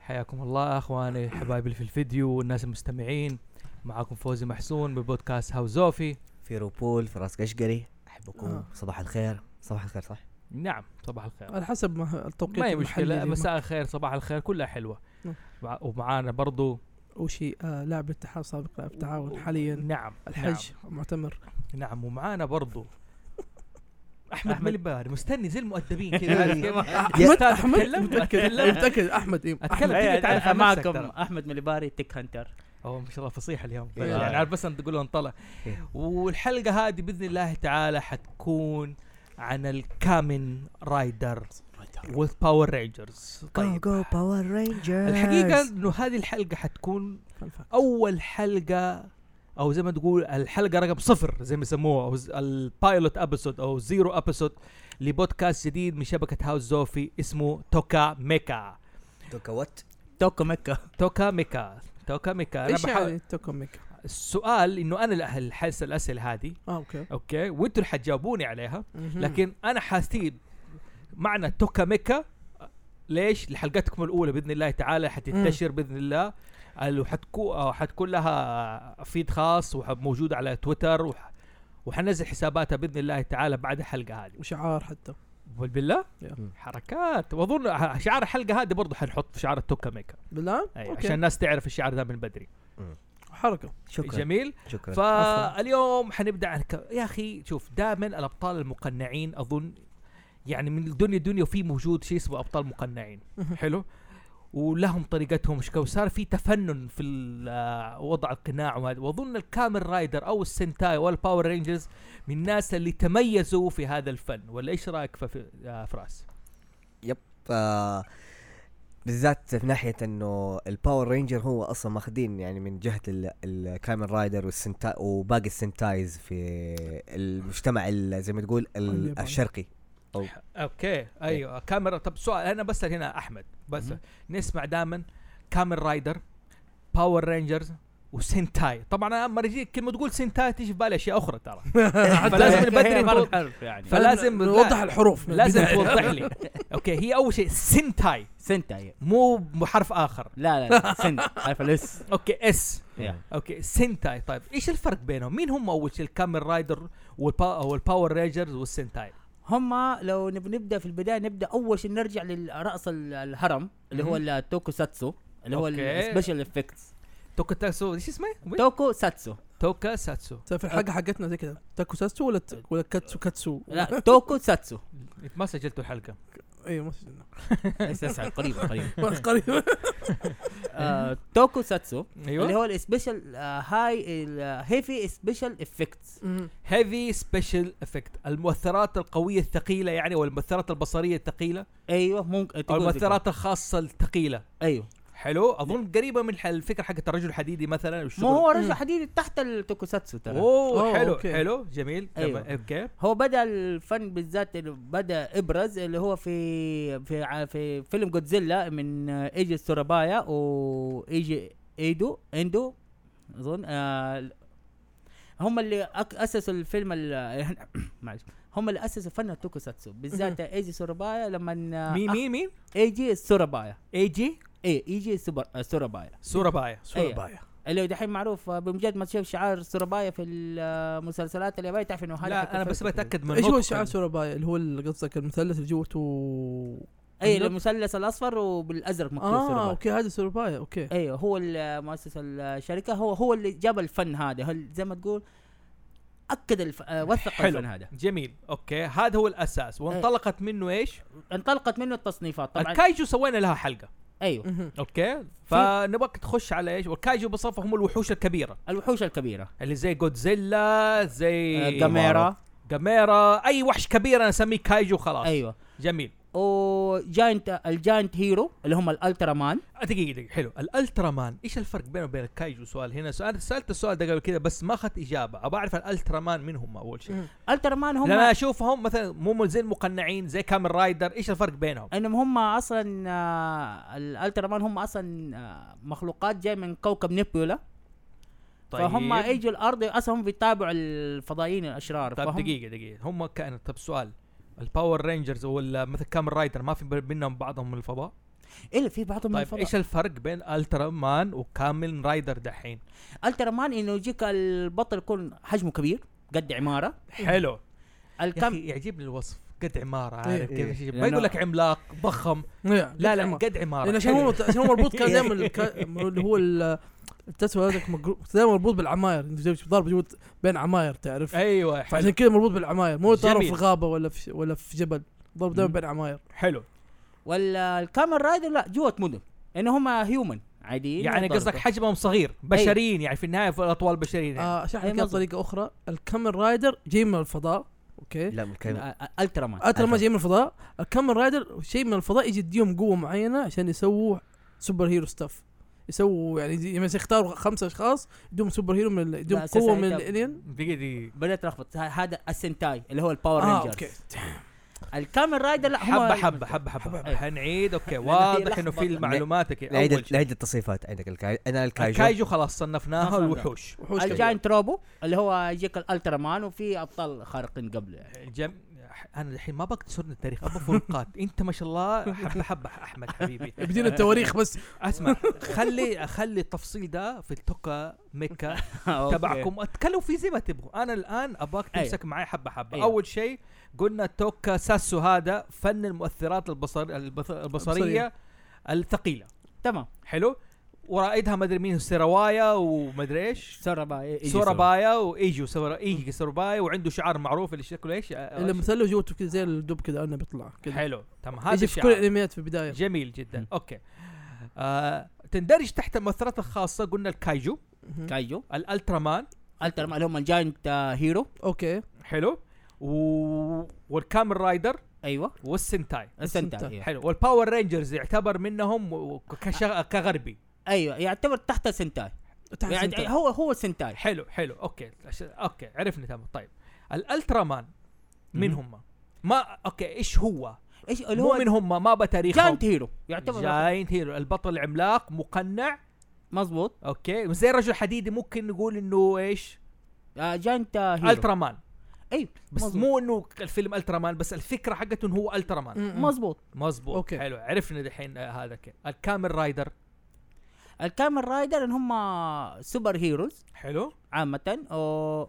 حياكم الله اخواني حبايبي اللي في الفيديو والناس المستمعين معاكم فوزي محسون ببودكاست هاوزوفي في روبول في راس قشقري احبكم آه. صباح الخير صباح الخير صح نعم صباح الخير على حسب ما التوقيت ما هي المحلي مشكلة لما- مساء الخير صباح الخير كلها حلوة نعم. وع- ومعانا برضو وشي آه لاعب الاتحاد سابق لاعب التعاون حاليا نعم الحج معتمر نعم, نعم ومعانا برضو احمد ملباري مستني زي المؤدبين كذا إيه. عارف كيف؟ احمد أستاذ احمد أتكلم؟ متاكد أتكلم؟ متاكد احمد إيه. أتكلم. أحمد. تيجي تعرف عن نفسك يعني معكم ترى. احمد مليباري تك هانتر اوه ما شاء الله فصيح اليوم إيه. يعني عارف بس انت تقول له انطلع إيه. والحلقه هذه باذن الله تعالى حتكون عن الكامن رايدر والباور رينجرز جو طيب جو باور رينجرز الحقيقه انه هذه الحلقه حتكون فان فاكت. اول حلقه او زي ما تقول الحلقه رقم صفر زي ما يسموها او ز- البايلوت ابيسود او زيرو ابيسود لبودكاست جديد من شبكه هاوس زوفي اسمه توكا ميكا توكوت توكو مكة توكا ميكا توكا ميكا أنا ايش بحاول- يعني توكوميك السؤال انه انا اللي هل- حاسس الاسئله هذه اه اوكي اوكي وانتوا اللي حتجاوبوني عليها مهم. لكن انا حاستيب معنى توكا ميكا ليش لحلقتكم الاولى باذن الله تعالى حتنتشر باذن الله ال- وحتكون آه، حتكون لها فيد خاص وموجود على تويتر وح... وحنزل حساباتها باذن الله تعالى بعد الحلقه هذه وشعار حتى بالله يا. حركات واظن ه- شعار الحلقه هذه برضه حنحط في شعار التوكا ميكا بالله أيوة. أوكي. عشان الناس تعرف الشعار ده من بدري حركه شكرا جميل شكرا فاليوم حنبدا عن ك... يا اخي شوف دائما الابطال المقنعين اظن يعني من الدنيا دنيا وفي موجود شيء اسمه ابطال مقنعين مهم. حلو ولهم طريقتهم شكو وصار في تفنن في ال- آه، وضع القناع وهذا واظن الكامل رايدر او السنتاي والباور رينجرز من الناس اللي تميزوا في هذا الفن ولا ايش رايك في آه، فراس؟ ف بالذات في ناحيه انه الباور رينجر هو اصلا ماخذين يعني من جهه ال- الكامن رايدر والسنتا وباقي السنتايز في المجتمع ال- زي ما تقول ال- الياباني. الشرقي اوكي ايوه كاميرا طب سؤال انا بسال هنا احمد بس مهم. نسمع دائما كامل رايدر باور رينجرز وسنتاي طبعا انا لما اجيك كلمه تقول سنتاي تيجي في بالي اشياء اخرى ترى فلازم من بدري فرق نقول- حرف يعني ف- فلازم- نوضح الحروف من لازم البداية. توضح لي اوكي هي اول شيء سنتاي سنتا هي. مو بحرف اخر لا لا لا سنت عارف الاس اوكي اس يا. اوكي سنتاي طيب ايش الفرق بينهم مين هم اول شيء الكامل رايدر والبا والباور رينجرز والسنتاي هم لو نب- نبدا في البدايه نبدا اول شيء نرجع لراس ال- الهرم اللي هو مهم. التوكو ساتسو اللي هو أوكي. السبيشال افكتس توكا تاتسو ايش اسمه توكو ساتسو توكا ساتسو طيب في الحلقه حقتنا زي كذا تاكو ساتسو ولا ت- ولا كاتسو كاتسو لا توكو ساتسو ما سجلتوا الحلقه ايوه ما سجلنا. ليس أسعد، قريبا قريبا قريب آه، توكو ساتسو ايوه اللي هو السبيشال آه، هاي الهيفي سبيشال افكتس مهم. هيفي سبيشال افكت المؤثرات القويه الثقيله يعني والمؤثرات البصريه الثقيله ايوه ممكن او تقول زي كده. المؤثرات الخاصه الثقيله ايوه حلو اظن قريبه من الح- الفكره حقت الرجل الحديدي مثلا والشغل ما هو مم. رجل حديد تحت التوكوساتسو ترى اوه أوه، حلو أوكي. حلو جميل أيوة. تمام، اوكي هو بدا الفن بالذات إنه بدا ابرز اللي هو في في ع- في فيلم جودزيلا من آه، ايجي سورابايا وايجي ايدو اندو اظن آه هم اللي أك- اسسوا الفيلم ال- معلش هم اللي اسسوا فن التوكوساتسو بالذات ايجي سورابايا لما آه، مين أخ- مين مين ايجي سورابايا اي جي ايه ايجي سوبر آه، سورابايا سورابايا أيوة. سوربايا اللي هو دحين معروف آه، بمجرد ما تشوف شعار سورابايا في آه، المسلسلات اليابانيه تعرف انه هذا لا حيكون انا بس فيلم. بتاكد من ايش هو نطقك. شعار سوربايا اللي هو اللي قصدك المثلث اللي جوته اي أيوة، المثلث الاصفر وبالازرق مكتوب اه آه اوكي هذا سوربايا اوكي إيه. ايوه هو ال- مؤسس الشركه هو هو اللي جاب الفن هذا هل زي ما تقول اكد الف... آه، وثق حلو. الفن هذا جميل اوكي هذا هو الاساس إيه. وانطلقت منه ايش انطلقت منه التصنيفات طبعا الكايجو سوينا لها حلقه ايوه مهم. اوكي فنبغاك تخش على ايش والكايجو بصفه هم الوحوش الكبيره الوحوش الكبيره اللي زي جودزيلا زي آه، جاميرا جاميرا اي وحش كبير انا اسميه كايجو خلاص ايوه جميل وجاينت الجاينت هيرو اللي هم الالترا مان دقيقه دقيقه أه، حلو الالترا مان ايش الفرق بينه وبين الكايجو سؤال هنا سؤال سالت السؤال ده قبل كذا بس ما اخذت اجابه ابغى اعرف الالترا مان مين هم اول شيء الترا مان لان انا هم اشوفهم مثلا مو زي المقنعين زي كامل رايدر ايش الفرق بينهم انهم هم اصلا آه، الالترا مان هم اصلا آه، مخلوقات جاي من كوكب نيبولا طيب. فهم يجوا الارض اصلا هم بيتابعوا الفضائيين الاشرار طب فهم دقيقه دقيقه طيب، هم كان طب سؤال الباور رينجرز ولا مثل كامل رايدر ما في بينهم بعضهم من الفضاء الا في بعضهم طيب طيب ايش الفرق بين الترا مان وكامل رايدر دحين الترا مان انه يجيك البطل يكون حجمه كبير قد عماره حلو يا الكم اخي يعجبني الوصف قد عماره إيه. عارف كيف إيش- ما لأنه- يقول لك عملاق ضخم نعم، لا لا قد عماره لان عشان حلو. هو عشان هو مربوط كان دائما الك- اللي هو ال- التسوية هذاك مقرو- دائما مربوط بالعماير انت جايب ضارب جود بين عماير تعرف ايوه حلو, فعشان كذا مربوط بالعماير مو ضارب جميل. في غابه ولا في ولا في جبل ضرب دائما مم. بين عماير حلو. ولا الكامل رايدر لا جوة مدن انه هم هيومن عاديين يعني يضربوا. قصدك حجمهم صغير بشريين يعني في النهايه في الاطوال بشريين يعني. إيه. آه، اشرح أي لك إياها مظبوط. بطريقه اخرى الكامل رايدر جاي من الفضاء اوكي لا من كلمة آه، آه، الترا مان اترى ما جاي من الفضاء الكامل رايدر شيء من الفضاء يجي يديهم قوه معينه عشان يسووا سوبر هيرو ستاف يسووا يعني زي- مثلا يختاروا خمسه اشخاص يديهم سوبر هيرو من ال- يديهم لا، أساساً يعني قوه من أنت- الالين دقيقه دقيقه بدات لخبط ه- هذا السنتاي اللي هو الباور اه رينجرز اوكي الكامل رايدر لا هم حبه حبه حبه حبه حبة. حنعيد اوكي في واضح انه في لخبطة. المعلومات أوكي. نعيد اول شيء نعيد التصنيفات عندك الكاي انا الكايجو الكايجو خلاص صنفناها صنفناها. الوحوش وحوش كبيرة. الجاينت روبو اللي هو يجيك الالترا مان وفي ابطال خارقين قبله يعني جم... انا الحين ما بقتصرني التاريخ ابغى فروقات انت ما شاء الله حبه حبه احمد حبيبي بدينا التواريخ بس اسمع خلي خلي التفصيل ده في التوكا ميكا أوكي. تبعكم اتكلموا فيه زي ما تبغوا انا الان ابغاك أيوه. أيوة. تمسك معي حبه حبه أيوة. اول شيء قلنا توكا ساسو هذا فن المؤثرات البصر البص- البصريه البصرية. الثقيله تمام حلو ورائدها مدري مين سيروايا ومدري ايش سورابا سورابايا وايجو سورا ايجي سورابايا وعنده شعار معروف اللي شكله ايش اللي مثلج جوته كذا زي الدب كذا انه بيطلع كذا حلو تمام هذا يجي في كل الشعار الانميات في البدايه جميل جدا مم. اوكي آه تندرج تحت المؤثرات الخاصه قلنا الكايجو مهم. كايجو الالترا مان الترا مان اللي هم الجاينت آه، هيرو اوكي حلو و... والكامل رايدر ايوه والسنتاي السنتاي السنتاي. أيوه. حلو والباور رينجرز يعتبر منهم و- كشغ... كغربي ايوه يعتبر تحت السنتاي تحت يعني سنتر. هو هو السنتاي حلو حلو اوكي عش- اوكي عرفنا تمام طيب الالترا مان مين مهم. هم؟ ما اوكي ايش هو؟ ايش اللي مو هو من هم ما بتاريخهم جاينت هيرو يعتبر جاينت هيرو البطل عملاق مقنع مظبوط اوكي زي الرجل الحديدي ممكن نقول انه ايش؟ آه، جاينت آه، هيرو الترا مان ايوه بس مظبوط. مو انه الفيلم الترا مان بس الفكره حقته انه هو الترا مان مم. مظبوط مظبوط أوكي. حلو عرفنا دحين آه، هذا كيف الكامل رايدر الكامل رايدر ان هم سوبر هيروز حلو عامه أو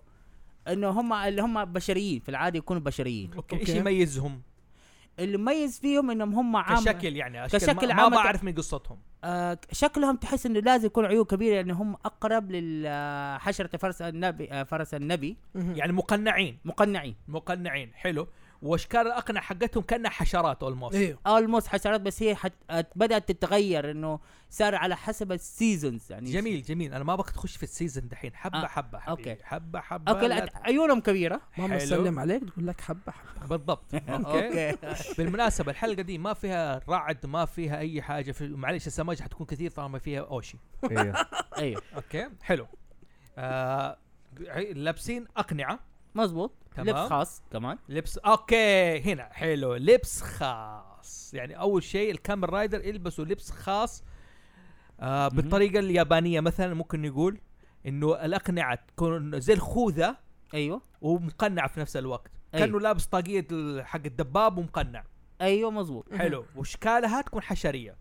انه هم اللي هم بشريين في العاده يكونوا بشريين اوكي ايش أوكي. يميزهم اللي مميز فيهم انهم هم عام كشكل يعني أشكال كشكل ما, ما عامة. بعرف من قصتهم آه شكلهم تحس انه لازم يكون عيون كبيره لان هم اقرب لحشره فرس النبي آه فرس النبي مهم. يعني مقنعين مقنعين مقنعين حلو واشكال الاقنع حقتهم كانها حشرات إيه. اولموست ايوه اولموست حشرات بس هي حت... آه، بدات تتغير انه صار على حسب السيزونز يعني جميل جميل انا ما ابغى تخش في السيزون دحين حبه آه، حبه حبيبي. أوكي. حبه حبه اوكي لا لا عيونهم كبيره ماما حلو. تسلم عليك تقول لك حبه حبه ت- بالضبط اوكي بالمناسبه الحلقه دي ما فيها رعد ما فيها اي حاجه في معلش السماجه حتكون كثير طالما فيها اوشي ايوه ايوه اوكي حلو آه لابسين اقنعه مظبوط تمام. لبس خاص كمان لبس اوكي هنا حلو لبس خاص يعني اول شيء الكامل رايدر يلبسوا لبس خاص آه مهم. بالطريقه اليابانيه مثلا ممكن نقول انه الاقنعه تكون زي الخوذه ايوه ومقنعه في نفس الوقت أي. كانه لابس طاقيه ال- حق الدباب ومقنع ايوه مظبوط حلو واشكالها تكون حشريه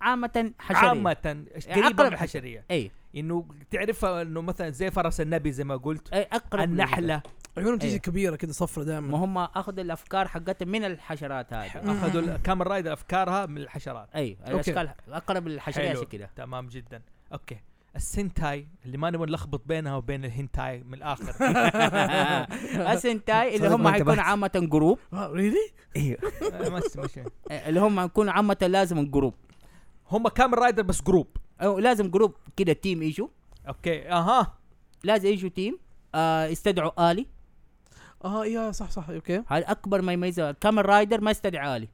عامه حشريه عامه يعني قريبه من أقرب الحشريه اي انه تعرفها انه مثلا زي فرس النبي زي ما قلت اي اقرب النحله عيونهم تيجي أيوة. إيه. كبيره كذا صفرة ما دائما هم اخذوا الافكار حقتهم من الحشرات هذه أيوه. اخذوا الكامل رايدر افكارها من الحشرات اي أوكي. الاشكال اقرب للحشريه حلو. عشان كده تمام جدا اوكي السنتاي اللي ما نبغى نلخبط بينها وبين الهنتاي من الاخر السنتاي اللي صدق هم ما حيكون انتبهت. عامه جروب ريلي ايوه آه، ما است- مش- اللي هم حيكون عامه لازم جروب هم كامل رايدر بس جروب او لازم جروب كده تيم يجوا اوكي اها لازم يجوا تيم آه يستدعوا الي اه يا صح صح اوكي هذا اكبر ما يميزه كامل رايدر ما يستدعي الي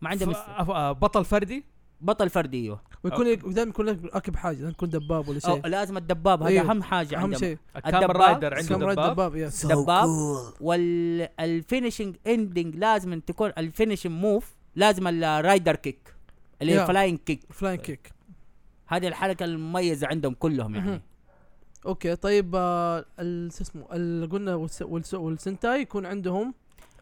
ما عنده ف- مس... أف- آه، بطل فردي بطل فردي ايوه ويكون دائما يكون لك راكب حاجه لازم تكون دباب ولا أو شيء لازم الدباب هذا أيوه. اهم حاجه اهم عندهم شي الكامل الدباب، رايدر عنده ساموراي يعني دباب دباب يس دباب. cool. والفينشنج اندنج لازم تكون الفينشنج موف لازم الرايدر كيك اللي Yeah. هي فلاين كيك فلاين طيب. كيك هذه الحركه المميزه عندهم كلهم مهم. يعني اوكي طيب آه، ال- شو اسمه ال- قلنا والس- والس- والسنتاي يكون عندهم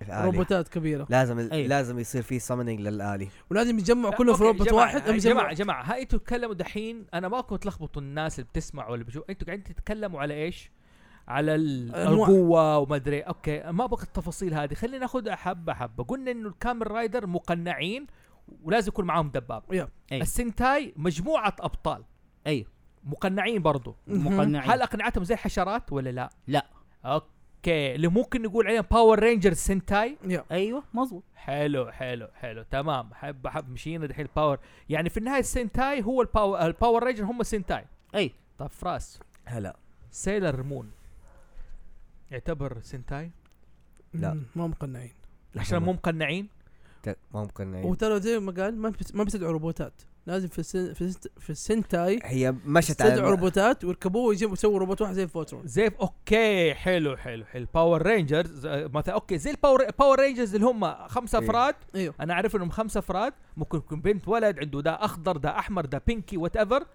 الآلي. روبوتات كبيره لازم أيوه. لازم يصير في سمنينج للآلي ولازم يتجمعوا كلهم في أوكي، روبوت جماعة، واحد آه، لازم جماعه يتجمعوا- جماعه هاي انتوا تتكلموا دحين انا ما كنت تلخبطوا الناس اللي بتسمع ولا بشوف انتوا قاعدين تتكلموا على ايش؟ على ال- أنواع. القوه وما ادري اوكي ما ابغى التفاصيل هذه خلينا ناخذها حبه حبه قلنا انه الكامل رايدر مقنعين ولازم يكون معاهم دباب يا. أي. السنتاي مجموعه ابطال ايوه مقنعين برضو مهم. مقنعين هل اقنعتهم زي الحشرات ولا لا؟ نعم. لا. اوكي اللي ممكن نقول عليهم باور رينجرز سنتاي يا. ايوه مظبوط حلو حلو حلو تمام حب حب مشينا دحين الباور يعني في النهايه السنتاي هو الباور الباور رينجر هم السنتاي اي طب فراس هلا سيلر مون يعتبر سنتاي لا. مم، ما مقنعين عشان مو مقنعين ت- ممكن أيوه. وترى زي ما قال ما بت- ما بتدعوا روبوتات لازم في السن في, الست- في السنتاي هي مشت تدعوا على روبوتات ويركبوه ويجيبوا يسووا روبوت واحد زي الفوترون زي اوكي حلو حلو حلو باور رينجرز آه، مثلا اوكي زي الباور باور رينجرز اللي هم خمسه إيه. افراد ايوه انا اعرف انهم خمسه افراد ممكن يكون بنت ولد عنده ده اخضر ده احمر ده بينكي وات ايفر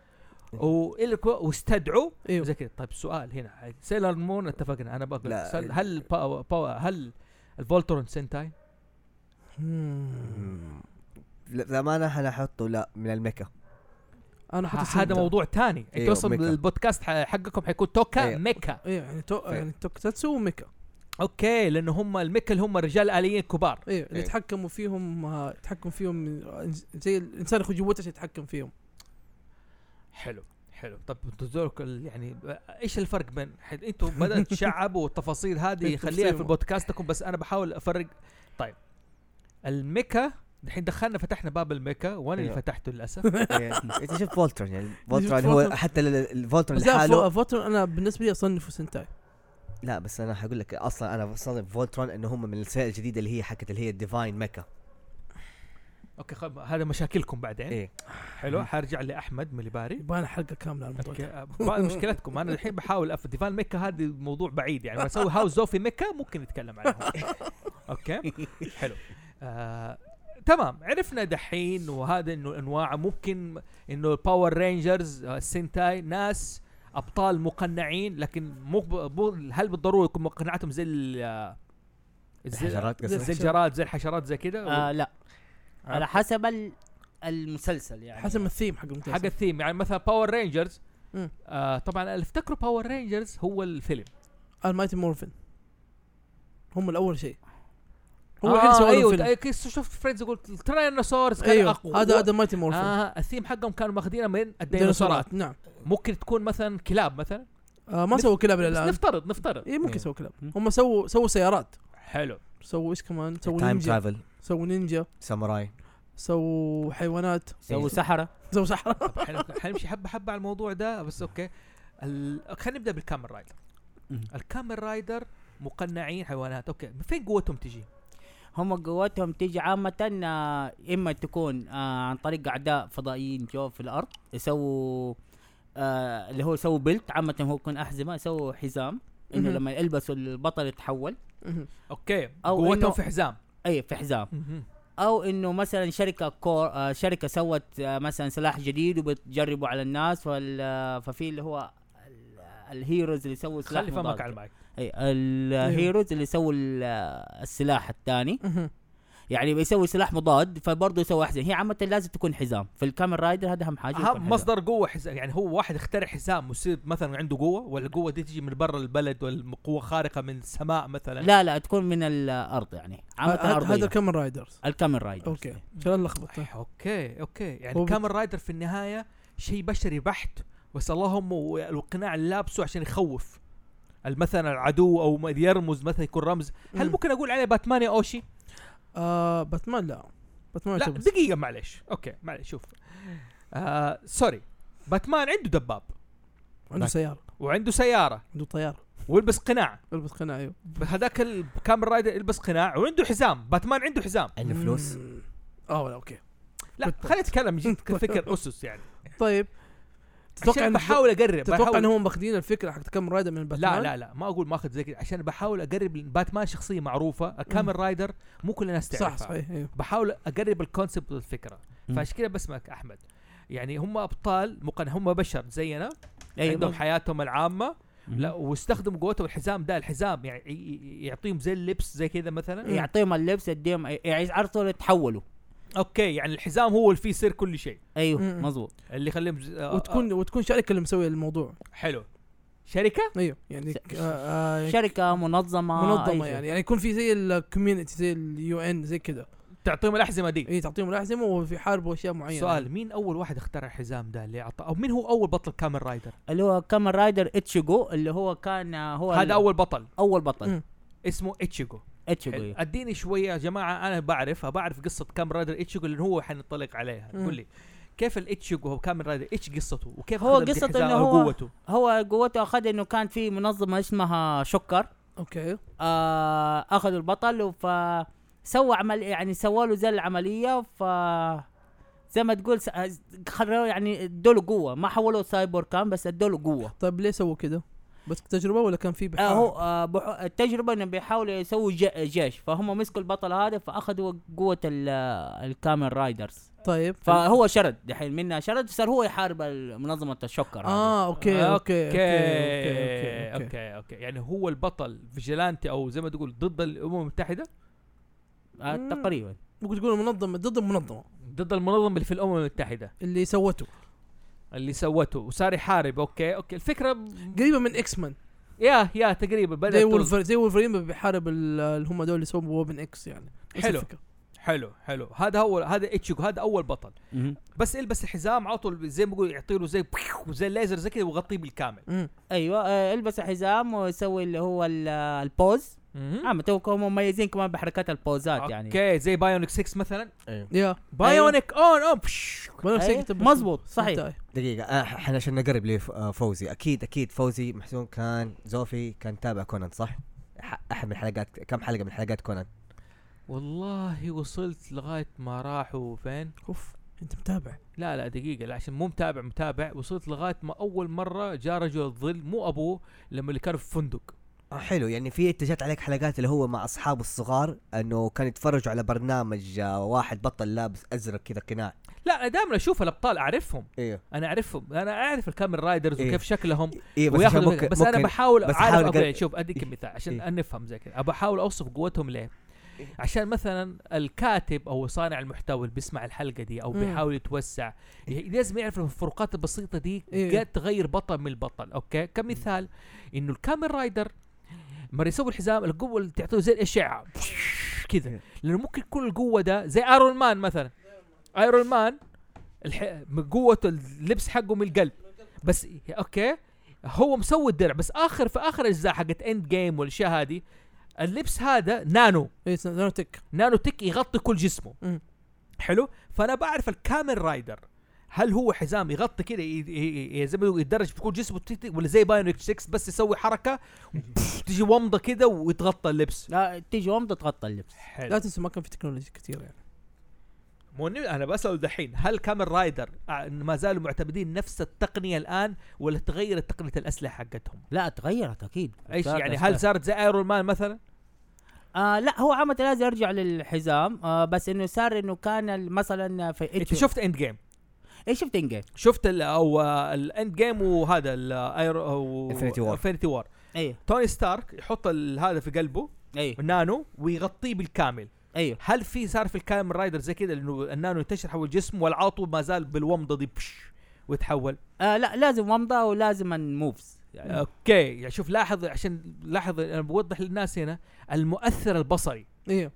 واستدعوا ايوه زي كذا طيب سؤال هنا سيلر مون اتفقنا انا بقول لا. إيه؟ سأل- هل باو باو هل الفولترون سنتاي مم. مم. لا، للأمانة انا ححطه لا من الميكا انا حاطط ه- هذا سنتاي. موضوع تاني انت أيوه، اصلا ميكا. البودكاست ح- حقكم حيكون توكا أيوه. ميكا ايوه يعني تو... إيه. يعني توكتاتسو وميكا اوكي لانه هم الميكا اللي هم رجال اليين كبار ايوه اللي إيه. يتحكموا فيهم آه، يتحكم فيهم من- زي الانسان ياخذ جوته عشان يتحكم فيهم حلو حلو طب انتوا ذولك ال- يعني ايش الفرق بين حد- انتوا بدات تشعبوا التفاصيل هذه خليها في التفصيل. بودكاستكم بس انا بحاول افرق طيب الميكا الحين دخلنا فتحنا باب الميكا وانا اللي أيوه. فتحته للاسف إيه، انت شفت فولترون يعني فولترون شفت اللي هو فولترون؟ حتى ال- ال- الفولترون بس لا لحاله فو- فوترون انا بالنسبه لي اصنفه سنتاي لا بس انا حقول لك اصلا انا بصنف فولترون انه هم من السيئه الجديده اللي هي حقت اللي هي الديفاين ميكا اوكي خب... هذا مشاكلكم بعدين ايه حلو حرجع لاحمد مليباري يبغى لنا حلقه كامله على الموضوع اوكي ده. أه، بعد مشكلتكم انا الحين بحاول أف... ديفان ميكا هذا موضوع بعيد يعني بسوي هاوس اوف ميكا ممكن نتكلم عنه اوكي حلو آه... تمام عرفنا دحين وهذا انه انواع ممكن انه الباور رينجرز آه، السنتاي ناس ابطال مقنعين لكن مو ب- مو هل بالضروره يكون مقنعتهم زي ال آه، زي- الحشرات قصدك؟ زي الجراد زي الحشرات زي كذا آه لا على حسب ال- المسلسل يعني حسب الثيم حق المسلسل حق الثيم يعني مثلا باور رينجرز مم. آه طبعا اللي افتكروا باور رينجرز هو الفيلم المايتي مورفن هم الاول شيء هو آه الحين سووا ايوه أيوه فيلم. فيلم شفت فريندز قلت التراينوسورز كان ايوه اقوى هذا هذا مايتي مورفن آه الثيم حقهم كانوا ماخذينه من الديناصورات ديناصورات نعم ممكن تكون مثلا كلاب مثلا آه ما نف- سووا كلاب إلى بس الان نفترض نفترض اي ممكن إيه. يسووا كلاب مم. هم سووا سووا سيارات حلو سووا ايش كمان سووا تايم نينجا ترافل سووا نينجا ساموراي سووا حيوانات سووا سحره سووا صحراء طب حلو- حنمشي حبه حبه على الموضوع ده بس اوكي ال... خلينا نبدا بالكامل رايدر مم. الكامل رايدر مقنعين حيوانات اوكي من فين قوتهم تجي؟ هم قوتهم تيجي عامة آه، إما تكون آه، عن طريق أعداء فضائيين جو في الأرض يسووا آه، اللي هو يسووا بلت عامة هو يكون أحزمة يسووا حزام إنه مهم. لما يلبسوا البطل يتحول مهم. اوكي أو قوتهم إنه- في حزام أي في حزام مهم. أو إنه مثلا شركة كور آه، شركة سوت آه، مثلا سلاح جديد وبتجربه على الناس فال- آه، ففي اللي هو ال- الهيروز اللي يسووا سلاح خلي فمك مضاد. على المايك أي الهيروز اللي يسووا ال- آه، السلاح الثاني مهم. يعني بيسوي سلاح مضاد فبرضه يسوي حزام هي عامه لازم تكون حزام في الكامل رايدر هذا اهم حاجه يكون اهم حزام. مصدر قوه حزام يعني هو واحد اخترع حزام ويصير مثلا عنده قوه ولا القوه دي تجي من برا البلد ولا قوه خارقه من السماء مثلا لا لا تكون من الارض يعني عامه هذا هذا ارضيه كامل رايدرز الكامل رايدر اوكي عشان لا لخبط أح- اوكي اوكي هو يعني بت- كامل رايدر في النهايه شيء بشري بحت بس اللهم و- القناع اللي لابسه عشان يخوف مثلا العدو او ما يرمز مثلا يكون رمز هل مم. ممكن اقول عليه باتمان يا اوشي؟ آه باتمان لا باتمان لا يعتبر- دقيقه معلش اوكي معلش شوف آه سوري باتمان عنده دباب عنده سيارة وعنده سياره عنده طيارة ويلبس قناع يلبس قناع ايوه هذاك الكامل رايدر يلبس قناع وعنده حزام باتمان عنده حزام عنده فلوس مم. اه ولا اوكي لا خلينا نتكلم جد كفكر اسس يعني طيب تتوقع عشان ان بحاول اقرب تتوقع بحاول- ان هم ماخذين الفكره حق كم رايدر من باتمان لا لا لا ما اقول ماخذ زي كذا عشان بحاول اقرب باتمان شخصيه معروفه كامل رايدر مو كل الناس تعرفها صح صحيح ايوه بحاول اقرب الكونسبت والفكره مم. فعشان كذا بسمعك احمد يعني هم ابطال مقن هم بشر زينا أيوة. أيوة. عندهم حياتهم العامه لا واستخدموا قوتهم الحزام ده الحزام يعني ي- ي- يعطيهم زي اللبس زي كذا مثلا يعني يعطيهم اللبس يديهم يعرفوا يتحولوا اوكي يعني الحزام هو اللي فيه سر كل شيء ايوه مم. مزبوط اللي يخليهم ز- آه، وتكون وتكون شركه اللي مسويه الموضوع آه، حلو شركه ايوه يعني ش- ك- آه، آه، شركه منظمه أي منظمه شيء. يعني يعني يكون في زي الكوميونتي زي اليو ان زي كذا تعطيهم الاحزمه دي اي تعطيهم الاحزمه وفي حارب اشياء معينه سؤال مين اول واحد اخترع الحزام ده اللي اعطى او مين هو اول بطل كامل رايدر اللي هو كامن رايدر اتشيجو اللي هو كان آه، هو ال- هذا اول بطل اول مم. بطل اسمه اتشيجو اتشيجو حلو. إيه. اديني شويه يا جماعه انا بعرفها بعرف قصه كام رايدر ايتشيجو اللي هو حنطلق عليها مم. قول لي كيف الايتشيجو هو كامل رايدر ايش قصته وكيف هو أخذ قصته بحزام إنه أو هو- قوته هو قوته اخذ انه كان في منظمه اسمها شكر اوكي آه اخذوا البطل فسوى عمل يعني سووا له زي العمليه ف زي ما تقول س- خلوه يعني ادوا له قوه ما حولوه سايبور كان بس ادوا له قوه طيب ليه سووا كده؟ بس تجربه ولا كان في آه بحار؟ هو آه بح- التجربه انهم بيحاولوا يسووا ج- جيش فهم مسكوا البطل هذا فاخذوا قوه ال- الكامن رايدرز طيب فهو شرد دحين منها شرد صار هو يحارب ال- منظمه الشكر هذه. اه اوكي آه، اوكي اوكي اوكي اوكي يعني هو البطل فيجيلانتي او زي ما تقول ضد الامم المتحده آه مم. تقريبا ممكن تقول منظمه ضد المنظمه ضد المنظمه اللي في الامم المتحده اللي سوته اللي سوته وصار يحارب اوكي اوكي الفكره ب- قريبه من اكس مان يا يا تقريبا بدات زي تل- ولفر زي ولفرين بيحارب ال- اللي هم دول اللي سووا وابن اكس يعني نفس حلو. الفكرة. حلو حلو هذا هو هذا ايتشيجو هذا اول بطل مم. بس البس الحزام على طول زي ما يقول يعطي له زي زي الليزر زي كذا وغطيه بالكامل مم. ايوه آه البس الحزام وسوي اللي هو ال- البوز مهم. عم توكم آه، مميزين كمان بحركات البوزات يعني اوكي زي بايونيك 6 مثلا يا بايونيك اون اون بش. ما نفس أيوة. كتب بس- مظبوط صحيح انتهى. دقيقة آه، احنا عشان نقرب آه، لفوزي اكيد اكيد فوزي محسون كان زوفي كان تابع كونان صح؟ ح- احد من حلقات كم حلقة من حلقات كونان؟ والله وصلت لغايه ما راحوا فين اوف انت متابع لا لا دقيقة لا عشان مو متابع متابع وصلت لغاية ما أول مرة جاء رجل الظل مو أبوه لما اللي كانوا في فندق آه، حلو يعني في اتجهت عليك حلقات اللي هو مع اصحابه الصغار انه كان يتفرجوا على برنامج آه، واحد بطل لابس ازرق كذا قناع لا أنا دائما أشوف الأبطال أعرفهم ايوه أنا أعرفهم أنا أعرف الكامل رايدرز إيه. وكيف شكلهم ايه بس عشان وياخذوا ممكن ممكن بس ممكن انا بحاول بس عارف حاول أقول قد- إيه، شوف اديك مثال عشان إيه. نفهم زي كذا بحاول اوصف قوتهم ليه عشان مثلا الكاتب او صانع المحتوى اللي بيسمع الحلقه دي او مم. بيحاول يتوسع ي- لازم يعرف إن الفروقات البسيطه دي إيه. قد تغير بطل من البطل اوكي كمثال انه الكامل رايدر لما يسوي الحزام القوه اللي تعطيه زي الاشعه كذا إيه. لانه ممكن يكون القوه ده زي ايرون مان مثلا ايرون مان الح... من قوه اللبس حقه من القلب بس اوكي هو مسوي الدرع بس اخر في اخر اجزاء حقت اند جيم والاشياء هذه اللبس هذا نانو اي سنتك نانو تك يغطي كل جسمه مم. حلو فانا بعرف الكامل رايدر هل هو حزام يغطي كذا ي- ي- ي- زي ما يقول يتدرج في كل جسمه تي- تي- ولا زي بايونيك 6 بس يسوي حركه بف- تجي ومضه كذا ويتغطى اللبس لا تيجي يوم تتغطى اللبس لا حلو تنسى ما كان في تكنولوجيا كثير يعني مو إني- انا بسال دحين هل كامل رايدر آه، ما زالوا معتمدين نفس التقنيه الان ولا تغيرت تقنيه الاسلحه حقتهم؟ لا تغيرت اكيد ايش صارت يعني أشكال. هل صارت زي ايرون مان مثلا؟ آه لا هو عامة لازم يرجع للحزام آه بس انه صار انه كان ال- مثلا في انت شفت اند جيم ايش شفت انجي شفت ال او آه، الاند جيم وهذا الايرو Infinity War. انفنتي وار ايوه توني ستارك يحط ال- هذا في قلبه ايوه نانو ويغطيه بالكامل ايوه هل في صار في الكامل رايدر زي كذا لانه النانو ينتشر حول الجسم ولا عاطو ما زال بالومضه دي بش ويتحول آه لا لازم ومضة ولازم موفز يعني اوكي يعني شوف لاحظ عشان لاحظ انا بوضح للناس هنا المؤثر البصري ايوه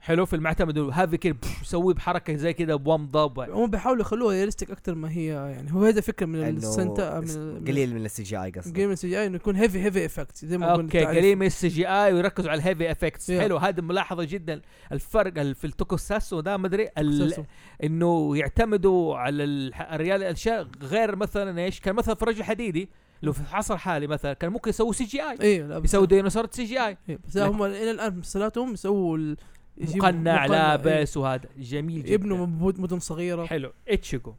حلو في المعتمد إنه هذا كذا بش، يسويه بحركه زي كذا بومضه ب- هم بيحاولوا يخلوها ريالستيك اكثر ما هي يعني هو هذا فكره من إنه السنتا من س- ال- من قليل من السي جي اي قصدي جيم سي جي انه يكون هيفي هيفي افكت زي ما قلنا اوكي قليل من السي جي اي ويركزوا على الهيفي افكتس Yeah. حلو هذه ملاحظه جدا الفرق ال- في التوكوساسو ده ما ادري ال- انه يعتمدوا على الح- الريال الاشياء غير مثلا ايش كان مثلا في رجل حديدي لو في عصر حالي مثلا كان ممكن يسووا سي جي اي ايوه لا بس يسووا ديناصورات سي جي اي إيه، بس هم الى الان مسلسلاتهم يسووا ال- يجيب مقنع مقنع، لابس وهذا جميل إيه. جدا يبنوا مب- مدن صغيره حلو اتشيجو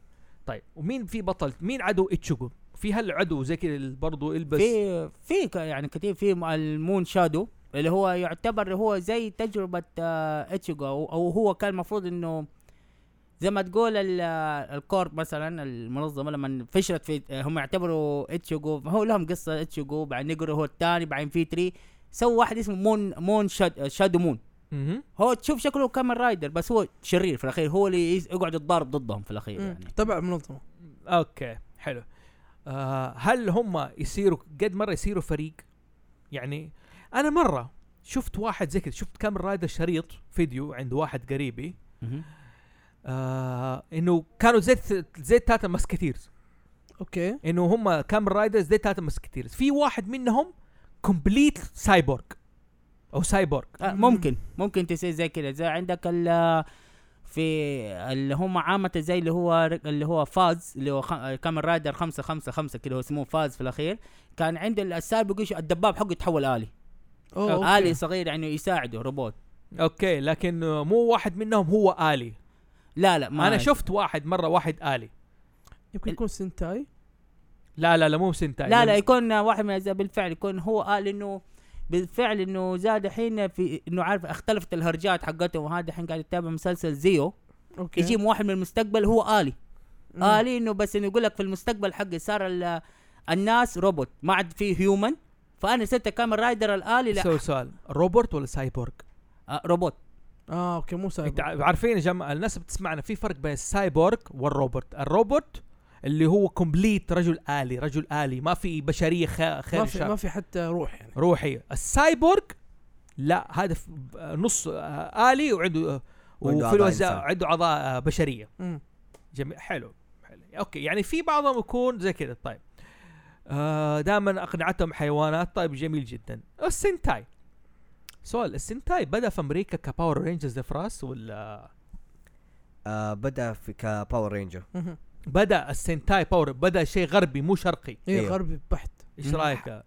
طيب ومين في بطل مين عدو اتشيجو في هل عدو زي كذا برضه البس في في ك- يعني كثير في م- المون شادو اللي هو يعتبر هو زي تجربة آه، اتشيجو أو, أو هو كان المفروض إنه زي ما تقول ال- آه، الكورب مثلا المنظمة لما فشلت في آه، هم يعتبروا اتشيجو هو لهم قصة اتشيجو بعدين نيجرو هو الثاني بعدين في تري سووا واحد اسمه مون مون شاد آه، شادو مون مهم. هو تشوف شكله كامل رايدر بس هو شرير في الاخير هو اللي يز- يقعد يتضارب ضدهم في الاخير مم. يعني تبع المنظمه اوكي حلو آه هل هم يصيروا قد مره يصيروا فريق يعني انا مره شفت واحد زي كذا شفت كام رايدر شريط فيديو عند واحد قريبي آه انه كانوا زي زي تاتا ماسكتيرز اوكي انه هم كام رايدرز زي تاتا ماسكتيرز في واحد منهم كومبليت سايبورغ او سايبورغ آه، مم. ممكن ممكن تصير زي كذا زي عندك ال في اللي هم عامة زي اللي هو اللي هو فاز اللي هو خ... كامل رايدر خمسة خمسة خمسة كده هو اسمه فاز في الأخير كان عند السابق إيش الدباب حقه يتحول آلي أوه، أوكي. آلي صغير يعني يساعده روبوت اوكي لكن آه، مو واحد منهم هو الي لا لا ما انا شفت واحد مره واحد الي يمكن يكون سنتاي لا لا لا مو يعني سنتاي لا لا يكون واحد من الأجزاء بالفعل يكون هو قال انه بالفعل انه زاد الحين في انه عارف اختلفت الهرجات حقتهم وهذا الحين قاعد يتابع مسلسل زيو اوكي يجيب واحد من المستقبل هو آلي مم. آه، آلي انه آه، بس انه يقول لك في المستقبل حقي صار ال- الناس روبوت ما عاد فيه هيومن فانا صرت كامل رايدر الآلي لا سوي سؤال روبوت ولا سايبورغ؟ آه، روبوت اه اوكي مو انت سايبر ع- عارفين يا جماعه الناس بتسمعنا في فرق بين السايبورغ والروبوت، الروبوت اللي هو كومبليت رجل آلي، رجل آلي ما في بشريه خ- خير ما في ما شر في حتى روح يعني روحي، السايبورغ لا هذا ف- نص آه، آلي وعنده آه، وفي وعنده أعضاء الوزا إنسان. عنده اعضاء آه، بشريه مم. جميل حلو حلو اوكي يعني في بعضهم يكون زي كذا طيب آه دائما اقنعتهم حيوانات طيب جميل جدا السنتاي سؤال السنتاي بدا في امريكا كباور رينجرز فراس ولا آه بدا في كباور رينجر مهم. بدا السنتاي باور بدا شيء غربي مو شرقي ايه أيوه. غربي بحت ايش رايك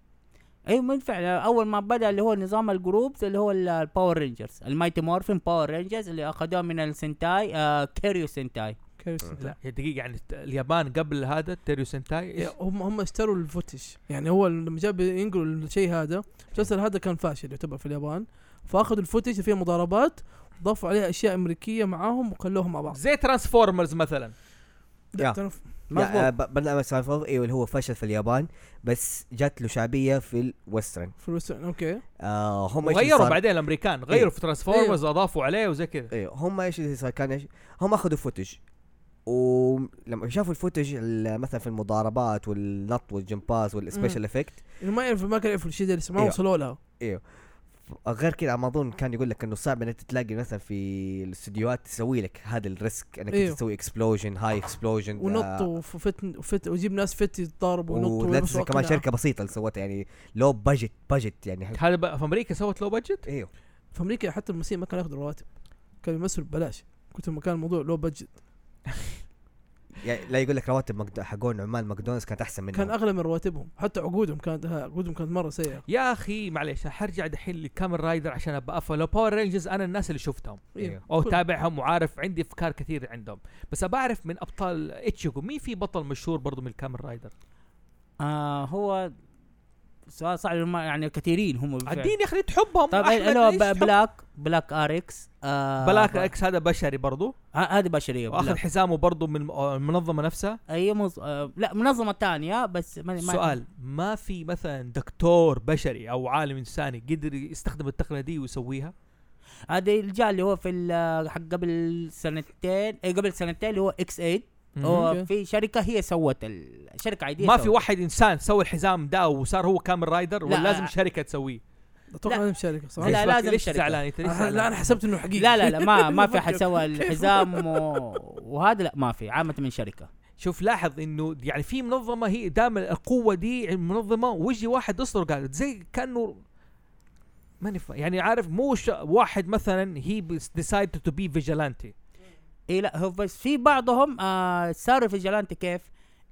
اي بالفعل اول ما بدا اللي هو نظام الجروبز اللي هو ال- الباور رينجرز المايتي مورفين باور رينجرز اللي اخذوه من السنتاي آه كيريو سنتاي كيف سنتاي. لا دقيقه يعني اليابان قبل هذا تيريو سنتاي يا إيه. إيه، هم هم اشتروا الفوتش يعني هو لما جاب ينقلوا الشيء هذا المسلسل هذا كان فاشل يعتبر في اليابان فاخذوا الفوتج اللي فيها مضاربات ضافوا عليها اشياء امريكيه معاهم وخلوهم مع بعض زي ترانسفورمرز مثلا لا، يا. تعرف- مظبوط. لا، آه، ب- برنامج سايفر ايوه اللي هو فشل في اليابان بس جات له شعبيه في الويسترن في الوسترن اوكي آه هم إيش اللي غيروا صار؟ بعدين الامريكان غيروا إيه. في ترانسفورمرز اضافوا عليه وزي كذا ايوه هم ايش اللي صار كان ايش هم اخذوا فوتج ولما شافوا الفوتج ال- مثلا في المضاربات والنط والجمباز والسبيشال افكت انه ما يعرف ما كان يعرف الشيء ده لسه ما أيوة. وصلوا لها غير كده ما اظن كان يقول لك انه صعب انك تلاقي مثلا في الاستديوهات تسوي لك هذا الريسك انك أيوه. أيوه. تسوي اكسبلوجن هاي اكسبلوجن ونط وفت وفت ويجيب ناس فت يتضاربوا ونطوا ولا تنسى ويلبسوا كمان أقنعة. شركه بسيطه اللي سوتها يعني لو بجت بجت يعني حق- هذا بقى في امريكا سوت لو بادجت ايوه في امريكا حتى الممثلين ما كانوا ياخذوا رواتب كانوا يمثلوا ببلاش كنت لما كان الموضوع لو بجت يعني لا يقول لك رواتب مكدو- حقون عمال ماكدونالدز كانت احسن منهم كان اغلى من رواتبهم حتى عقودهم كانت ها، عقودهم كانت مره سيئه يا اخي معليش حرجع دحين لكامل رايدر عشان ابقى افهم لو باور رينجرز انا الناس اللي شفتهم إيه. او كل- تابعهم وعارف عندي افكار كثير عندهم بس ابى اعرف من ابطال اتشيكو مين في بطل مشهور برضو من الكامل رايدر آه هو سؤال صعب لأنه ما- يعني كثيرين هم بالفعل. اديني يا اخي تحبهم طيب أحمد اللي هو ليش ب- تحب؟ بلاك بلاك اريكس آه بلاك اكس هذا بشري برضو ه- هذه بشريه واخذ بلاك. حزامه برضو من آه، المنظمه نفسها اي مز... آه لا منظمه تانية بس يعني ما... ما... سؤال ما في مثلا دكتور بشري او عالم انساني قدر يستخدم التقنيه دي ويسويها هذا اللي جاء اللي هو في ال- آه، حق قبل سنتين إيه قبل سنتين اللي هو اكس 8 أوكي. هو في شركه هي سوت ال- شركه عاديه ما في سوت. واحد انسان سوى الحزام ده وصار هو كامل رايدر ولا لا، لازم آه. شركه تسويه اتوقع لا. انا مشاركه صح؟ لا، ليش بك- لازم ليش شركة. زعلان انت ليش آه، زعلان؟ لا انا حسبت انه حقيقي إيه. لا لا لا ما ما في مفكر. حد سوى الحزام و... وهذا لا ما في عامه من شركه شوف لاحظ انه يعني في منظمه هي دائما القوه دي منظمه ويجي واحد اصدر قال زي كانه ماني فا- يعني عارف مو ش... واحد مثلا هي ديسايد تو بي فيجيلانتي اي إيه لا هو بس في بعضهم آه صاروا في جلانتي كيف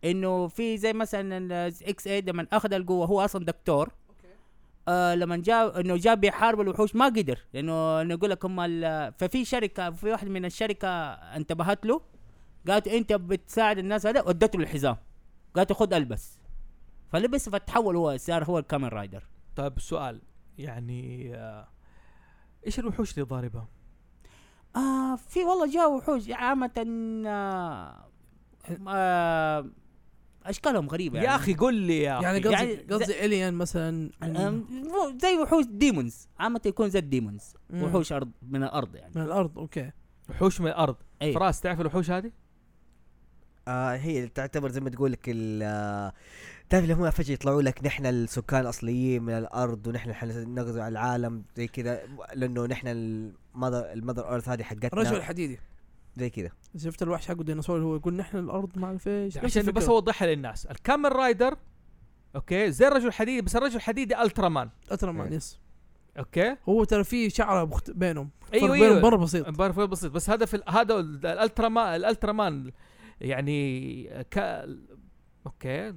إيه انه في زي مثلا اكس 8 لما اخذ القوه هو اصلا دكتور آه لما جاء انه جاء بيحارب الوحوش ما قدر لانه نقول لك هم ال- ففي شركه في واحد من الشركه انتبهت له قالت انت بتساعد الناس هذا ودته للحزام قالت له خد البس فلبس فتحول هو صار هو الكامن رايدر طيب سؤال يعني آه، ايش الوحوش اللي ضاربها؟ آه في والله جاء وحوش عامة آه آه اشكالهم غريبة يعني. يا اخي قل لي يا يعني أخي. قصدي يعني يعني قصدي الين مثلا آم، يعني مو- زي وحوش ديمونز عامة يكون زي الديمونز مم. وحوش ارض من الارض يعني من الارض اوكي وحوش من الارض أي. فراس تعرف الوحوش هذه؟ آه هي تعتبر زي ما تقول لك ال- آه، تعرف اللي هم فجاه يطلعوا لك نحن السكان الاصليين من الارض ونحن اللي حنغزو على العالم زي كذا لانه نحن المذر المذر ايرث هذه حقتنا الرجل الحديدي زي كذا شفت الوحش حقه الديناصور اللي هو يقول نحن الارض ما اعرف ايش نفس عشان بس الفكرة. اوضحها للناس الكامل رايدر اوكي زي الرجل الحديدي بس الرجل الحديدي الترا مان اترى مع إيه. يس اوكي هو ترى في شعره بخت... بينهم أيوة، فرق بينهم أيوة. مره بسيط بعرف فرق بسيط بس هذا في ال- هذا ال- الالترا مان الالترا مان يعني ك... اوكي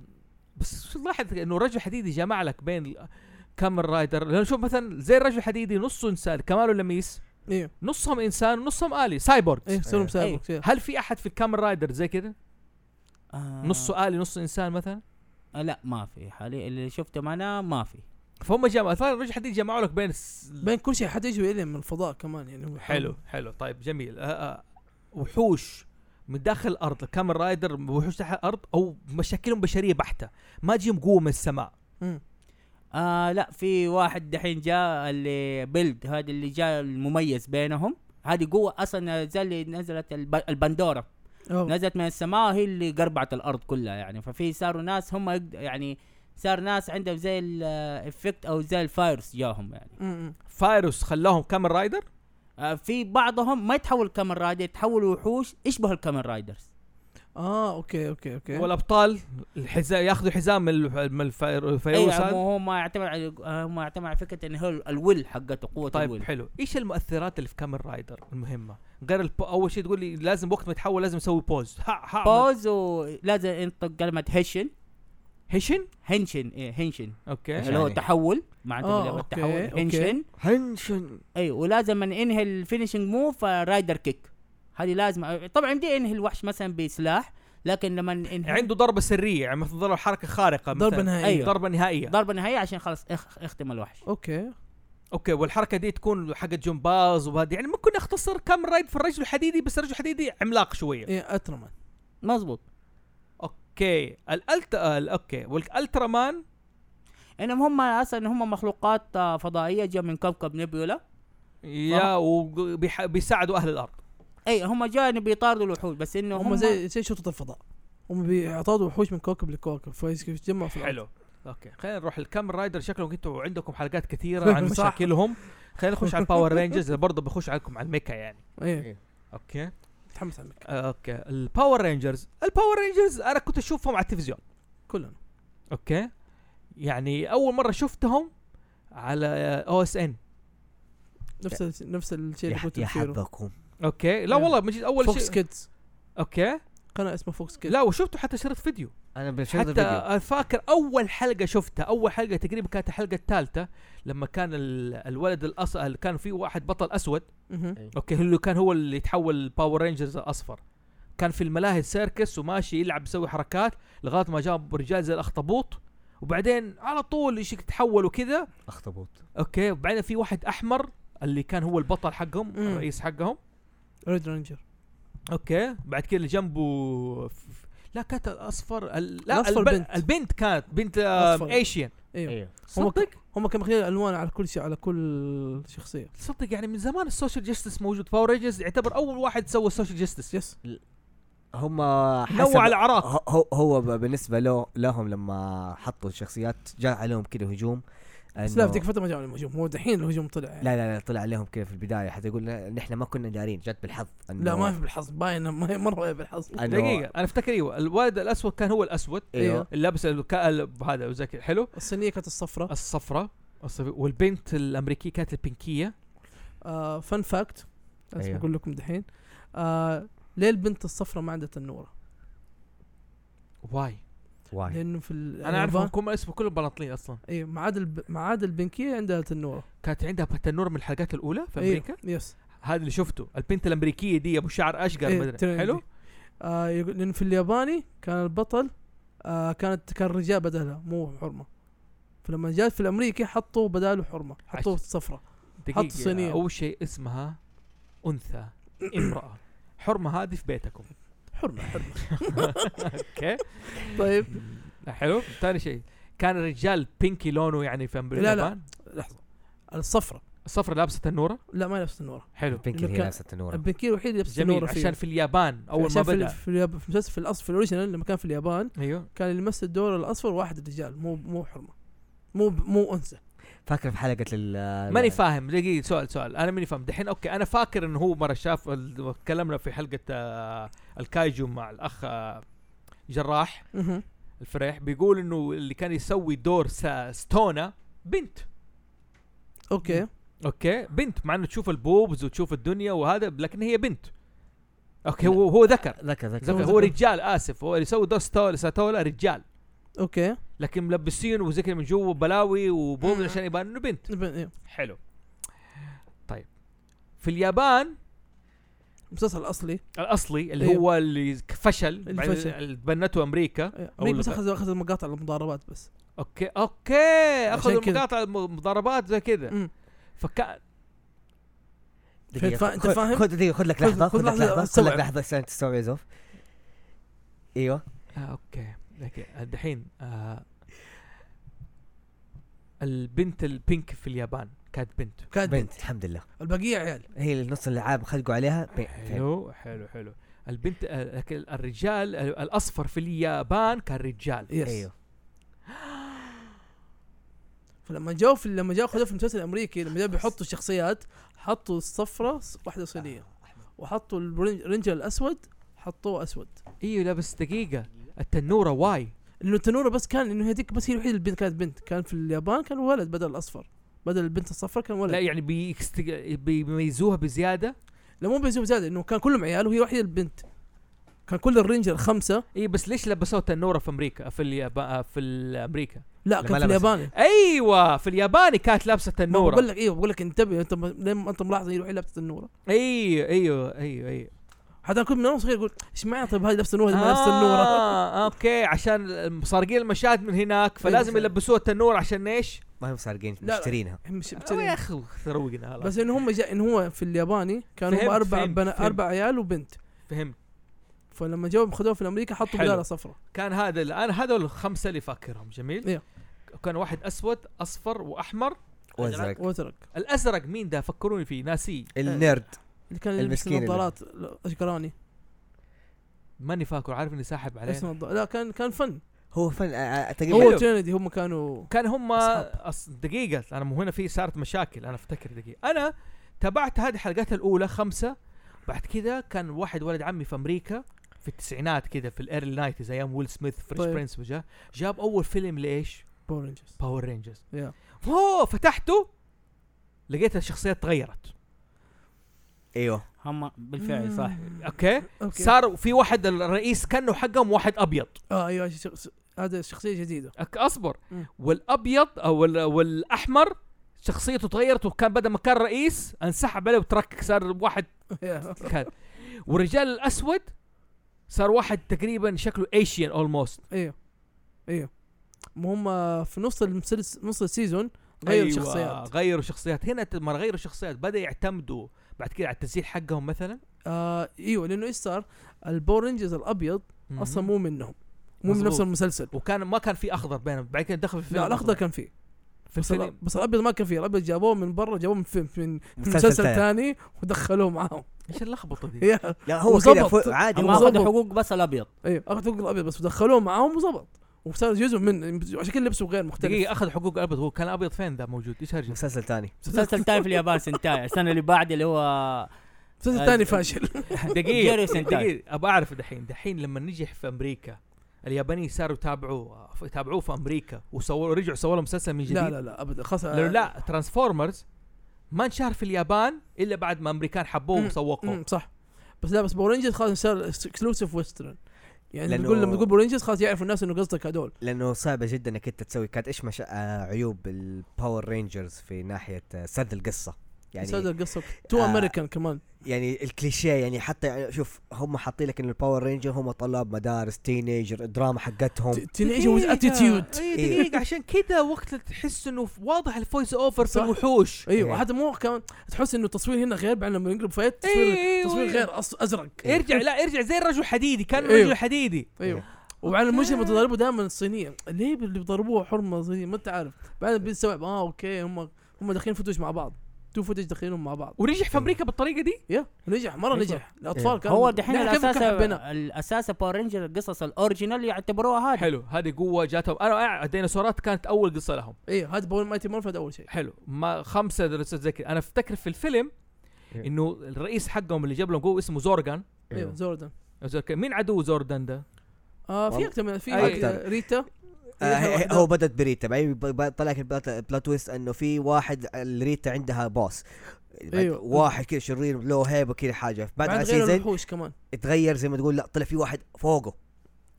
بس شو لاحظ انه الرجل الحديدي جمع لك بين كامل رايدر لانه شوف مثلا زي الرجل الحديدي نصه انسان كماله لميس ايوه نصهم انسان ونصهم الي سايبورغ ايه سولم إيه. سايبورغ إيه. هل في احد في الكامل رايدر زي كده آه نصه الي نصه انسان مثلا آه لا ما في حاليا اللي شفته انا ما في فهم جمعوا فالرجل الحديدي جمعوا لك بين الس- بين كل شيء حتى يجوا الين من الفضاء كمان يعني هو حلو حلو طيب جميل آه آه وحوش من داخل الارض كامل رايدر وحوش تحت الارض او مشاكلهم بشريه بحته ما تجيهم قوه من السماء مم. آه لا في واحد دحين جاء اللي بيلد هذا اللي جاء المميز بينهم هذه قوة اصلا زي اللي نزلت الب... البندورة أوه. نزلت من السماء هي اللي قربعت الارض كلها يعني ففي صاروا ناس هم يقد- يعني صار ناس عندهم زي الافكت او زي الفايرس جاهم يعني مم. فايروس خلاهم كامل رايدر آه، في بعضهم ما يتحول كامن رايدر يتحولوا وحوش يشبه الكامن رايدرز اه اوكي اوكي اوكي والابطال الحزام ياخذوا حزام من الف- من الفاير- اي الفيروس هذا إيه، هو ما يعتمد على آه، ما يعتمد على فكره ان هو ال- الويل حقته قوه طيب الويل حلو ايش المؤثرات اللي في كامل رايدر المهمه غير الب... اول شيء تقول لي لازم وقت ما يتحول لازم اسوي بوز ها ها بوز ولازم ينطق كلمه هيشن هيشن هنشن ايه هنشن اوكي إيش اللي هو يعني؟ تحول ما آه، عندهم أوكي، التحول أوكي. هنشن هنشن اي ولازم من انهي الفينشنج موف آه، رايدر كيك هذه لازم آه، طبعا دي انهي الوحش مثلا بسلاح لكن لما انهي عنده ضربه سريه يعني مثل ضربه حركه خارقه مثلا ضربه نهائيه أيوة. ضربه نهائيه ضربه نهائيه عشان خلاص اخ اختم الوحش اوكي اوكي والحركه دي تكون حق جمباز وهذه يعني ممكن اختصر كم رايد في الرجل الحديدي بس الرجل الحديدي عملاق شويه ايه اترمان مزبوط اوكي الالت ال- اوكي والالترا مان انهم هم اصلا هم مخلوقات آه، فضائيه جايه من كوكب نيبيولا يا وبيساعدوا اهل الارض اي هم جايين بيطاردوا الوحوش بس انه هم زي زي شرطه الفضاء هم بيعطوا وحوش من كوكب لكوكب فيتجمعوا في الأرض. حلو اوكي خلينا نروح الكام رايدر شكلكم انتوا عندكم حلقات كثيره عن صح. مشاكلهم خلينا نخش على الباور رينجرز برضه بخش عليكم على الميكا يعني ايه اوكي متحمس عليك آه، اوكي الباور رينجرز الباور رينجرز انا كنت اشوفهم على التلفزيون كلنا اوكي يعني اول مره شفتهم على آه، او اس ان نفس ال- نفس الشيء يا اللي ح- كنت يا بتصيره حبكم اوكي لا Yeah. والله مجد اول فوكس شيء كيدز اوكي قناه اسمها فوكس كيدز لا وشفته حتى شريط فيديو انا بشوف حتى الفيديو أنا فاكر اول حلقه شفتها اول حلقه تقريبا كانت الحلقه الثالثه لما كان ال- الولد الاصل كان في واحد بطل اسود مهم. إيه. اوكي اللي كان هو اللي يتحول باور رينجرز الاصفر كان في الملاهي السيركس وماشي يلعب يسوي حركات لغايه ما جاب رجال زي الاخطبوط وبعدين على طول يشك تحول وكذا اخطبوط اوكي وبعدين في واحد احمر اللي كان هو البطل حقهم مم. الرئيس حقهم ريد رينجر اوكي بعد كذا اللي جنبه ف- ف- لا كانت الاصفر ال... لا الأصفر الب... بنت. البنت كانت بنت آه، آم، أصفر. ايشيان إيه. ايوه هم صدق هم كانوا مخلين الالوان على كل شيء على كل شخصيه صدق يعني من زمان السوشيال جستس موجود باور رينجرز يعتبر اول واحد سوى السوشيال جستس يس آه، هم حسب نوع الاعراق هو- هو هو ب- بالنسبه له لهم لما حطوا الشخصيات جاء عليهم كده هجوم بس إنه- لا في ذيك الفتره ما جاء على الهجوم هو دحين الهجوم طلع يعني. لا لا لا طلع عليهم كده في البدايه حتى يقول لا، نحن ما كنا دارين جت بالحظ إنه- لا ما في بالحظ باينه ما هي مره بالحظ أنا- إنه- دقيقة أنا أفتكر أيوه الولد الأسود كان هو الأسود أيوه. ايوه اللابس الكأل هذا وزي كده حلو الصينيه كانت الصفراء الصفراء الصف- والبنت الأمريكية كانت البنكية آه فان فاكت لازم أيوه. اقول لكم دحين آه ليه البنت الصفراء ما عندها تنوره واي واي لانه في ال- أيوه، انا اعرفهم كم اسمه كلهم بلاطين اصلا اي ما عاد الب... ما عاد البنكيه عندها تنوره كانت عندها بتنور من الحلقات الاولى في إيه، امريكا يس هذا اللي شفته البنت الامريكيه دي ابو شعر اشقر إيه، مدري ترندي. حلو آه يقول لانه في الياباني كان البطل آه كانت كان الرجال بدلها مو حرمه فلما جات في الامريكي حطوا بداله حرمه حطوه عش- صفرة دقيقه صينية. اول شيء اسمها انثى امراه حرمه هذه في بيتكم حرمه حرمه اوكي طيب حلو ثاني شيء كان الرجال بينكي لونه يعني في لا. اليابان لحظه الصفرة الصفرة لابسه تنوره لا ما لابسه تنوره حلو بينكي هي كان- لابسه تنوره البنكيه الوحيد اللي لابسه جميل تنوره فيه عشان في اليابان اول ما عشان في ال- بدا في الياب- في المسلسل في الاصفر في الاوريجينال لما كان في اليابان ايوه كان اللي يمثل الدور الاصفر واحد رجال مو مو حرمه مو مو انثى فاكر في حلقه لل ماني فاهم دقيقة سؤال سؤال انا ماني فاهم دحين اوكي انا فاكر انه هو مرة شاف ال- تكلمنا في حلقة آه، الكايجو مع الاخ آه، جراح مهم. الفريح بيقول انه اللي كان يسوي دور سا- ستونا بنت اوكي اوكي بنت مع انه تشوف البوبز وتشوف الدنيا وهذا لكن هي بنت اوكي هو هو ذكر ذكر ذكر ذكر هو رجال اسف هو اللي يسوي دور ستولا ساتولا رجال اوكي لكن ملبسين وزي كذا من جوا بلاوي وبوبز عشان يبان انه بنت ب- إيه. حلو طيب في اليابان المسلسل الاصلي الاصلي اللي أيوه. هو اللي فشل اللي بعدين فشل. اللي تبنته امريكا إيه. أول مين بس لقاء. اخذ اخذ المقاطع المضاربات بس اوكي اوكي عشان اخذوا كده. مقاطع مضاربات زي كذا مم. فكان دقيقة. فا- أنت خذ- فاهم؟ خذ دقيقة خذ لك خذ- لحظة خذ خذ لك لحظة لحظة خذ أستوعب. لك لحظة عشان تستوعب زوف ايوه آه اوكي اوكي الدحين آه البنت البينك في اليابان كانت بنت كانت بنت بنت الحمد لله البقيه عيال هي اللي نص الالعاب خلقوا عليها بنت. أيوه. حلو إيوه. حلو حلو البنت آه لكن الرجال آه، الاصفر في اليابان كان رجال أيوه. يس ايوه فلما جاوا في لما جاوا خذوا في المسلسل الامريكي لما جاوا بيحطوا الشخصيات حطوا الصفرة ص- واحده صينيه وحطوا الرنجر الاسود حطوه اسود ايوه لا بس دقيقه التنوره واي لانه التنوره بس كان انه هذيك بس هي الوحيده البنت كانت بنت كان في اليابان كان ولد بدل الاصفر بدل البنت الصفرا كان ولد لا لا, يعني بيكست- بيميزوها بزياده مو بيزوم زاد انه كان كلهم عيال وهي الوحيده البنت كان كل الرينجر خمسه اي إيه، بس ليش لبسوها تنوره في امريكا في اليابان في امريكا لا لما كان في لبست. الياباني ايوه في الياباني كانت لابسه ما هو بقول تنوره لك ايوه بقول لك انتبه انت م- ليه ما انت ملاحظ هي الوحيده لابسه النوره ايوه ايوه ايوه ايوه حتى كنت من وانا صغير اقول ايش معنى طيب هذه لابسه النوره هذه ما لابسه النوره آه، اوكي عشان سارقين المشاهد من هناك فلازم فعلا. يلبسوها التنور عشان ايش؟ ما هم سارقين لا. مشترينها مش آه، يا اخي روقنا إيه. بس بس ان هم جا ان هو في الياباني كانوا هم فهمت، اربع فهمت، بنا فهمت. اربع عيال وبنت فهمت فلما جاوب خذوه في الامريكا حطوا حلو. بداله صفرة كان هذا الان هذول الخمسه اللي فاكرهم جميل؟ إيه. كان واحد اسود اصفر واحمر وزرك وترك الازرق مين ده فكروني فيه ناسيه آه. النيرد اللي كان يلبس المسكين اللي- النظارات لا، اشقراني ماني فاكر عارف اني ساحب عليه اسمه الض- لا كان كان فن هو فن آه، آه، تقريبا هو تريندي هم كانوا كان هم أصحاب. أص... دقيقة أنا مو هنا في صارت مشاكل أنا أفتكر دقيقة أنا تابعت هذه الحلقات الأولى خمسة بعد كذا كان واحد ولد عمي في أمريكا في التسعينات كذا في الأيرلي نايتز أيام ويل سميث فريش طيب. برنس وجا جاب أول فيلم لإيش؟ باور رينجرز باور رينجرز يا. أوه فتحته لقيت الشخصيات تغيرت ايوه هم بالفعل صح أوكي؟, اوكي صار في واحد الرئيس كانه حقهم واحد أبيض اه ايوه شخص- هذا شخصيه جديده أك- أصبر مم. والأبيض أو ال- والأحمر شخصيته تغيرت وكان بدل ما كان رئيس انسحب عليه وتركك صار واحد يا. كان والرجال الاسود صار واحد تقريبا شكله ايشيان اولموست ايوه ايوه هم في نص المسلس- نص السيزون أيوة. غيروا شخصيات غيروا شخصيات هنا لما غيروا شخصيات بدا يعتمدوا بعد كده على التسجيل حقهم مثلا آه ايوه لانه ايش صار؟ الباور رينجرز الابيض اصلا مو منهم مو من مظبوط. نفس المسلسل وكان ما كان في اخضر بينهم بعد كده دخل في الفيلم لا الاخضر كان فيه في بس, الأ- الفيلم بس الابيض ما كان فيه الابيض جابوه من برا جابوه من فيلم من مسلسل ثاني ودخلوه معاهم ايش اللخبطه دي؟ يا لا هو وظبط. كذا فوق- عادي هم هو هو ظبط. اخذوا حقوق بس الابيض ايوه اخذوا الابيض بس ودخلوه معاهم وظبط وصار جزء من عشان كذا لبسه غير مختلف دقيقه اخذ حقوق ابيض هو كان ابيض فين ذا موجود ايش هرجه؟ مسلسل ثاني مسلسل تاني في اليابان سنتاي السنه اللي بعد اللي هو مسلسل ثاني فاشل دقيقه جيري سنتاي. دقيقه ابى اعرف دحين دحين لما نجح في امريكا اليابانيين صاروا يتابعوه يتابعوه في امريكا وصوروا رجعوا سووا له مسلسل من جديد لا لا لا ابدا خلاص لانه لا ترانسفورمرز ما انشهر في اليابان الا بعد ما امريكان حبوه آه، مم. وسوقوه أمم، صح بس لا بس باور رينجرز خلاص صار اكسكلوسيف ويسترن يعني لأنه- تقول لما تقول بورينجرز خلاص يعرف الناس انه قصدك هذول لانه صعبه جدا انك انت تسوي كانت ايش مش... آه عيوب الباور رينجرز في ناحيه آه، سرد القصه يعني يعني هذا القصه تو آه. امريكان كمان يعني الكليشيه يعني حتى يعني شوف هم حاطين لك ان الباور رينجر هم طلاب مدارس تينيجر الدراما حقتهم تينيجر ويز اتيتيود اي إيه. دقيقه عشان كذا وقت اللي تحس انه واضح الفويس اوفر في صح. الوحوش ايوه إيه. حتى مو كمان تحس انه التصوير هنا غير بعد لما ينقلب فايت إيه، تصوير إيوه، تصوير إيوه. غير أص- ازرق ارجع لا ارجع زي الرجل الحديدي كان إيوه. الرجل الحديدي ايوه وعلى المجرم تضربوا دائما الصينيه ليه اللي بيضربوها حرمه صينيه ما انت عارف بعدين بنستوعب اه اوكي هم هم داخلين فوتج مع بعض تو فوتج داخلينهم مع بعض ونجح في امريكا بالطريقه دي يا نجح أيوة. مره نجح إيه. الاطفال كانوا هو دحين نحن كيف الاساس حبينا الاساس باور رينجر القصص الاوريجينال يعتبروها هذه حلو هذه قوه جاتهم انا الديناصورات كانت اول قصه لهم اي إيه، هذا بول مايتي مورفد اول شيء حلو ما خمسه دراسات زي كذا انا افتكر في الفيلم إيه. انه الرئيس حقهم اللي جاب لهم قوه اسمه زورغان آه، ايوه زوردن زورغان. مين عدو زوردان ده؟ آه في والله. اكثر من في أكتر. آه، ريتا آه إيه، هي- هو بدات بريتا بعدين ب- ب- طلع لك البلات البلات تويست انه في واحد آه، الريتا عندها بوس بعد أيوه. واحد كذا شرير له هيبه كذا حاجه بعد على بعد غير سيزون الوحوش كمان اتغير زي ما تقول لا طلع في واحد فوقه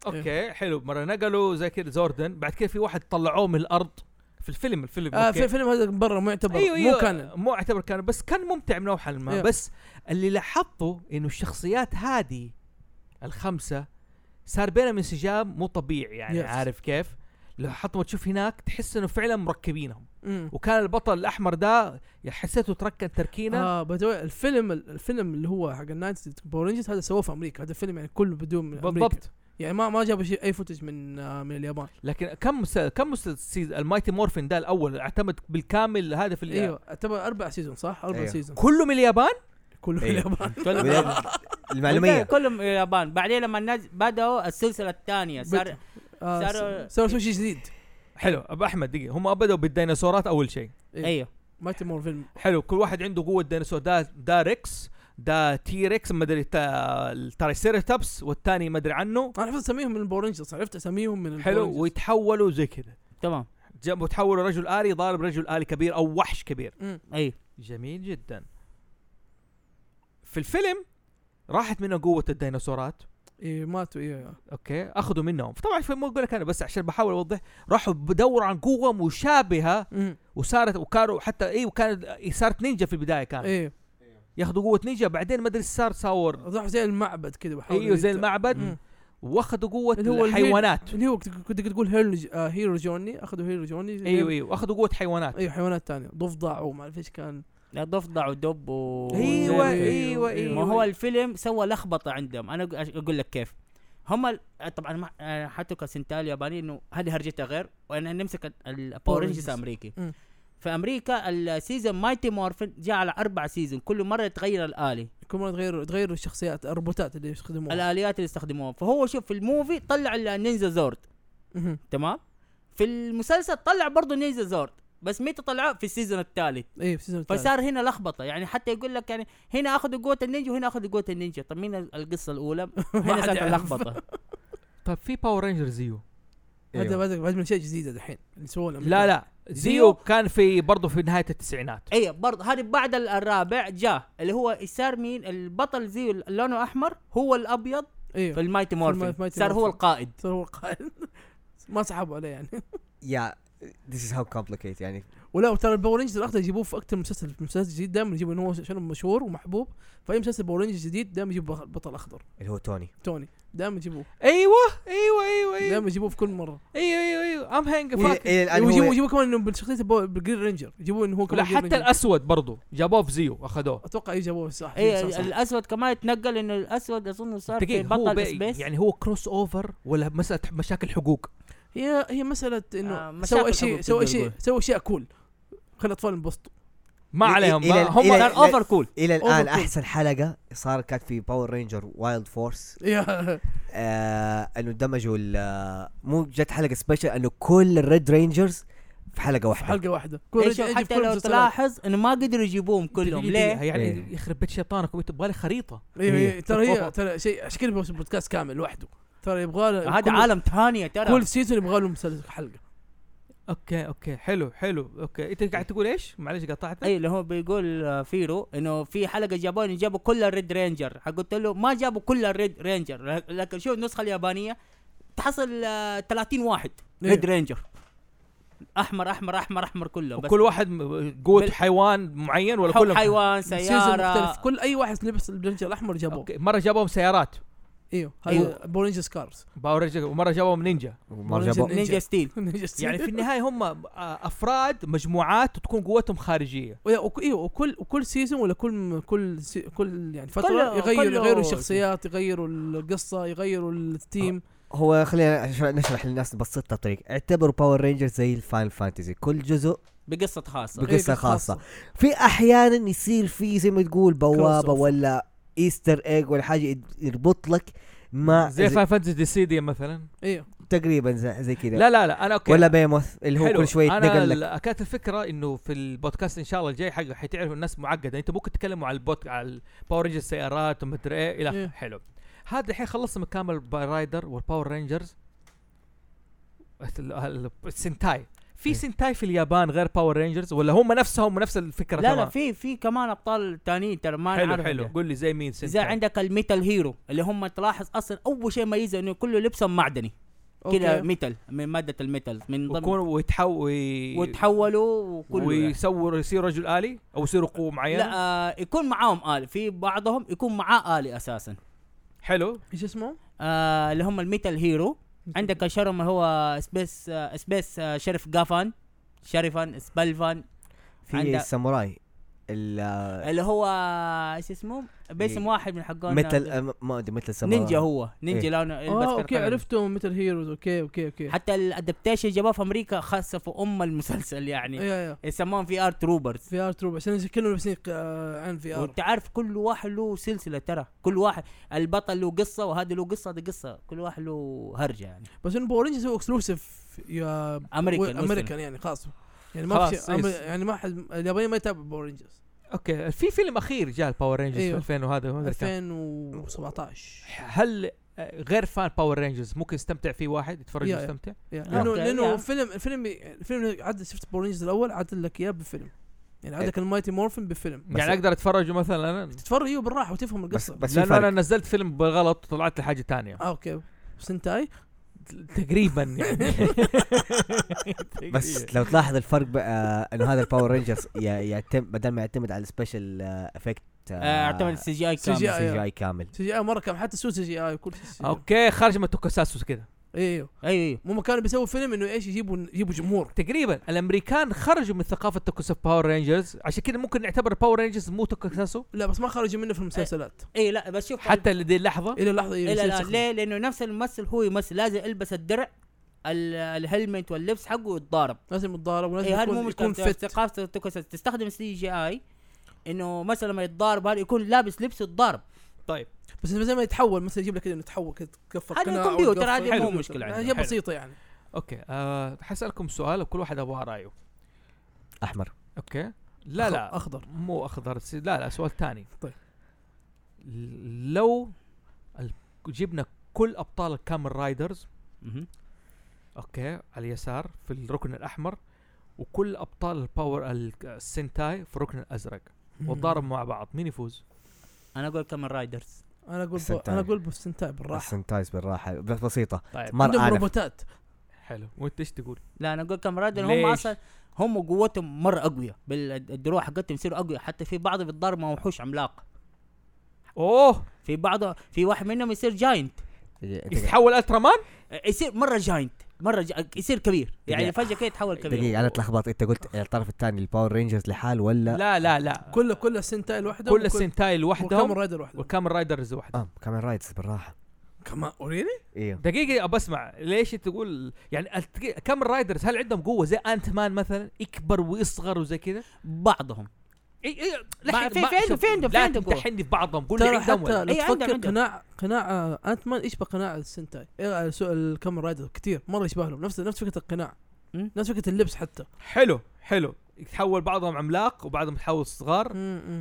اوكي حلو مره نقلوا زي كذا زوردن بعد كذا في واحد طلعوه من الارض في الفيلم الفيلم آه أوكي. في فيلم هذا برا ما يعتبر ايوه مو ايوه كان مو اعتبر كان بس كان ممتع من نوعا ما إيه. بس اللي لاحظته انه الشخصيات هذه الخمسه صار بينهم انسجام مو طبيعي يعني Yes. عارف كيف؟ لو حط ما تشوف هناك تحس انه فعلا مركبينهم مم. وكان البطل الاحمر ده يا حسيته تركن تركينه اه by the way، الفيلم الفيلم اللي هو حق النايتس بورنجز هذا سووه في امريكا هذا الفيلم يعني كله بدون من أمريكا. بالضبط يعني ما ما جابوا شيء اي فوتج من آه من اليابان لكن كم مس... كم مس... المايتي مورفين ده الاول اعتمد بالكامل هذا في اليابان ايوه اعتبر اربع سيزون صح؟ اربع أيوة. أيوه. سيزون كله من اليابان كله في أيوة. أيوه. اليابان بعدين المعلوميه كلهم يابان بعدين لما نز... بدأوا السلسله الثانيه صار آه، صاروا- س- صار شيء جديد حلو ابو احمد دقيقه هم بدأوا بالديناصورات اول شيء إيه. ايوه مايتي مور فيلم حلو كل واحد عنده قوه ديناصور ده ده ريكس ده تي ريكس ما ادري تا- الترايسيراتوبس والثاني ما ادري عنه انا عرفت اسميهم من البورنجز عرفت اسميهم من حلو البورنجز. ويتحولوا زي كذا تمام جنبه تحولوا رجل آلي ضارب رجل آلي كبير أو وحش كبير مم. ايوه جميل جدا في الفيلم راحت منه قوة الديناصورات إيه ماتوا ايوه اوكي اخذوا منهم طبعا في مو اقول لك انا بس عشان بحاول اوضح راحوا بدوروا عن قوه مشابهه مم. وصارت وكانوا حتى اي وكانت صارت نينجا في البدايه كان ايه ياخذوا قوه نينجا بعدين ما ادري إيش صار صار راحوا زي المعبد كذا بحاول ايوه زي يت- المعبد مم. واخذوا قوه اللي هو الهيل- الحيوانات اللي هو كنت كنت تقول هيرو آه هيرو جوني اخذوا هيرو جوني ايوه ايوه واخذوا قوه حيوانات ايوه حيوانات ثانيه ضفدع وما اعرف ايش كان ضفدع ودب و ايوه أيوة، ايوه ما ايوه هو الفيلم سوى لخبطه عندهم انا أق- اقول لك كيف هم ال- طبعا ما- آه، حتى كسنتال الياباني انه هذه هرجتها غير وانا نمسك Power الباور Rangers. رينجرز الامريكي مم. في امريكا السيزون مايتي مورفن جاء على اربع سيزون كل مره يتغير الالي كل مره تغيروا تغيروا الشخصيات الروبوتات اللي يستخدموها الاليات اللي استخدموها فهو شوف في الموفي طلع ال- النينجا زورد مهم. تمام في المسلسل طلع برضه نينجا زورد بس متى طلعه في السيزون الثالث ايوه في السيزون الثالث. فصار هنا لخبطه يعني حتى يقول لك يعني هنا اخذوا قوه النينجا وهنا اخذوا قوه النينجا طب مين ال- القصه الاولى هنا حد صارت يعرف. اللخبطه طب في باور رينجر زيو هذا أيوه. بعد بعد من شيء جديد الحين اللي سووه لا لا زيو زيو كان في برضه في نهايه التسعينات اي إيه، برضه هذه بعد ال- الرابع جاء اللي هو صار مين البطل زي ال- لونه احمر هو الابيض في ايوه المايتي في مورفين المايتي صار هو مورفين. القائد صار هو القائد ما سحبوا عليه يعني يا ذيس از هاو complicated يعني ولا ترى الباور رينجرز الاخضر يجيبوه في اكثر من مسلسل في مسلسل جديد دائما يجيبوا انه هو عشان مشهور ومحبوب فاي مسلسل باور رينجرز جديد دائما يجيبوا بخ- بطل اخضر اللي هو توني توني دائما يجيبوه ايوه ايوه ايوه ايوه دائما يجيبوه في كل مره ايوه ايوه ايوه ام هانج إلى- فاك الى الان ويجيبوا هو يجيبوا كمان انه بالشخصيه البو- بالجرين رينجر يجيبوه انه هو لا كمان جرين حتى رينجر. الاسود برضه جابوه في زيو اخذوه اتوقع اي جابوه صح اي إيه، صح، صح. إيه، ال- الاسود كمان اتنقل انه الاسود اظن صار في دقيقه هو بطل بي- سبيس يعني هو كروس اوفر ولا مساله مشاكل حقوق هي هي مساله آه، انه مشاكل سوى شيء حقوق سوى تقدر شيء تقول. سوى شيء كول خلي الاطفال ينبسطوا ما إلى- عليهم إلى- ما- هم إلى- صار اوفر كول الى الان Overcooked. احسن حلقه صار كانت في باور رينجر وايلد فورس يا- آه انه دمجوا ال- آه، مو جت حلقه سبيشل انه كل الريد رينجرز في حلقه واحده حلقه واحده كل إيش، رجل يجي في إيه، حتى كل لو المسلسلات. تلاحظ انه ما قدروا يجيبوهم دقيقة- كلهم دقيقة، ليه؟ يعني إيه. يخرب بيت شيطانكم انتوا يبغى لي خريطه ايوه هي. هي- ترى هي ترى شيء عشان كذا بيوصل بودكاست كامل لوحده ترى يبغى له هذا كل- عالم ثانيه ترى كل سيزون يبغى له مسلسل حلقه اوكي اوكي حلو حلو اوكي انت قاعد تقول ايش؟ معلش قطعتك اي اللي هو بيقول آه، فيرو انه في حلقه جابوني جابوا كل الريد رينجر قلت له ما جابوا كل الريد رينجر لكن شو النسخه اليابانيه تحصل آه، 30 واحد إيه. ريد رينجر احمر احمر احمر احمر كله بس وكل واحد م- قوة بال- حيوان معين ولا حب كلهم حيوان سيزون سياره مختلف كل اي واحد لبس البلنجر الاحمر جابوه اوكي مره جابهم سيارات ايوه أيوه. هذا بولنجر سكارز باوريجا ومره جابهم نينجا وما Orange جابوا and- نينجا ستيل يعني في النهايه هم آه، افراد مجموعات وتكون قوتهم خارجيه ولا- وك- ايوه وكل وكل سيزون ولا كل كل سي كل يعني فتره كله- يغير كله- يغيروا الشخصيات يغيروا القصه يغيروا التيم هو خلينا عشان نشرح للناس ببسطها طريق اعتبروا باور رينجرز زي الفاين فانتزي كل جزء بقصه خاصه بق- قصة خاصة. في احيانا يصير في زي ما تقول بوابه Crossover. ولا ايستر ايج ولا حاجه يد- يربط لك مع زي فاين فانتسي سيديا مثلا ايوه تقريبا زي زي كذا لا لا لا انا اوكي ولا بيموث اللي هو حلو. كل شوي انا يتنقل لك ال- كانت الفكره انه في البودكاست ان شاء الله الجاي حق حتعرفوا الناس معقده انت ممكن تتكلموا على البوت على الباور رينجرز السيارات ومدري ايه الى إيه. آخره. حلو هذا الحين خلصنا من كامل باي رايدر والباور رينجرز ال- ال- السنتاي إيه. في سنتاي في اليابان غير باور رينجرز ولا هم نفسهم نفس الفكره لا لا تمام؟ في في كمان ابطال تانيين ترى ما حلو نعرفهم حلو يعني. قول لي زي مين سنتاي زي عندك الميتال هيرو اللي هم تلاحظ اصلا اول شيء يميزه انه كله لبسهم معدني كذا أوكي. ميتال من ماده الميتال من ضمن ويكونوا ويتحول وتحولوا وكله يعني. ويصور يصير رجل آلي أو يصير قوة معينة لا آه يكون معاهم آلي في بعضهم يكون معاه آلي أساسا حلو ايش اسمه؟ آه اللي هم الميتال هيرو عندك شرم هو سبيس آه سبيس آه شرف جافان شرفان سبلفان في عندك- الساموراي ال- اللي هو ايش اسمه؟ باسم إيه. واحد من حقون آه، مثل أم- ما ادري مثل ساموراي نينجا هو إيه. نينجا لونه يلبس اه اوكي كرتون. عرفتهم مثل هيروز اوكي اوكي اوكي حتى الادابتيشن جابوه في امريكا خاصه في ام المسلسل يعني ايوه ايوه يسموهم في ارت روبرز في ار تروب عشان كلهم لابسين آه، عن في ار وانت عارف كل واحد له سلسله ترى كل واحد البطل له قصه وهذا له قصه هذا قصه كل واحد له هرجه يعني بس انه باور رينجرز هو اكسلوسيف يا امريكان امريكان يعني خاص يعني ما في خلاص، شيء- أمر- يس. يعني ما حد الياباني ما يتابع باور رينجرز أوكي في فيلم أخير جاء الباور رينجرز في أيوه. 2000 وهذا ما أدري كان. 2017 هل آه، غير فان باور رينجرز ممكن يستمتع فيه واحد يتفرج يا- ويستمتع يعني لانه أوكي. لانه يعني. فيلم الفيلم الفيلم عاد شفت باور رينجرز الاول عاد لك اياه بفيلم يعني عاد لك المايتي مورفن بفيلم يعني أقدر أتفرجه مثلا أنا تتفرج ايوه بالراحه وتفهم بس القصه بس في لأنه أنا فرق نزلت فيلم بالغلط طلعت لحاجة تانية آه اوكي سنتاي تقريبا يعني بس لو تلاحظ الفرق بقى انه هذا الباور رينجرز يعتمد بدل ما يعتمد على uh, السبيشل افكت آه، اعتمد السي جي اي CGI. كامل سي جي اي كامل سي جي اي مره كان حتى سوى سي جي اي كل شيء أوكي خارج من توكاساسوس كده ايوه اي اي مو كانوا بيسووا فيلم انه ايش يجيبوا يجيبوا جمهور تقريبا الامريكان خرجوا من ثقافه توكاساسو باور رينجرز عشان كده ممكن نعتبر باور رينجرز مو توكاساسو لا بس ما خرجوا منه في المسلسلات اي لا بس شوف حتى لدي اللحظه الى اللحظه إيه، الى يصير الان سخن. إيه. ليه؟ لانه نفس الممثل هو يمثل لازم يلبس الدرع ال- الهلمت واللبس حقه ويتضارب لازم يتضارب ولازم اي هذا إيه، مو يكون, يكون مشكله فت ثقافه التوكسات تستخدم السي جي اي انه مثلا لما يتضارب هذا يكون لابس لبس يتضارب طيب بس زي ما يتحول مثلا يجيب لك انه يتحول كذا تكفر هذا الكمبيوتر، هذه مو مشكلة عندنا. هي حلو. بسيطه يعني اوكي أه حسألكم سؤال وكل واحد ابغى رايه احمر اوكي لا أخ- لا اخضر مو اخضر س- لا لا سؤال ثاني طيب. لو ال- جبنا كل ابطال الكامل رايدرز مهم. اوكي على اليسار في الركن الاحمر وكل ابطال الباور ال- السنتاي في الركن الازرق وتضاربوا مع بعض مين يفوز؟ انا اقول كمان رايدرز انا اقول بو... سنتاي. انا اقول بستنتاي بالراحه السنتايز بالراحه بس بسيطه طيب مر عندهم انا روبوتات حلو وانت ايش تقول؟ لا انا اقول كمان رايدر هم ليش؟ اصلا هم قوتهم مره اقوياء بالدروع حقتهم يصيروا اقوياء حتى في بعض بيتضارب مع وحوش عملاق اوه في بعض في واحد منهم يصير جاينت يتحول الترا مان؟ يصير مره جاينت مره جا... يصير كبير يعني دقيقة. فجاه كده يتحول كبير دقيقه انا اتلخبط انت قلت الطرف الثاني الباور رينجرز لحال ولا لا لا لا كل كل السنتاي لوحده كل السنتاي وكم لوحدهم رايدر لوحده والكامل رايدرز لوحدهم اه كمان رايدز بالراحه كمان اوريلي ايوه دقيقة ابى اسمع ليش تقول يعني الت- كم رايدرز هل عندهم قوة زي انت مان مثلا يكبر ويصغر وزي كذا؟ بعضهم اي اي ما- في- في عندهم- في عندهم- في لا عندهم قوة. تمتحني في بعضهم قول لي ترى عندهم حتى ولا. لو إيه، عندهم- تفكر عندهم. قناع قناع آه، انت مان يشبه قناع السنتاي إيه، آه، سو- الكامن رايدر كثير مره يشبه لهم نفس نفس فكره القناع مم. نفس فكره اللبس حتى حلو حلو يتحول بعضهم عملاق وبعضهم يتحول صغار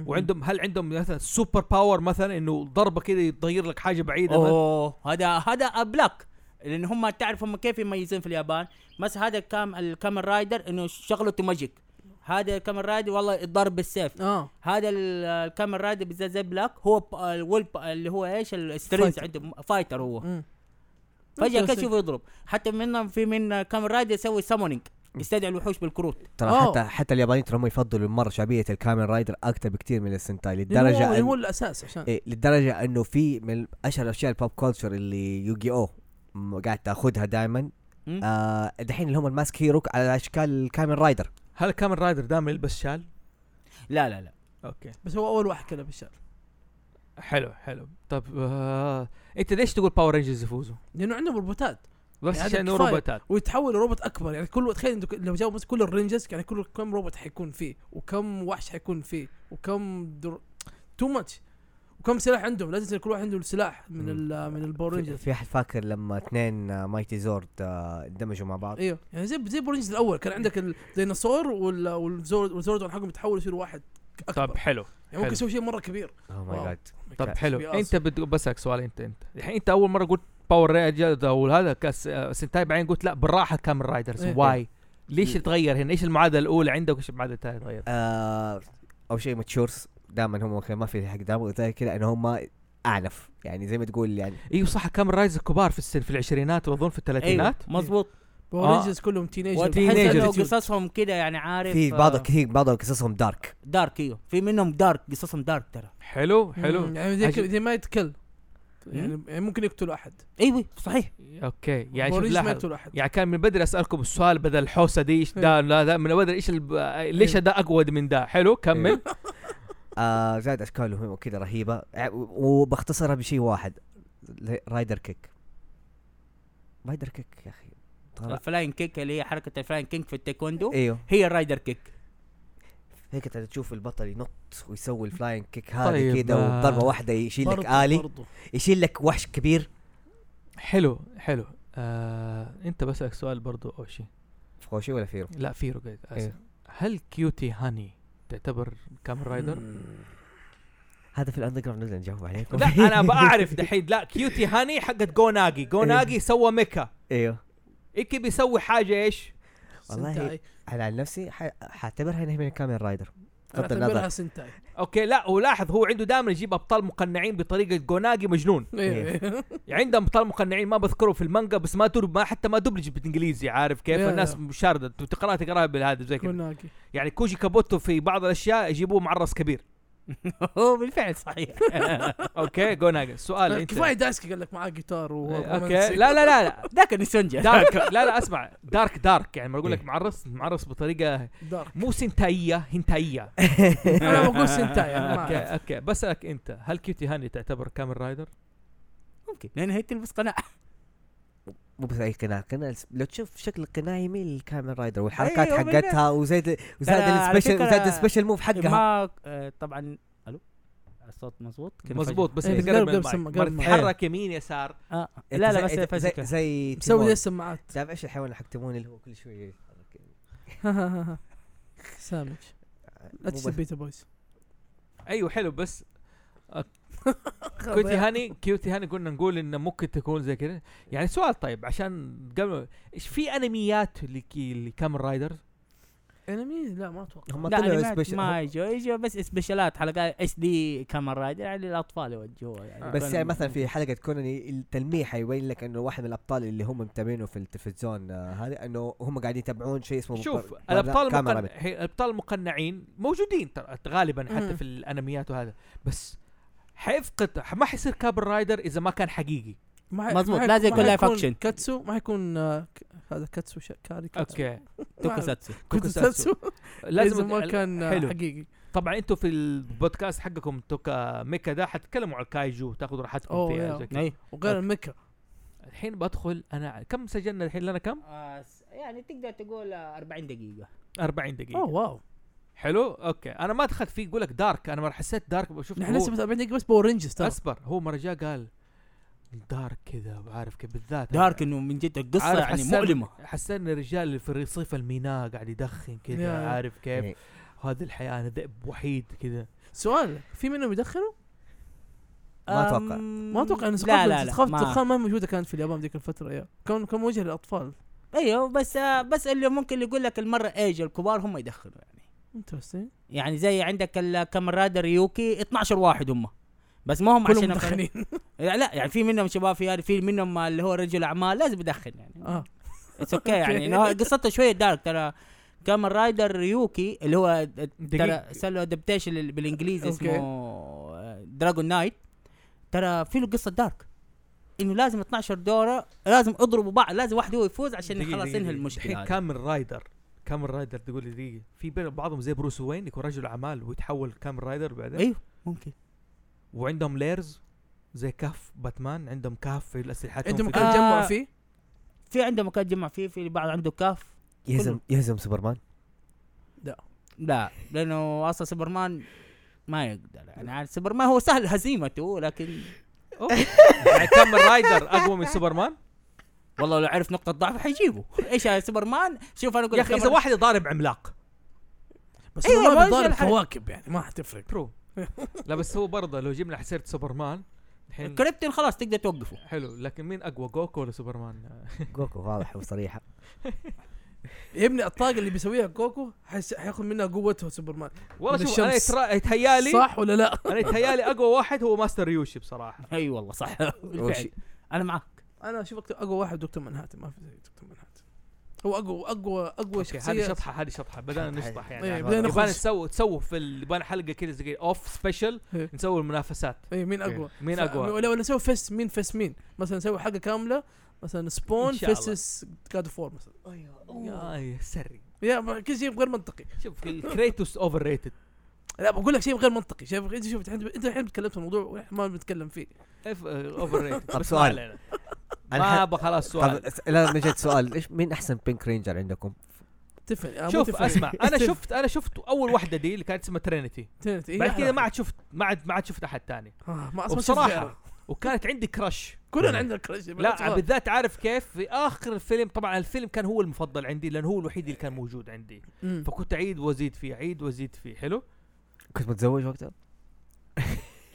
وعندهم هل عندهم مثلا سوبر باور مثلا انه ضربة كذا يطير لك حاجة بعيدة مثلاً؟ اوه هذا هذا بلاك لان هم تعرف هم كيف يميزون في اليابان بس هذا الكام الكامن رايدر انه شغلته ماجيك هذا الكامن رايدر والله الضرب بالسيف اه هذا ال- الكامن رايدر بالذات زي بلاك هو ب- الول ب- اللي هو ايش السترينز فايتر. عنده م- فايتر هو مم. فجاه Interesting. كشف يضرب حتى منهم في من كامن رايدر يسوي سامونينج يستدعي الوحوش بالكروت ترى أوه. حتى حتى اليابانيين ترى هم يفضلوا مره شعبيه الكامن رايدر اكثر بكثير من السنتاي لأنه هو- للدرجه لأنه هو أن... الاساس عشان إيه للدرجه انه في من اشهر اشياء البوب كولتشر اللي يوغي او م- قاعد تاخذها دائما مم. آه دحين اللي هم الماسك هيرو على اشكال الكامن رايدر هل كامن رايدر دائما يلبس شال؟ لا لا لا اوكي بس هو اول واحد كذا بالشارع حلو حلو طب آه... انت ليش تقول باور رينجرز يفوزوا؟ لانه عندهم روبوتات بس يعني عشان هذا كفاية. روبوتات ويتحول لروبوت اكبر يعني كل تخيل انت لو جابوا بس كل الرينجرز يعني كل كم روبوت حيكون فيه وكم وحش حيكون فيه وكم در... تو ماتش وكم سلاح عندهم لازم يصير كل واحد عنده سلاح من مم. ال من الباور في- رينجرز في احد فاكر لما اثنين آه، مايتي زورد آه، اندمجوا مع بعض ايوه يعني زي زي باور رينجرز الاول كان عندك الديناصور وال- والزورد والزوردون حقهم يتحول يصير واحد اكبر طب حلو يعني ممكن حلو. يسوي شيء مره كبير اوه واو. ماي جاد طب كاس. حلو بيقص. انت بت... بسألك سؤال انت انت الحين انت اول مره قلت باور رايدرز او هذا كاس آه، سنتاي بعدين قلت لا بالراحه كامن رايدرز إيه. واي ليش تتغير هنا؟ ايش المعادله الاولى عندك وايش المعادله الثانيه تغير؟ آه اول شيء ماتشورز دائما هم ما في حق دائما زي كذا ان هم اعنف يعني زي ما تقول يعني ايوه صح كامن رايدرز كبار في السن في العشرينات واظن في ايوه الثلاثينات مظبوط باور آه. رينجرز كلهم تينيجر وتحس انه teenagers. قصصهم كده يعني عارف في آه، بعض كثير بعض قصصهم دارك دارك ايوه في منهم دارك قصصهم دارك ترى أيوه. حلو حلو يعني زي عجب. كده- زي ما يتكل يعني يعني ممكن يقتلوا احد ايوه صحيح اوكي يعني باور شوف رينجرز ما لاحظ يقتلوا احد يعني كان من بدري اسالكم السؤال بدل الحوسه دي ايش ده لا ده من بدري ايش الب... ليش إيه. ده اقود من ده حلو كمل آه زائد اشكالهم كذا رهيبه ع- وبختصرها بشيء واحد ل- رايدر كيك رايدر كيك يا اخي طلع الفلاين كيك اللي هي حركه الفلاين كيك في التايكوندو ايوه هي الرايدر كيك هيك انت تشوف البطل ينط ويسوي الفلاين كيك هذه طيب، كذا آه. وضربه واحده يشيل لك برضو- الي برضو. يشيل لك وحش كبير حلو حلو آه... انت بسالك سؤال برضو او شيء خوشي ولا فيرو لا في رقد اسف إيه. هل كيوتي هاني تعتبر كامن رايدر؟ هذا في الاندر جراوند نقدر نجاوب عليكم لا انا بعرف دحين لا كيوتي هاني حقت إيه. جوناجي جوناجي سوى ميكا ايوه ايكي بيسوي حاجه ايش؟ والله سنتاي. انا عن نفسي ح- حاعتبرها انها من الكامن رايدر أنا بغض أعتبرها النظر سنتاي اوكي لا ولاحظ هو عنده دائما يجيب ابطال مقنعين بطريقه جوناجي مجنون ايوه يعني عندهم ابطال مقنعين ما بذكره في المانجا بس ما تر... ما حتى ما دبلج بالانجليزي عارف كيف يا- الناس يا. مشارده تقراها تقراها بالهذا زي كذا كوناكي يعني كوجي كابوتو في بعض الاشياء يجيبوه معرس كبير هو بالفعل صحيح اوكي جوناجي سؤال آه، انت كفايه دايسكي قال لك معاه جيتار و اوكي إيه، لا لا لا لا ذاك النسونجا دارك لا لا اسمع دارك دارك يعني ما اقول لك إيه. معرس معرس بطريقه دارك مو سنتائيه هنتائيه انا بقول سنتاي انا ما اوكي أعرف. اوكي بسالك انت هل كيوتي هاني تعتبر كامل رايدر؟ ممكن لان هي تلبس قناع مو بس اي قناع قناع الس- لو تشوف شكل القناع يميل للكامن رايدر والحركات أيوة حقتها وزاد وزاد ترى على السبيشل فكرة وزاد السبيشل موف حقها ما آه، طبعا الو الصوت مظبوط كده مزبوط بس إيه، انت قرب قرب- من قرب سمع- المايك قرب مرة معي. تتحرك يمين يسار فجأة. آه. أنت لا زي- لا بس أنت زي فجأة كده. زي مسوي تيمون. زي السماعات تعرف ايش الحيوان اللي حق تيمون اللي هو كل آه، شويه سامج مو لا بس- تسب بيتا بويز ايوه حلو بس كيوتي هاني كيوتي هاني كنا نقول انه ممكن تكون زي كذا يعني سؤال طيب عشان قبل ايش في انميات اللي كي- اللي كامل رايدر انمي لا ما اتوقع هم لا طلعوا أنيمات سبيشل ما يجوا يجوا بس سبيشالات حلقات اس دي كاميرا رايدر يعني الاطفال يوجهوها يعني بس يعني كلهم- مثلا في حلقه كوناني التلميح حيبين لك انه واحد من الابطال اللي هم متابعينه في التلفزيون آه، هذا انه هم قاعدين يتابعون شيء اسمه شوف بر- الابطال كاميرا المقن... بت- هي- الابطال المقنعين موجودين ترى غالبا حتى مم. في الانميات وهذا بس حيفقد ما حيصير كابل رايدر اذا ما كان حقيقي ما حي- مظبوط، ما لازم حيكون- يكون ما live حيكون action. كاتسو ما حيكون آه، ك- هذا كاتسو شا- كاري كاتسو اوكي توكوساتسو كوكوساتسو. كاتسو لازم لازم ما كان آه، حلو. حقيقي طبعا انتم في البودكاست حقكم توكا ميكا ده حتتكلموا عن الكايجو تاخذوا راحتكم أوه، فيها يا. زي كده. اي وغير يعني أوكي. الميكا الحين بدخل انا كم سجلنا الحين لنا كم؟ يعني تقدر تقول 40 دقيقة 40 دقيقة اوه واو حلو اوكي انا ما دخلت فيه يقول لك دارك انا ما حسيت دارك بشوف نحن لسه متابعين دقيقة بس باور رينجرز ترى اصبر هو مرة جاء قال دارك كذا وعارف كيف بالذات دارك انه من جد القصة طيب. عارف يعني حسن- مؤلمة حسيت ان الرجال اللي في رصيف الميناء قاعد يدخن كذا يا. عارف إيه. كيف وهذه الحياة انا ذئب وحيد كذا سؤال في منهم يدخنوا؟ ما أتوقع. أم، ما اتوقع انه لا لا لا سقاف ما- الدخان ما موجوده كانت في اليابان ذيك الفتره يا كان كان موجه للاطفال ايوه بس آه، بس اللي ممكن يقول لك المره ايج الكبار هم يدخلوا يعني انترستنج يعني زي عندك الكامراد ريوكي 12 واحد هم بس ما هم كلهم عشان مدخنين يعني لا يعني في منهم شباب في في منهم اللي هو رجل اعمال لازم يدخن يعني اه اتس اوكي يعني إنه هو قصته شويه دارك ترى كامن رايدر ريوكي اللي هو ترى دقيق. سوى له ادابتيشن بالانجليزي أوكي. اسمه دراجون نايت آه، ترى في له قصه دارك انه لازم 12 دوره لازم اضربوا بعض لازم واحد هو يفوز عشان دقيقة، خلاص دقيقة، ينهي دقيقة. المشكله الحين هذه. كامل رايدر كامل رايدر تقول لي دقيقه في بين بعضهم زي بروس وين يكون رجل اعمال ويتحول كامل رايدر بعدين ايوه ممكن وعندهم ليرز زي كهف باتمان عندهم كهف في الاسلحه عندهم آه. كان تجمع فيه في عنده مكان يتجمع فيه في بعض عنده كاف يهزم يهزم سوبرمان لا لانه اصلا سوبرمان ما يقدر يعني عاد سوبرمان هو سهل هزيمته لكن كامل يعني رايدر اقوى من سوبرمان والله لو عرف نقطه ضعف حيجيبه ايش يا سوبرمان شوف انا اقول يا اخي اذا واحد ضارب عملاق بس أيوة، هو ما ما يجي بيضارب الحل. كواكب يعني ما حتفرق برو لا بس هو برضه لو جبنا حسيره سوبرمان الحين كريبتين خلاص تقدر توقفه حلو لكن مين اقوى جوكو ولا سوبرمان جوكو واضح وصريحه يا ابني الطاقه اللي بيسويها كوكو حس- حياخذ منها قوته سوبرمان والله من شوف انا الشمس. يترا- يتهيالي صح ولا لا؟ انا يتهيالي اقوى واحد هو ماستر ريوشي بصراحه اي والله صح بالفعل وش- انا معك انا اشوف أكتر- اقوى واحد دكتور منهاتن ما في زي دكتور منهاتن هو اقوى اقوى اقوى أوكي، هذه شخصيه شطحه هذه شطحه بدانا نشطح إيه، يعني بدينا يبان نخش نسوي تسوي في ال- يبان حلقه كذا زي اوف سبيشل إيه. نسوي المنافسات اي إيه، مين اقوى إيه، مين ف- اقوى ولا ولا نسوي فيس مين فيس مين مثلا نسوي حلقه كامله مثلا سبون إن شاء الله. فيسس جاد فور مثلا يا يا سري يا ما- كل شيء غير منطقي شوف الكريتوس اوفر ريتد لا بقول لك شيء غير منطقي شايف انت شوف الحين انت الحين تكلمت في الموضوع واحنا ما بنتكلم فيه اوفر ريتد طب سؤال. ما ابغى خلاص سؤال طب س- لا نجد سؤال ليش مين احسن بينك رينجر عندكم؟ تفل آه، مو شوف تفل. اسمع انا تفل. شفت انا شفت اول واحده دي اللي كانت اسمها ترينيتي تنت- إيه، بعد لا، كذا لا. ما عاد شفت ما عاد ما عاد شفت احد ثاني آه، ما اسمع وبصراحه وكانت عندي كراش كلنا عندنا كرش لا بالذات عارف كيف في اخر الفيلم طبعا الفيلم كان هو المفضل عندي لان هو الوحيد اللي كان موجود عندي مم. فكنت اعيد وازيد فيه اعيد وازيد فيه حلو كنت متزوج وقتها؟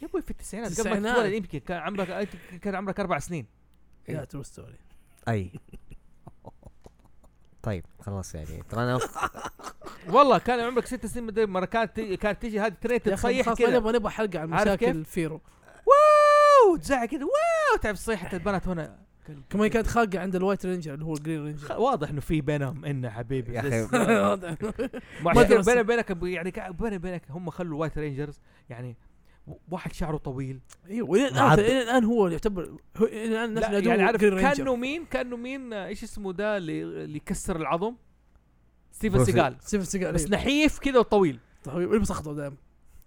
يا ابوي في التسعينات قبل ما التسعينات. تتولد يمكن كان عمرك أنت كان عمرك اربع سنين يا ترو ستوري اي طيب خلاص يعني ترى انا والله كان عمرك ست سنين مدري مره كانت تي- كانت تيجي هذه ترينيتي يا اخي تصيح خلاص ما كذا نبغى نبغى حلقه عن عارف مشاكل كيف؟ فيرو واو تزعق كذا واو تعرف صيحه البنات هنا كمان كانت خاقه عند الوايت رينجر اللي هو الجرين خ- رينجر واضح انه في بينهم انه حبيبي يا أخي. واضح. ما أدري بيني بس- بيني بينك يعني كا- بيني بينك هم خلوا الوايت رينجرز يعني و- واحد شعره طويل ايوه والى الان معبد. الى الان هو يعتبر هو الى الان الناس لا ينادوه يعني عارف Green Ranger. كانه مين كانه مين آه، ايش اسمه ده اللي اللي يكسر العظم ستيفن بروسي. سيجال سيفن سيجار بس نحيف كذا وطويل يلبس اخضر دائما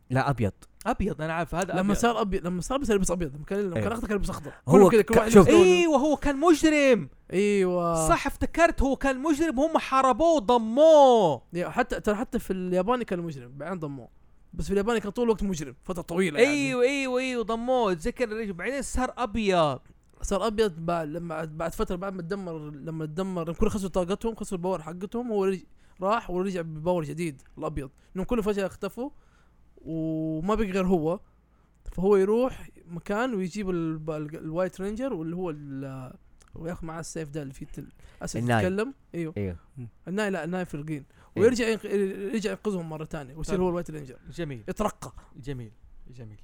لا ابيض ابيض انا عارف هذا لما أبيض. صار ابيض لما صار بس يلبس ابيض لما كان لما كان أيوة. اخضر كان يلبس اخضر كله هو كذا ك- كل واحد شوف. لونه. ايوه هو كان مجرم ايوه صح افتكرت هو كان مجرم هم حاربوه وضموه يا حتى ترى حتى في الياباني كان مجرم بعدين ضموه بس في الياباني كان طول الوقت مجرم فتره طويله يعني. ايوه ايوه ايوه ضموه تذكر الرجل بعدين صار ابيض صار ابيض بعد لما بعد فتره بعد ما تدمر لما تدمر لما كل خسروا طاقتهم خسروا الباور حقتهم هو رج... راح ورجع بباور جديد الابيض انهم كلهم فجاه اختفوا وما بقي غير هو فهو يروح مكان ويجيب الب... ال- الوايت رينجر واللي هو ال... وياخذ معاه السيف ده اللي فيه تل... اسد الناي. يتكلم ايوه ايوه الناي لا الناي في الجين إيه. ويرجع ينق... يرجع ينقذهم مره ثانيه ويصير طيب. هو الوايت رينجر جميل يترقى جميل جميل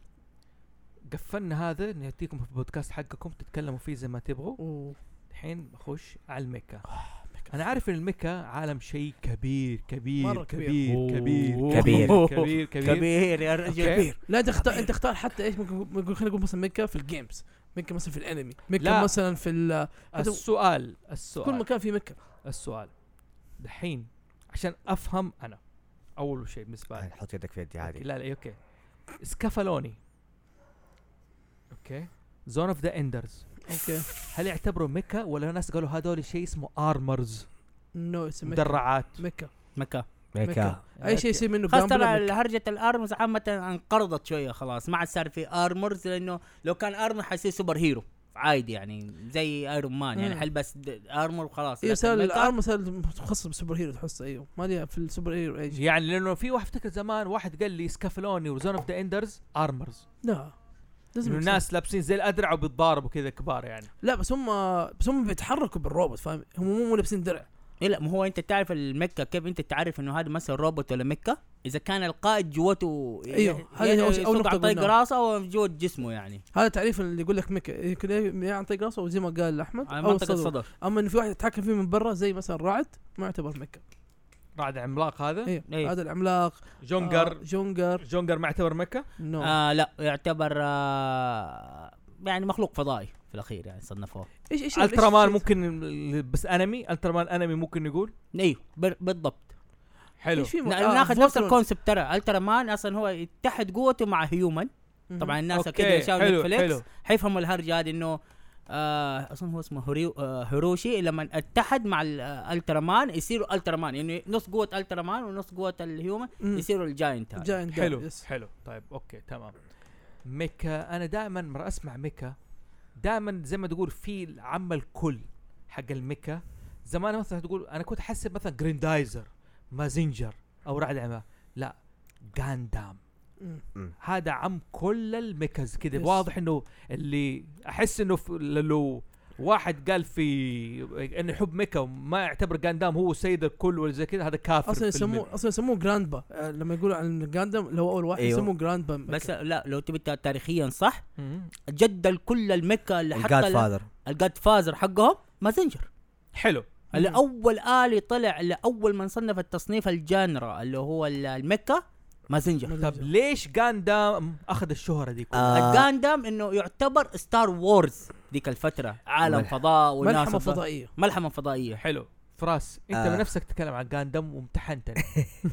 قفلنا هذا نعطيكم في البودكاست حقكم تتكلموا فيه زي ما تبغوا و... الحين بخش على الميكا آه، انا عارف ان الميكا عالم شيء كبير كبير مرة كبير. كبير كبير أوه. كبير كبير كبير كبير يا رجل كبير لا تختار انت اختار حتى ايش ممكن ممكن- خلينا نقول مثلا ميكا في الجيمز ميكا مثلا في الانمي ميكا لا. مثلا في ال- السؤال كل السؤال مكان في مكه السؤال دحين عشان افهم انا اول شيء بالنسبه لي طيب، حط يدك في يدي عادي لا لا اوكي سكافالوني اوكي زون اوف ذا اندرز اوكي هل يعتبروا ميكا ولا ناس قالوا هذول شيء اسمه ارمرز نو اسم مكة. مدرعات مكه مكة ميكا اي شيء يصير منه خاصة بامبلا ترى مكة. هرجة الارمز عامة انقرضت شوية خلاص ما عاد صار في ارمرز لانه لو كان ارمر حيصير سوبر هيرو عادي يعني زي ايرون مان يعني مم. حلبس ارمر وخلاص ايوه لكن صار ميكا- الارم صار متخصص بالسوبر هيرو تحسه ايوه ما لي في السوبر هيرو ايش يعني لانه في واحد افتكر زمان واحد قال لي سكافلوني وزون اوف ذا اندرز ارمرز لا لازم إنه يكسر. الناس لابسين زي الادرع وبيتضاربوا كذا كبار يعني لا بس هم بس هم بيتحركوا بالروبوت فاهم هم مو لابسين درع إيه لا ما هو انت تعرف المكه كيف انت تعرف انه هذا مثلا روبوت ولا مكه اذا كان القائد جوته أيوه، هذه هي أول- أول يسوق نقطة عن طريق قلناها. راسه او جوه جسمه يعني هذا تعريف اللي يقول لك ميكا يمكن إيه، يا عن طريق راسه وزي ما قال احمد على او الصدر منطقه الصدر اما انه في واحد يتحكم فيه من برا زي مثلا رعد ما يعتبر ميكا رعد عملاق هذا ايوه إيه. هذا العملاق آه جونجر جونجر جونجر ما يعتبر مكه نو آه لا يعتبر آه يعني مخلوق فضائي في الاخير يعني صنفوه ايش ايش الترا مان إيش- ممكن ال- بس انمي الترا مان انمي ممكن نقول ايوه بر- بالضبط حلو ايش في م- نا- آه، ناخذ نفس فولترون. الكونسبت ترى الترا مان اصلا هو يتحد قوته مع هيومن مهم. طبعا الناس اوكي اكيد يشاور حلو نتفليكس حلو حيفهموا الهرجه هذه انه آه اصلا هو اسمه هوريو آه هيروشي لما اتحد مع ال- آه، الترا مان يصيروا الترا مان يعني نص قوه الترا مان ونص قوه الهيومن مم. يصيروا الجاينت هذا جاينت حلو يس. حلو طيب اوكي تمام ميكا انا دائما مرة اسمع ميكا دائما زي ما تقول في العامة الكل حق الميكا زمان مثلا تقول انا كنت احسب مثلا جريندايزر مازينجر او رعد عمى لا غاندام مم. هذا عم كل الميكاز كذا يس. واضح انه اللي احس انه في- لو واحد قال في انه يحب ميكا وما يعتبر غاندام هو سيد الكل ولا زي كذا هذا كافر اصلا في الميكا. يسموه اصلا يسموه جراند با آه، لما يقولوا عن جاندم اللي هو اول واحد أيوه. يسموه جراند با ميكا. بس لا لو تبي تا- تاريخيا صح مم. جد الكل المكه اللي الجاد حتى فاذر الجاد فازر حقهم مازنجر حلو اللي مم. اول الي طلع اللي اول من صنف التصنيف الجانرا اللي هو ال- المكه مازنجر مازنجر. طب ليش غاندام اخذ الشهرة دي كلها؟ آه. الجاندام انه يعتبر ستار وورز ذيك الفتره عالم ملح- فضاء وناس ملحمه فض- فضائية ملحمه فضائيه حلو فراس انت آه. آه. بنفسك تتكلم عن غاندم وامتحنتني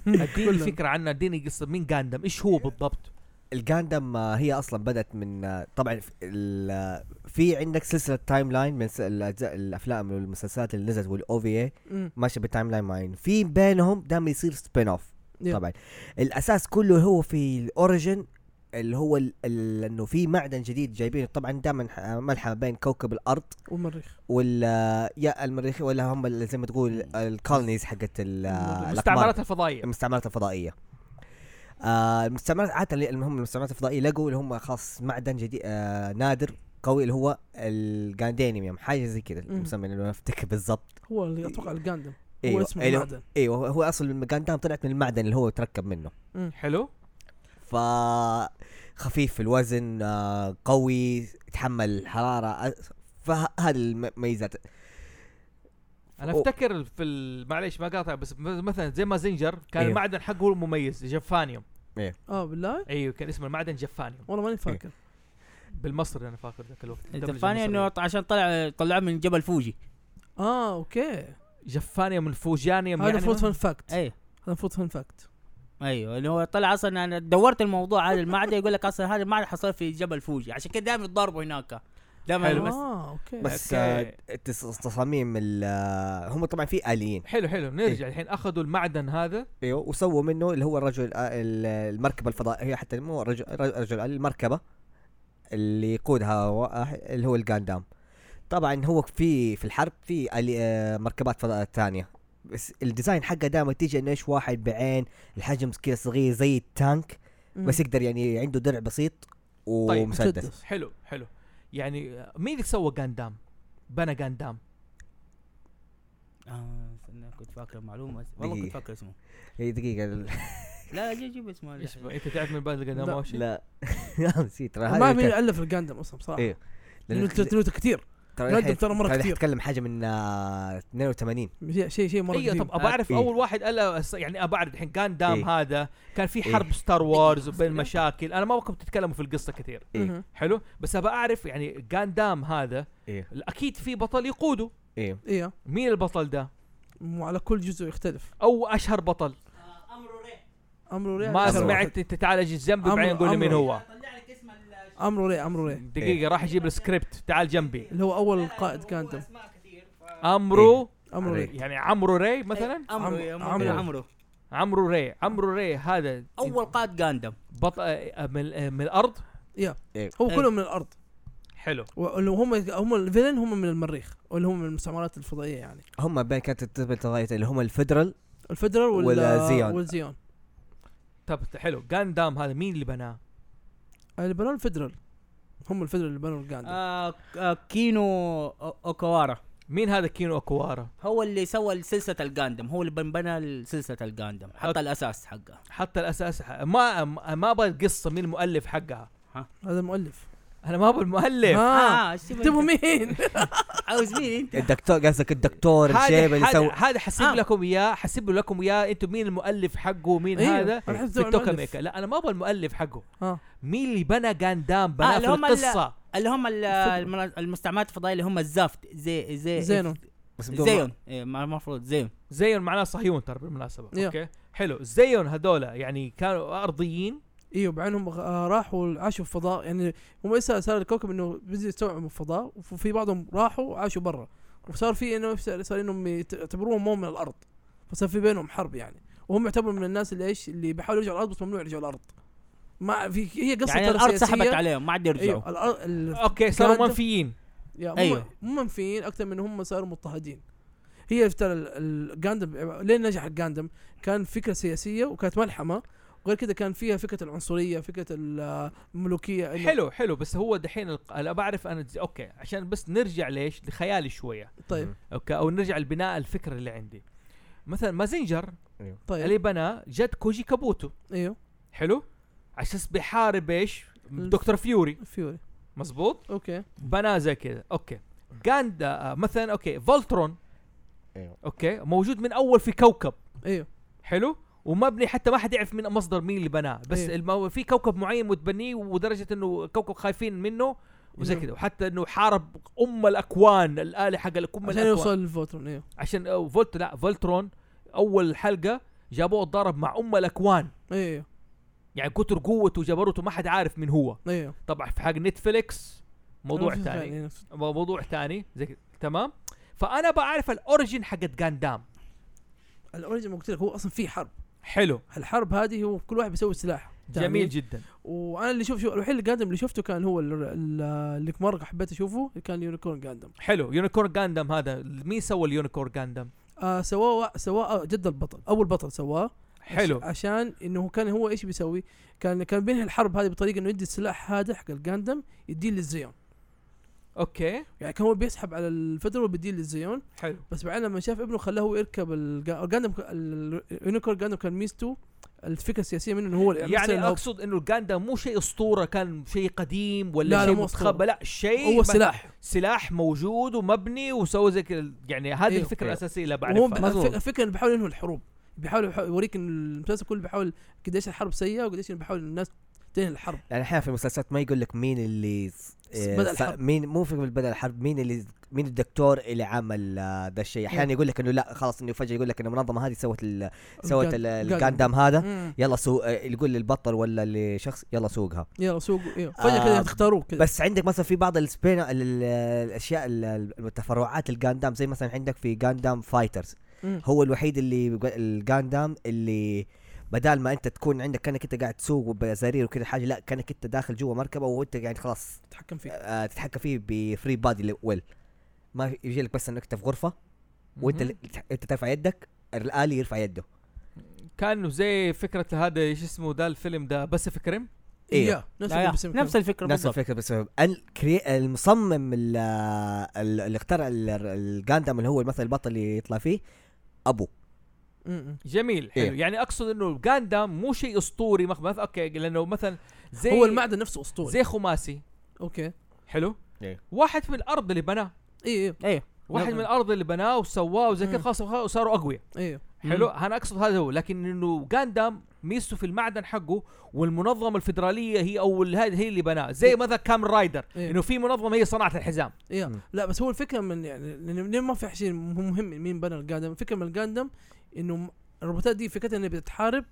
اديني كلنا. فكره عنه اديني قصه مين غاندم ايش هو بالضبط الجاندم آه، هي اصلا بدات من آه، طبعا في ال- آه، في عندك سلسله تايم لاين من س- الاجزاء الافلام والمسلسلات اللي نزلت والاو في اي مم. ماشيه بالتايم لاين معين في بينهم دائما يصير سبين اوف يب. طبعا الاساس كله هو في الاوريجن اللي هو ال- ال- انه في معدن جديد جايبينه طبعا دائما ح- ملحمه بين كوكب الارض والمريخ وال يا المريخ ولا هم ال- زي ما تقول الكولونيز حقت ال- الأقمار. المستعمرات الفضائيه المستعمرات الفضائية آه المستعمرات عادة اللي هم المستعمرات الفضائية لقوا اللي هم خاص معدن جديد آه نادر قوي اللي هو الجاندينيوم حاجة زي كذا مم. المسمى اللي ما افتكر بالضبط هو اللي اتوقع الجاندم هو ايوه اسمه اللي هو- المعدن ايوه هو اصلا الجاندام طلعت من المعدن اللي هو تركب منه حلو ف خفيف في الوزن آه قوي يتحمل الحرارة آه، فهذه الميزات انا أو- افتكر في ال- معليش ما قاطع بس م- مثلا زي ما زنجر كان أيوه. المعدن حقه هو المميز جفانيوم اه بالله ايوه كان اسمه المعدن جفانيوم والله ماني فاكر بالمصري انا فاكر ذاك الوقت الدبلجة الثاني انه المصرية. ط- عشان طلع طلعوه من جبل فوجي اه اوكي جفانيوم الفوجانيوم هذا يعني فوت فان ما- فاكت هذا اي فوت فان فاكت ايوه اللي هو طلع اصلا انا دورت الموضوع هذا المعدن يقول لك اصلا هذا المعدن حصل في جبل فوجي عشان كده دائما يتضاربوا هناك دائما حلو. بس اه اوكي بس أوكي. آه التص- التصاميم ال- آه، هم طبعا في آليين حلو إيه. حلو نرجع الحين اخذوا المعدن هذا ايوه وسووا منه اللي هو الرجل آه، ال- المركبه الفضائيه هي حتى مو رجل رجل المركبه اللي يقودها واحد اللي هو الجاندام طبعا هو في في الحرب في آلي- آه، مركبات فضاء ثانيه بس الديزاين حقه دائما تيجي انه ايش واحد بعين الحجم كذا صغير زي التانك مم. طيب، بس يقدر يعني عنده درع بسيط ومسدس مسدس. حلو حلو يعني آه، مين اللي سوى غاندام بنى غاندام آه استنى، كنت فاكر معلومه والله كنت دقيقة. فاكر اسمه هي دقيقه ال- لا جي- جيب اسمه ايش انت تعرف من بنى غاندام لا، أول شيء؟ لا نسيت ترى هذا ما مين كان- الف الجاندم اصلا بصراحه إيه. لأن- لانه تلت- تلت كثير ترى جاندم الحين- ترى مرة الحين كتير. اتكلم حاجه من آه، 82 شيء شيء شيء مره ايوه قديم. طب ابى اعرف إيه. اول واحد ألا أص- يعني ابى اعرف الحين كان دام إيه. هذا كان في إيه. حرب ستار وورز إيه. وبين مشاكل انا ما وقفت تتكلموا في القصه كثير إيه. مهم. حلو بس ابى اعرف يعني كان دام هذا ايه اكيد في بطل يقوده ايه ايوه مين البطل ده وعلى كل جزء يختلف او اشهر بطل امره ري ما أشهر سمعت انت تعال اجي جنبي عمرو- بعدين قول لي مين عمرو. إيه. هو امره ري امره ري دقيقه راح اجيب السكريبت تعال جنبي اللي هو اول قائد جاندم امرو امره ري يعني عمرو ري مثلا عمرو عمرو- يا عمرو. عمرو عمرو عمرو ري عمرو ري هذا اول قائد جاندم بطل آه، من آه، من الارض هو إيه. كلهم من الارض حلو ولو هم هم الفيلن هم من المريخ واللي هم من المستعمرات الفضائيه يعني هم بين كانت التربية الفضائية اللي هم الفدرال الفدرال وال ولا زيون. والزيون طب حلو كان دام هذا مين اللي بناه البنان الفدرال هم الفيلم اللي بنوا الجاندو آه آه، كينو أو- اوكوارا مين هذا كينو اكوارا هو اللي سوى سلسله الجاندم هو اللي بن- بنى سلسله الجاندم حط أوكي. الاساس حقه حتى الاساس ح- ما ما- ما ابغى القصه مين المؤلف حقها هذا المؤلف انا ما ابغى المؤلف ها إيش تبغى تبوا آه، أنت؟ آه. مين؟ عاوز مين انت الدكتور قصدك الدكتور الشيب هذا اللي سوى هذا- هذا حسيب آه. لكم اياه حسيب لكم اياه انتم مين المؤلف حقه ومين أيوه، هذا أنا حسيت في هو التوكا المؤلف. ميكا لا انا ما ابغى المؤلف حقه ها مين اللي بنى جاندام بنى آه، في اللي هم ال- القصه اللي هم ال- المنا- المستعمرات الفضائيه اللي هم الزافت زي زي زينو بس بدون- زيون إيه، ما- المفروض زيون زيون معناه صهيون ترى بالمناسبه يا. اوكي حلو زيون هذولا يعني كانوا ارضيين ايوه بعينهم آه، راحوا عاشوا في الفضاء يعني هم ايش صار- صار الكوكب انه بدأوا يستوعبوا الفضاء وفي بعضهم راحوا وعاشوا برا وصار في انه صار صار انهم يت- يعتبروهم مو من الارض فصار في بينهم حرب يعني وهم يعتبروا من الناس اللي ايش اللي بيحاولوا يرجعوا الارض بس ممنوع يرجعوا الارض ما في هي قصه يعني ترى الارض سياسية. سحبت عليهم ما عاد يرجعوا ايوه الارض ال- اوكي صاروا كانت- منفيين يا مو أيوة. أيوة. مو منفيين اكثر من هم صاروا مضطهدين هي ترى ال- الجاندم لين نجح الجاندم كان فكره سياسيه وكانت ملحمه وغير كذا كان فيها فكره العنصريه فكره الملوكيه أيوه. إنه- حلو حلو بس هو دحين الق... انا بعرف انا ز- اوكي عشان بس نرجع ليش لخيالي شويه طيب اوكي او نرجع لبناء الفكر اللي عندي مثلا مازنجر إيه. طيب اللي بناه جد كوجي كابوتو ايوه حلو عشان بيحارب ايش دكتور فيوري فيوري مزبوط اوكي بناه زي كذا اوكي جاندا آه، مثلا اوكي فولترون أيوه. اوكي موجود من اول في كوكب ايوه حلو ومبني حتى ما حد يعرف من مصدر مين اللي بناه بس أيوه. المو... في كوكب معين متبنيه ودرجه انه كوكب خايفين منه وزي أيوه. كذا وحتى انه حارب ام الاكوان الاله حق الام عشان الاكوان يوصل للفوترون ايوه عشان آه، فولت لا فولترون اول حلقه جابوه ضرب مع ام الاكوان ايوه يعني كتر قوته وجبروته ما حد عارف من هو ايوه طبعا في حق نتفليكس موضوع أنا يعني ثاني فعلاً، موضوع ثاني زي كده تمام فانا بعرف الاوريجن حقت جاندام الاوريجن قلت لك هو اصلا في حرب حلو الحرب هذه هو كل واحد بيسوي سلاح جميل جدا وانا اللي شوف شو الوحيد اللي قادم اللي شفته كان هو ال- ال- اللي مره حبيت اشوفه كان اليونيكورن قادم حلو يونيكورن جاندام هذا مين سوى اليونيكورن جاندام آه سواه سواه جد البطل اول بطل سواه حلو عش- عشان انه هو كان هو ايش بيسوي؟ كان كان بينهي الحرب هذه بطريقه انه يدي السلاح هذا حق الجاندم يديه للزيون اوكي يعني كان هو بيسحب على الفدرال وبيديه للزيون حلو بس بعدين لما شاف ابنه خلاه هو يركب الجاندم اليونيكور جاندم كان ميزته الفكره السياسيه منه انه هو يعني هو- اقصد انه الجاندام مو شيء اسطوره كان شيء قديم لا، ولا لا، شيء مو أسطورة. متخبى لا شيء هو م- سلاح سلاح موجود ومبني وسوى زي كده يعني هذه أيوه. الفكره أيوه. الاساسيه اللي وهو بعرفها مظبوط. الف- الفكره انه بيحاول ينهي الحروب بيحاول يح- يوريك ان المسلسل كله بيحاول قديش الحرب سيئه وقديش إنه بيحاول الناس تنهي الحرب يعني احيانا في المسلسلات ما يقول لك مين اللي س- إيه، بدأ س- الحرب. مين مو في بدأ الحرب مين اللي مين الدكتور اللي عمل آه، ده الشيء احيانا يقول لك انه لا خلاص انه فجاه يقول لك ان المنظمه هذه سوت ال- سوت ال- الجاندم. الجاندام هذا مم. يلا سوق آه، يقول للبطل ولا لشخص يلا سوقها يلا سوق إيوه. فجاه آه، كذا تختاروه كذا بس عندك مثلا في بعض السبين ال- ال- الاشياء ال- ال- التفرعات الجاندام زي مثلا عندك في جاندام فايترز مم. هو الوحيد اللي بيقول- الجاندام اللي بدال ما انت تكون عندك كانك انت قاعد تسوق بزرير وكذا حاجه لا كانك انت داخل جوا مركبه وانت قاعد خلاص تتحكم فيه آه، تتحكم فيه بفري بادي ويل ما في- يجي لك بس انك انت في غرفه وانت مهم. اللي- انت ترفع يدك الالي يرفع يده كانه زي فكره هذا ايش اسمه ده الفيلم ده باسيفيك ريم إيوه. يا، نفس لا، يا، البسم كان. نفس الفكره نفس بالضبط الفكره بس ال- كري- المصمم ال- ال- اللي اخترع ال- الجاندام اللي هو مثلا البطل اللي يطلع فيه ابو مم. جميل حلو إيه. يعني اقصد انه جاندام مو شيء اسطوري مخ- اوكي لانه مثلا زي هو المعدن نفسه اسطوري زي خماسي اوكي حلو إيه. واحد من الارض اللي بناه اي اي ايوه واحد نعم. من الارض اللي بناه وسواه وزي كذا مم. خلاص وخ- وصاروا اقوياء ايوه حلو انا اقصد هذا هو لكن انه غاندام ميزته في المعدن حقه والمنظمه الفدراليه هي او ال- هذه هي اللي بناه زي إيه. مثلا كام رايدر إيه. انه في منظمه هي صناعه الحزام ايوه مم. لا بس هو الفكره من يعني لأن- لأن ما في شيء مهم مين بنى الجاندم الفكره من الجاندم انه م- الروبوتات دي فكرتها انها بتحارب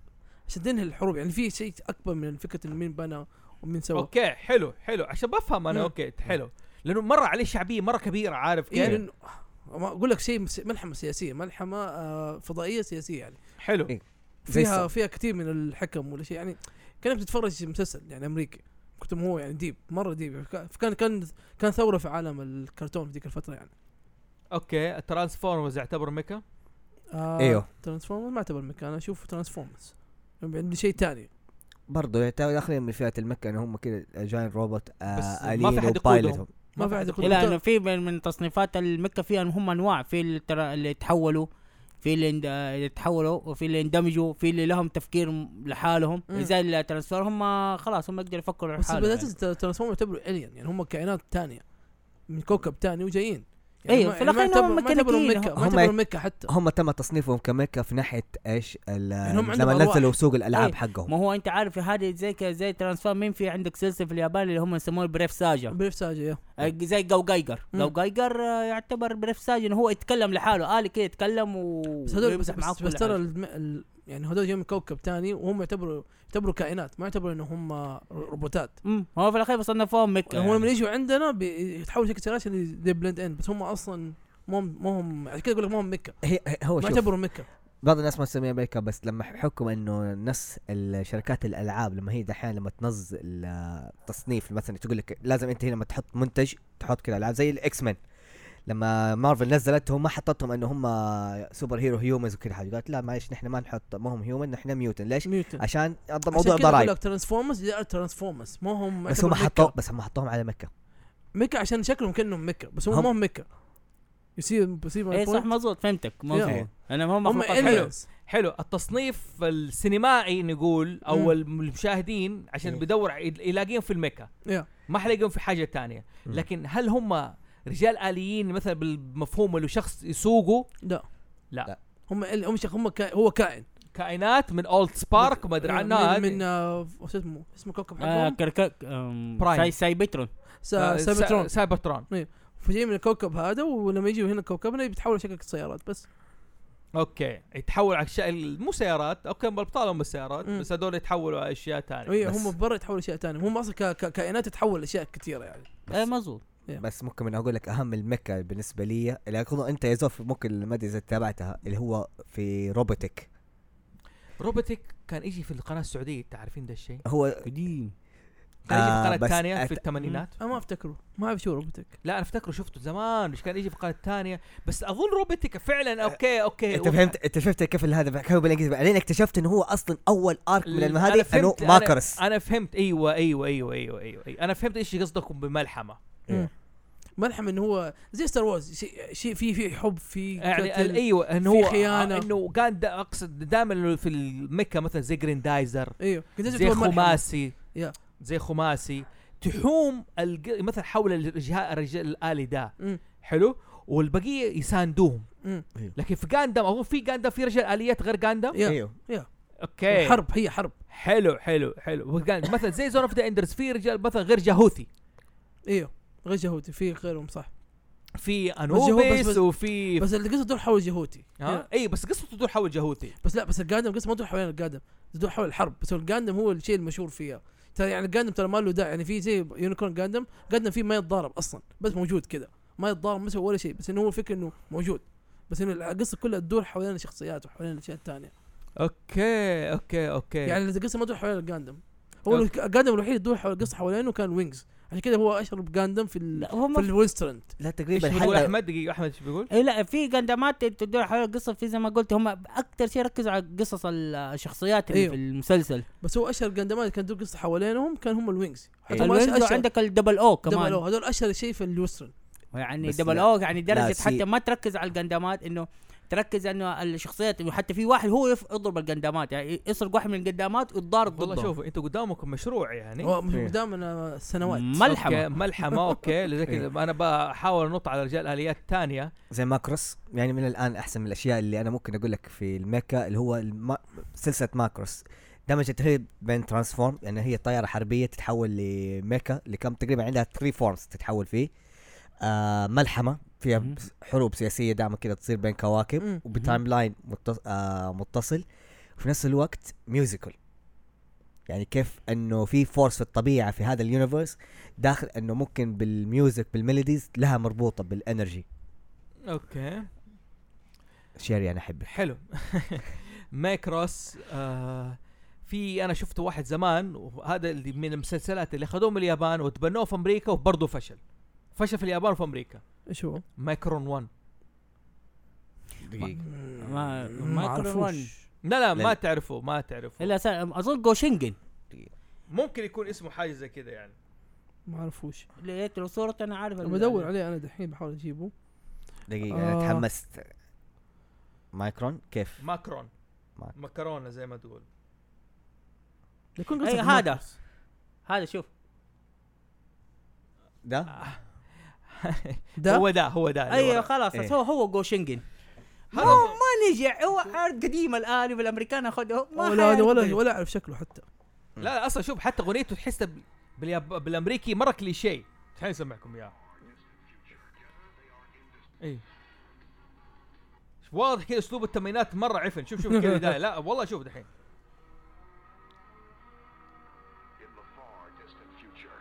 عشان تنهي الحروب يعني في شيء اكبر من فكره إن مين بنى ومين سوى اوكي حلو حلو عشان بفهم انا مم. اوكي حلو لانه مره عليه شعبيه مره كبيره عارف إيه كيف لأنه- ما اقول لك شيء مس- ملحمه سياسيه ملحمه آه فضائيه سياسيه يعني حلو إيه. زي فيها الس- فيها كثير من الحكم ولا شيء يعني كانك بتتفرج مسلسل يعني امريكي كنت هو يعني ديب مره ديب كان كان كان ثوره في عالم الكرتون في ذيك الفتره يعني اوكي الترانسفورمرز يعتبر ميكا آه أيوه. ترانسفورمرز ما اعتبر مكان اشوف ترانسفورمرز عندي يعني شيء ثاني برضه يعتبر داخلين من فئه المكه ان هم كذا جاين روبوت بس آه ما في الين أحد يقودهم. وبايلوتهم ما في احد يقول لا انه في من, من تصنيفات المكه فيها هم انواع في اللي, ترى- اللي تحولوا في اللي, اند- اللي تحولوا وفي اللي اندمجوا في اللي لهم تفكير م- لحالهم مم. زي الترانسفور هم خلاص هم يقدروا يفكروا بس لحالهم بدات يعني. الترانسفورم يعتبروا الين يعني هم كائنات تانية من كوكب تاني وجايين يعني أيوة، ما- في الأخير ما يعتبروا- هم ما يعتبروا ميكانيكيين، مكة هم- ما يعتبروا مكة حتى هم تم تصنيفهم كمكه في ناحيه ايش ال- هم عندهم لما أرواح. نزلوا سوق الالعاب أي. حقهم ما هو انت عارف هذه زي ك- زي ترانسفورم مين في عندك سلسله في اليابان اللي هم يسموه بريف ساجا بريف ساجا زي جو جايجر مم. جو جايجر آه، يعتبر بريف ساجا انه هو يتكلم لحاله الي كده يتكلم و بس هذول بس, ويمسح معاك بس, كل بس ترى حاجة. الم... ال... يعني هذول جايين من كوكب تاني وهم يعتبروا يعتبروا كائنات ما يعتبروا انه هم روبوتات مم. هو في الاخير بصنفوهم مكه هم لما يعني. يجوا عندنا بيتحولوا شكل سلاسل زي بلند ان بس هم اصلا ما هم ما هم عشان كذا اقول لك ما هم مكه هي هي- هو ما شوف يعتبروا مكه بعض الناس ما تسميها ميك اب بس لما حكم انه نفس الشركات الالعاب لما هي دحين لما تنزل آه، تصنيف مثلا تقول لك لازم انت هنا لما تحط منتج تحط كذا العاب زي الاكس مان لما مارفل نزلتهم ما حطتهم انه هم سوبر هيرو هيومنز وكل حاجه قالت لا معلش نحن ما نحط ما هم هيومن نحن ميوتن ليش؟ ميوتن عشان موضوع عشان كذا اقول ضرائب لك ترانسفورمرز جاء ترانسفورمرز ما هم بس يعتبروا هم مكة. حطوهم بس هم حطوهم على مكه مكه عشان شكلهم كانهم مكه بس هم هم- ما هم مكه يصير بصير اي إيه، صح مزبوط فهمتك مزبوط Yeah. انا هم هم مخلوقات حلوة. aliens حلو التصنيف السينمائي نقول مم. او الم- المشاهدين عشان مم. بيدور ع- يلاقيهم في الميكا Yeah. ما حيلاقيهم في حاجه تانية مم. لكن هل هم رجال اليين مثلا بالمفهوم اللي شخص يسوقه لا لا. لا. هم ال- هم شخ- هم كا- هو كائن كائنات من اولد سبارك ما ادري عنها من, من هذه. آه، شو اسمه اسمه كوكب آه حقهم كركك آم، برايم. ساي سايبترون آه، سا- سا- سايبترون سايبرترون فجاي من الكوكب هذا ولما يجوا هنا كوكبنا بيتحولوا شكل سيارات بس اوكي يتحول على اشياء مو سيارات اوكي بالابطال هم السيارات مم. بس هذول يتحولوا على اشياء ثانيه هي بس. هم برا يتحولوا اشياء ثانيه هم اصلا ك- ك- كائنات تتحول لاشياء كثيره يعني اي مزبوط بس ممكن من اقول لك اهم المكه بالنسبه لي اللي اكون انت يا زوف ممكن ما ادري اذا تابعتها اللي هو في روبوتك روبوتك كان يجي في القناه السعوديه انت عارفين ده الشيء هو قديم كان يجي في القناه آه، بس الثانيه أت- في الثمانينات انا ما افتكره ما اعرف شو روبوتك لا انا افتكره شفته زمان مش كان يجي في القناه الثانيه بس اظن روبوتك فعلا اوكي اوكي انت فهمت انت شفت كيف هذا كيف بالانجليزي بعدين اكتشفت انه هو اصلا اول ارك من ال- الم- أنا هذه فهمت- انه أنا- ماكرس انا فهمت ايوه ايوه ايوه ايوه ايوه, أيوة. انا فهمت ايش قصدكم بملحمه إيه. ملحم انه هو زي ستار وورز شيء شيء في في حب في يعني قتل. ال- ايوه انه في هو خيانة. انه كان دا اقصد دائما إنه في المكه مثلا زي جريندايزر ايوه كنت زي أعتبر ملحم. خماسي يا. زي خماسي تحوم الج... مثلا حول الرجال الرجال الالي ده مم. حلو والبقيه يساندوهم مم. لكن في جاندم اظن في جاندم في رجال اليات غير جاندم يا. ايوه اوكي حرب هي حرب حلو حلو حلو وكان مثلا زي زون اوف ذا اندرز في رجال مثلا غير جاهوثي ايوه غير جهوتي في غيرهم صح في جهو- بس- انوبيس بس- وفي بس اللي قصه دول حول جهوتي ها يا. اي بس قصته تدور حول جاهوثي بس لا بس القادم قصه ما تدور حوالين القادم تدور حول الحرب بس هو القادم هو الشيء المشهور فيها ترى يعني القادم ترى ما له داعي يعني في زي يونيكورن قادم قادم فيه ما يتضارب اصلا بس موجود كذا ما يتضارب ما يسوي ولا شيء بس انه هو الفكره انه موجود بس انه القصه كلها تدور حوالين الشخصيات وحوالين الاشياء الثانيه اوكي اوكي اوكي يعني القصه ما تدور حوالين الجاندم هو الجاندم الوحيد اللي تدور حول القصه حوالينه كان وينجز عشان كذا هو اشهر بجاندم في ال... لا هم في الويسترند لا ايش تقريبا بيقول حتى احمد دقيقه احمد ايش بيقول؟ اي لا في قندمات تدور حول القصه في زي ما قلت هم اكثر شيء ركزوا على قصص ال- الشخصيات اللي أيوه. في المسلسل بس هو اشهر جاندمات كان تدور قصه حوالينهم كان هم الوينجز إيه. حتى هم الوينز وعندك الدبل او كمان كمان هذول اشهر شيء في الويسترن يعني بس دبل لا. او يعني درجه سي- حتى ما تركز على القندمات انه تركز انه الشخصيات وحتى في واحد هو يف- يضرب القندمات يعني يسرق واحد من القندمات ويتضارب والله ضده شوفوا انتوا قدامكم مشروع يعني هو مش إيه. قدامنا سنوات أوكي، ملحمه ملحمه اوكي لذلك إيه. انا بحاول انط على رجال اليات ثانيه زي ماكروس يعني من الان احسن من الاشياء اللي انا ممكن اقول لك في الميكا اللي هو الما... سلسله ماكروس دمجت هي بين ترانسفورم يعني هي طياره حربيه تتحول لميكا اللي كم تقريبا عندها 3 فورمز تتحول فيه آه ملحمه فيها مم. بس- حروب سياسيه دائما كده تصير بين كواكب مم. وبتايم لاين متص... آه متصل وفي نفس الوقت ميوزيكال يعني كيف انه في فورس في الطبيعه في هذا اليونيفرس داخل انه ممكن بالميوزك بالميلوديز لها مربوطه بالانرجي اوكي شيري انا احبه حلو مايكروس آه في انا شفت واحد زمان وهذا اللي من المسلسلات اللي اخذوه من اليابان وتبنوه في امريكا وبرضه فشل فشل في اليابان وفي امريكا ايش هو؟ مايكرون 1 دقيقة ما ما- ما كرر اعرفوش لا لا ما لا. تعرفه ما تعرفه الا سا- اظن جوشنجن تقريبا ممكن يكون اسمه حاجه زي كده يعني ما اعرفوش لقيت له صورته انا عارف بدور عليه انا دحين بحاول اجيبه دقيقه انا آه. تحمست مايكرون كيف ماكرون ماك- مكرونه زي ما تقول يكون أي قصة هذا. ماركوس. هذا شوف ده ده هو ده هو ده اللي ايوه ورا. خلاص إيه. هو هو جوشنجن هذا هو ما نجع هو عرض قديم الالي والامريكان اخذه ما ولا حيرضى. هذا ولا ولا اعرف شكله حتى لا لا اصلا شوف حتى اغنيته تحسها ب- بالياب... بالامريكي مره كليشيه الحين اسمعكم اياها اي إيه. واضح كذا اسلوب التمرينات مره عفن شوف شوف كذا ده لا والله شوف دحين In the far distant future,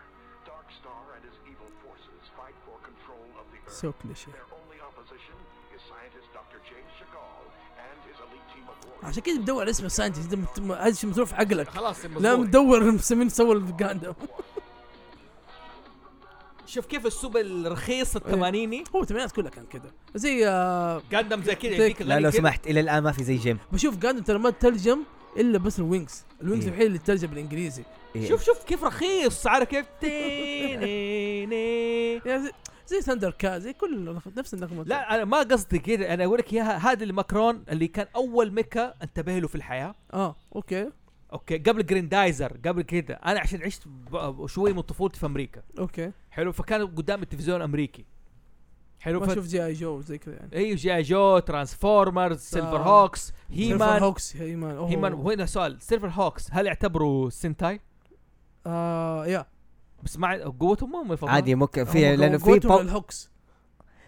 Dark Star and his evil forces fight for control of the Earth. سو كليشيه Their only opposition is scientist Dr. James Chagall and his elite team of warriors. عشان كذا بدور على اسم سانجز ده مت- م- هذا شيء متروح في عقلك خلاص لا مزبوط. مدور مسمين سوى الجاندم شوف كيف الاسلوب الرخيص الثمانيني هو التمرينات كلها كان كذا زي آه، قدم زي كذا لا، يديك لا أغاني لو كذا. سمحت الى الان ما في زي جيم بشوف جاندم ترى ما تترجم الا بس الوينجز الوينجز إيه. الوحيد اللي تترجم بالانجليزي إيه. شوف شوف كيف رخيص عارف كيف تي- ني- ني. يعني زي- زي ثاندر كا زي كل الرخ- نفس النغمه لا انا ما قصدي كذا انا اقول لك اياها هذا المكرون اللي كان اول ميكا انتبه له في الحياه اه اوكي اوكي قبل جريندايزر قبل كده انا عشان عشت ب- شوي من طفولتي في امريكا اوكي حلو فكان قدام التلفزيون الامريكي حلو ما ف... إيه، شوف جي اي جو زي كذا يعني اي جي جو ترانسفورمرز سيلفر آه. هوكس هيمان هوكس هيمان أوه. هيمان وهنا سؤال سيلفر هوكس هل يعتبروا سنتاي آه يا بس مع قوتهم ما هم يفضلون عادي ممكن في هم لانه في قوتهم باو... الهوكس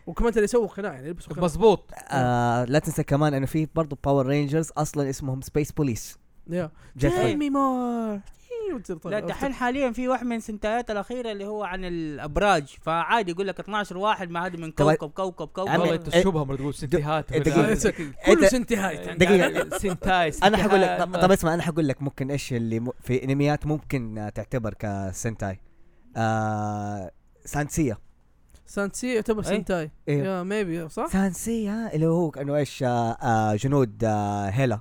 وكمان ترى يسووا قناع يعني يلبسوا قناع مظبوط آه لا تنسى كمان انه في برضه باور رينجرز اصلا اسمهم سبيس بوليس يا جت Tell فترة- me more. إيوه، تصير لا طالع. دحين حاليا في واحد من سنتايات الاخيره اللي هو عن الابراج فعادي يقول لك 12 واحد ما هذا من طب- كوكب كوكب كوكب والله عمي- تشبهها مرة تقول سنتيهات دقيقة. كله إنت- سنتي هاي دقيقة. سنتاي انا حقول لك سنتيهات، طب, طب اسمع انا حقول لك ممكن ايش اللي م... في انميات ممكن آه، تعتبر كسنتاي آه سانسيا سانسي يعتبر سنتاي إيه. يا ميبي صح؟ سانسيا اللي هو انه ايش آه آه جنود آه هيلا